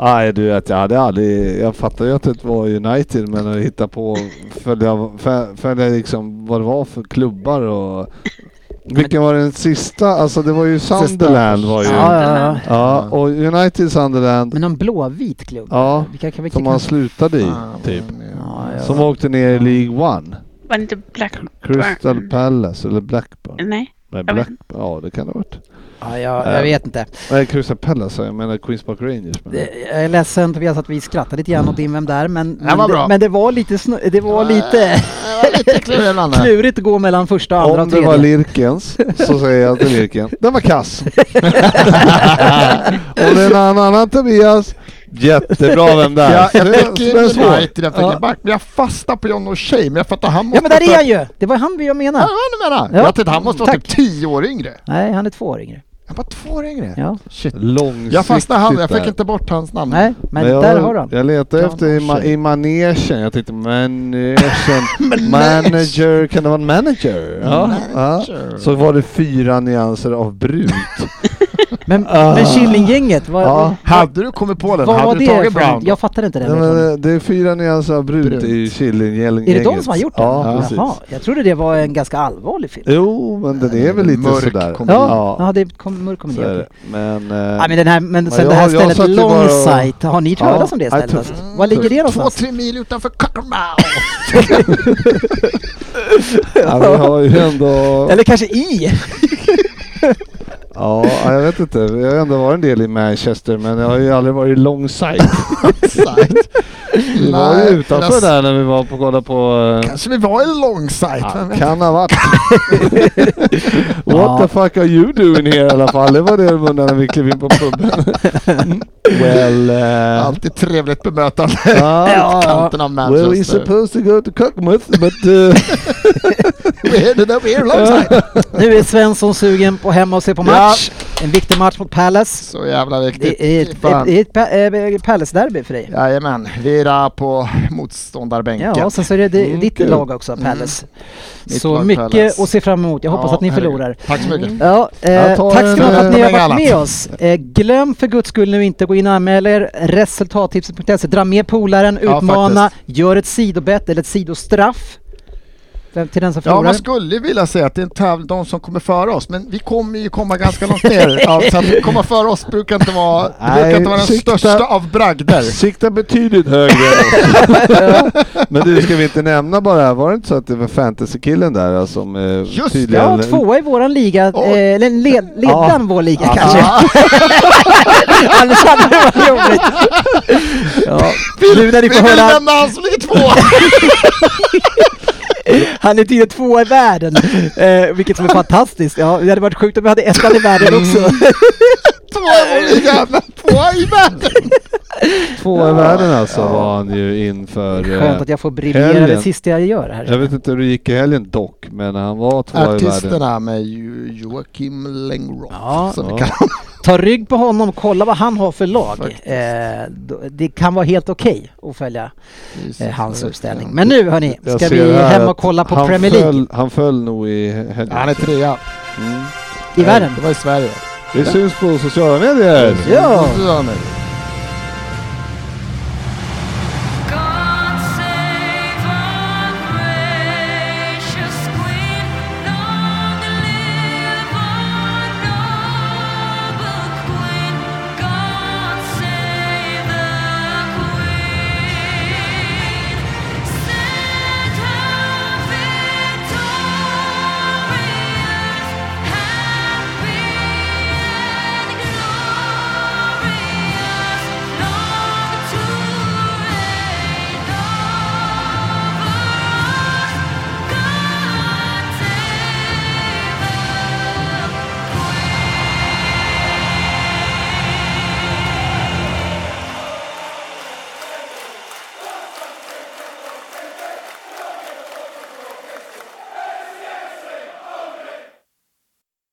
Speaker 5: Nej du vet, jag hade aldrig... Jag fattade ju att det var United men att hitta på... Följa, fö- följa liksom vad det var för klubbar och... Vilken var den sista? Alltså det var ju Sunderland var ju...
Speaker 3: Ja, ja, ja.
Speaker 5: Ja, och United Sunderland
Speaker 3: Men någon blåvit klubb?
Speaker 5: Ja,
Speaker 3: Vilka kan vi
Speaker 5: som han slutade i
Speaker 4: Ah,
Speaker 5: typ.
Speaker 3: Ja, ja.
Speaker 5: Som åkte ner i League One.
Speaker 6: Var det inte Blackburn?
Speaker 5: Crystal Palace eller Blackburn.
Speaker 6: Nej.
Speaker 5: Nej,
Speaker 6: jag vet
Speaker 5: Black... Ja, det kan det ha varit.
Speaker 3: Ja, jag,
Speaker 5: Eh.
Speaker 3: jag vet inte.
Speaker 5: Nej, Crystal Palace sa jag, jag menar Queens Park Rangers. Men...
Speaker 3: Eh, Jag är ledsen Tobias att vi skrattade lite grann åt din Vem där? Men, men,
Speaker 4: var
Speaker 3: det-
Speaker 4: bra.
Speaker 3: men det var lite, snö- det var
Speaker 4: Ja,
Speaker 3: lite
Speaker 4: Det var lite klurigt Nanne.
Speaker 3: klurigt att gå mellan första, andra och
Speaker 5: Om det var
Speaker 3: tredje.
Speaker 5: Lirkens så säger jag till Lirken, den var kass. Om det är en annan Tobias, jättebra vem det är.
Speaker 4: Ja, jag
Speaker 5: Det- det är
Speaker 4: tänker
Speaker 5: svårt.
Speaker 4: United, jag tänker back, men jag fastnar på John O'Shea, men jag fattar han måste...
Speaker 3: Ja men där är
Speaker 4: vara-
Speaker 3: han ju! Det var han vi jag
Speaker 4: Ja, det
Speaker 3: menade.
Speaker 4: var det jag menar.
Speaker 3: Ja.
Speaker 4: Jag tänkte han måste vara
Speaker 3: Tack.
Speaker 4: typ tio år yngre.
Speaker 3: Nej, han är två år yngre.
Speaker 4: Jag var två år yngre.
Speaker 3: Ja.
Speaker 5: Mm.
Speaker 4: Shit.
Speaker 5: Långsiktigt
Speaker 4: Jag fastnade han, jag
Speaker 5: där.
Speaker 4: fick inte bort hans namn.
Speaker 3: Nej, men,
Speaker 5: jag,
Speaker 3: där har du han.
Speaker 5: Jag letade
Speaker 4: John
Speaker 5: efter i, ma- i manegen. Jag tänkte manegen, manager, kan det vara en manager? Ja,
Speaker 4: Manager.
Speaker 3: Mm.
Speaker 5: Ja. Så var det fyra nyanser av brunt.
Speaker 3: Men, men Killinggänget, vad,
Speaker 5: Ah. Ja.
Speaker 4: Hade du kommit på den,
Speaker 3: vad var
Speaker 4: hade du
Speaker 3: det
Speaker 4: tagit
Speaker 3: för
Speaker 4: Brown?
Speaker 3: något? Jag fattar inte
Speaker 5: Nej,
Speaker 3: den.
Speaker 5: men,
Speaker 3: versionen.
Speaker 5: eh, det är fyra nyanser av brunt,
Speaker 4: Brunt.
Speaker 5: i Killinggänget.
Speaker 3: är det de som har gjort den?
Speaker 5: Ja, precis.
Speaker 3: Jaha, jag trodde det var en ganska allvarlig film.
Speaker 5: Jo, men den är väl lite
Speaker 4: Mörk
Speaker 5: sådär.
Speaker 4: komedi.
Speaker 3: Ja, ja. det kom mörk komedi.
Speaker 5: så är
Speaker 3: okej.
Speaker 5: det. Men... eh,
Speaker 3: Ja, men, den här, men sen
Speaker 5: Ja,
Speaker 3: det här
Speaker 5: jag- jag satt
Speaker 3: stället
Speaker 5: ju bara och-
Speaker 3: Longsight, har ni hört
Speaker 5: Ja,
Speaker 3: talas om det
Speaker 5: nej,
Speaker 3: stället?
Speaker 5: tufft.
Speaker 3: alltså? Var ligger det
Speaker 4: Två,
Speaker 3: någonstans?
Speaker 4: tre mil utanför Cockermouth.
Speaker 5: ja, vi har ju ändå...
Speaker 3: Eller kanske i?
Speaker 5: Ja, jag vet inte. Jag har ändå varit en del i Manchester, men jag har ju aldrig varit i Longsight.
Speaker 4: Sajt.
Speaker 5: Vi var ju
Speaker 4: Nej,
Speaker 5: utanför
Speaker 4: jag-
Speaker 5: där när vi var på kolla på... eh,
Speaker 4: Kanske vi var i Långsajt.
Speaker 5: Ja,
Speaker 4: vem vet?
Speaker 5: kan ha varit. What
Speaker 3: Ja.
Speaker 5: the fuck are you doing here i alla fall? Det var det de undrade när vi klev in på puben. well... eh,
Speaker 4: Alltid trevligt bemötande.
Speaker 5: ja,
Speaker 4: Ja,
Speaker 5: ja.
Speaker 4: kanten av
Speaker 5: Well, we're
Speaker 4: Manchester.
Speaker 5: supposed to go to Cockmouth, but... Uh,
Speaker 4: We ended up here Långsajt.
Speaker 3: Nu är Svensson sugen på hemma och se på match. En viktig match mot Palace.
Speaker 4: Så jävla viktigt.
Speaker 3: Det är ett, ett,
Speaker 4: Fan.
Speaker 3: ett, pa- eh, Palace-derby för dig.
Speaker 4: Jajamän, Vira på motståndarbänken.
Speaker 3: Ja, och sen så är det, det
Speaker 5: Mm,
Speaker 3: ditt
Speaker 5: kul.
Speaker 3: lag också, Palace.
Speaker 4: Mitt
Speaker 3: Så
Speaker 4: lag
Speaker 3: mycket
Speaker 4: Palace.
Speaker 3: att se fram emot. Jag hoppas
Speaker 4: Ja,
Speaker 3: att ni
Speaker 4: herregud.
Speaker 3: förlorar.
Speaker 4: Tack så mycket.
Speaker 3: Ja, eh,
Speaker 5: Jag tar
Speaker 3: tack
Speaker 5: en,
Speaker 3: ska ni ha för att ni har
Speaker 4: eh,
Speaker 3: varit
Speaker 4: mängd
Speaker 3: med oss. Eh, glöm för guds skull nu inte att gå in och anmäla er. Resultattipset.se. Dra med polaren,
Speaker 4: Ja,
Speaker 3: utmana, gör ett sidobett eller ett sidostraff. För Den- Till den som
Speaker 4: Ja,
Speaker 3: förlorar.
Speaker 4: man skulle vilja säga att det är en tävling, de som kommer före oss, men vi kommer ju komma ganska långt ner. Ja, så att komma före oss brukar inte vara, det
Speaker 5: Nej,
Speaker 4: brukar inte vara den
Speaker 5: sikta-
Speaker 4: största av bragder.
Speaker 5: Sikta betydligt högre än oss. Men du, ska vi inte nämna bara, var det inte så att det var fantasykillen där alltså, som eh,
Speaker 4: det,
Speaker 5: tydligen...
Speaker 3: Ja, tvåa i våran liga,
Speaker 4: Och-
Speaker 3: eh, eller led, ledaren
Speaker 5: Ja.
Speaker 3: vår liga
Speaker 5: Ja.
Speaker 3: kanske. Annars hade det varit jobbigt. Ja. Nu när ni
Speaker 4: Vi
Speaker 3: får
Speaker 4: vill
Speaker 3: höra,
Speaker 4: lämna han som ligger två!
Speaker 3: han är tydligen tvåa i världen. Eh, vilket som är fantastiskt. Ja, det hade varit sjukt om vi hade ettan i världen
Speaker 5: Mm.
Speaker 3: också.
Speaker 4: Tvåa i vår liga, men tvåa i världen!
Speaker 5: Tvåa i världen alltså var han ju inför... eh,
Speaker 3: Skönt att jag får briljera
Speaker 5: helgen.
Speaker 3: det sista jag gör här.
Speaker 5: Jag vet inte hur det gick i helgen dock, men han var tvåa i världen.
Speaker 4: Artisterna med Jo- Joakim Lengroth,
Speaker 3: Ja.
Speaker 4: som vi
Speaker 5: Ja.
Speaker 4: kallar honom.
Speaker 3: Ta rygg på honom, kolla vad han har för lag.
Speaker 4: Faktiskt.
Speaker 3: Eh, då- det kan vara helt okej att följa eh, hans uppställning. Men nu hörni,
Speaker 5: Jag
Speaker 3: ska
Speaker 5: ser
Speaker 3: vi
Speaker 5: här
Speaker 3: hem och
Speaker 5: att
Speaker 3: kolla på
Speaker 5: han
Speaker 3: Premier League
Speaker 5: Föll, han föll nog i helgen.
Speaker 4: Han är trea.
Speaker 5: Mm.
Speaker 3: i världen.
Speaker 4: Det var i Sverige.
Speaker 5: Det syns på sociala medier!
Speaker 3: Ja.
Speaker 4: Det var nu.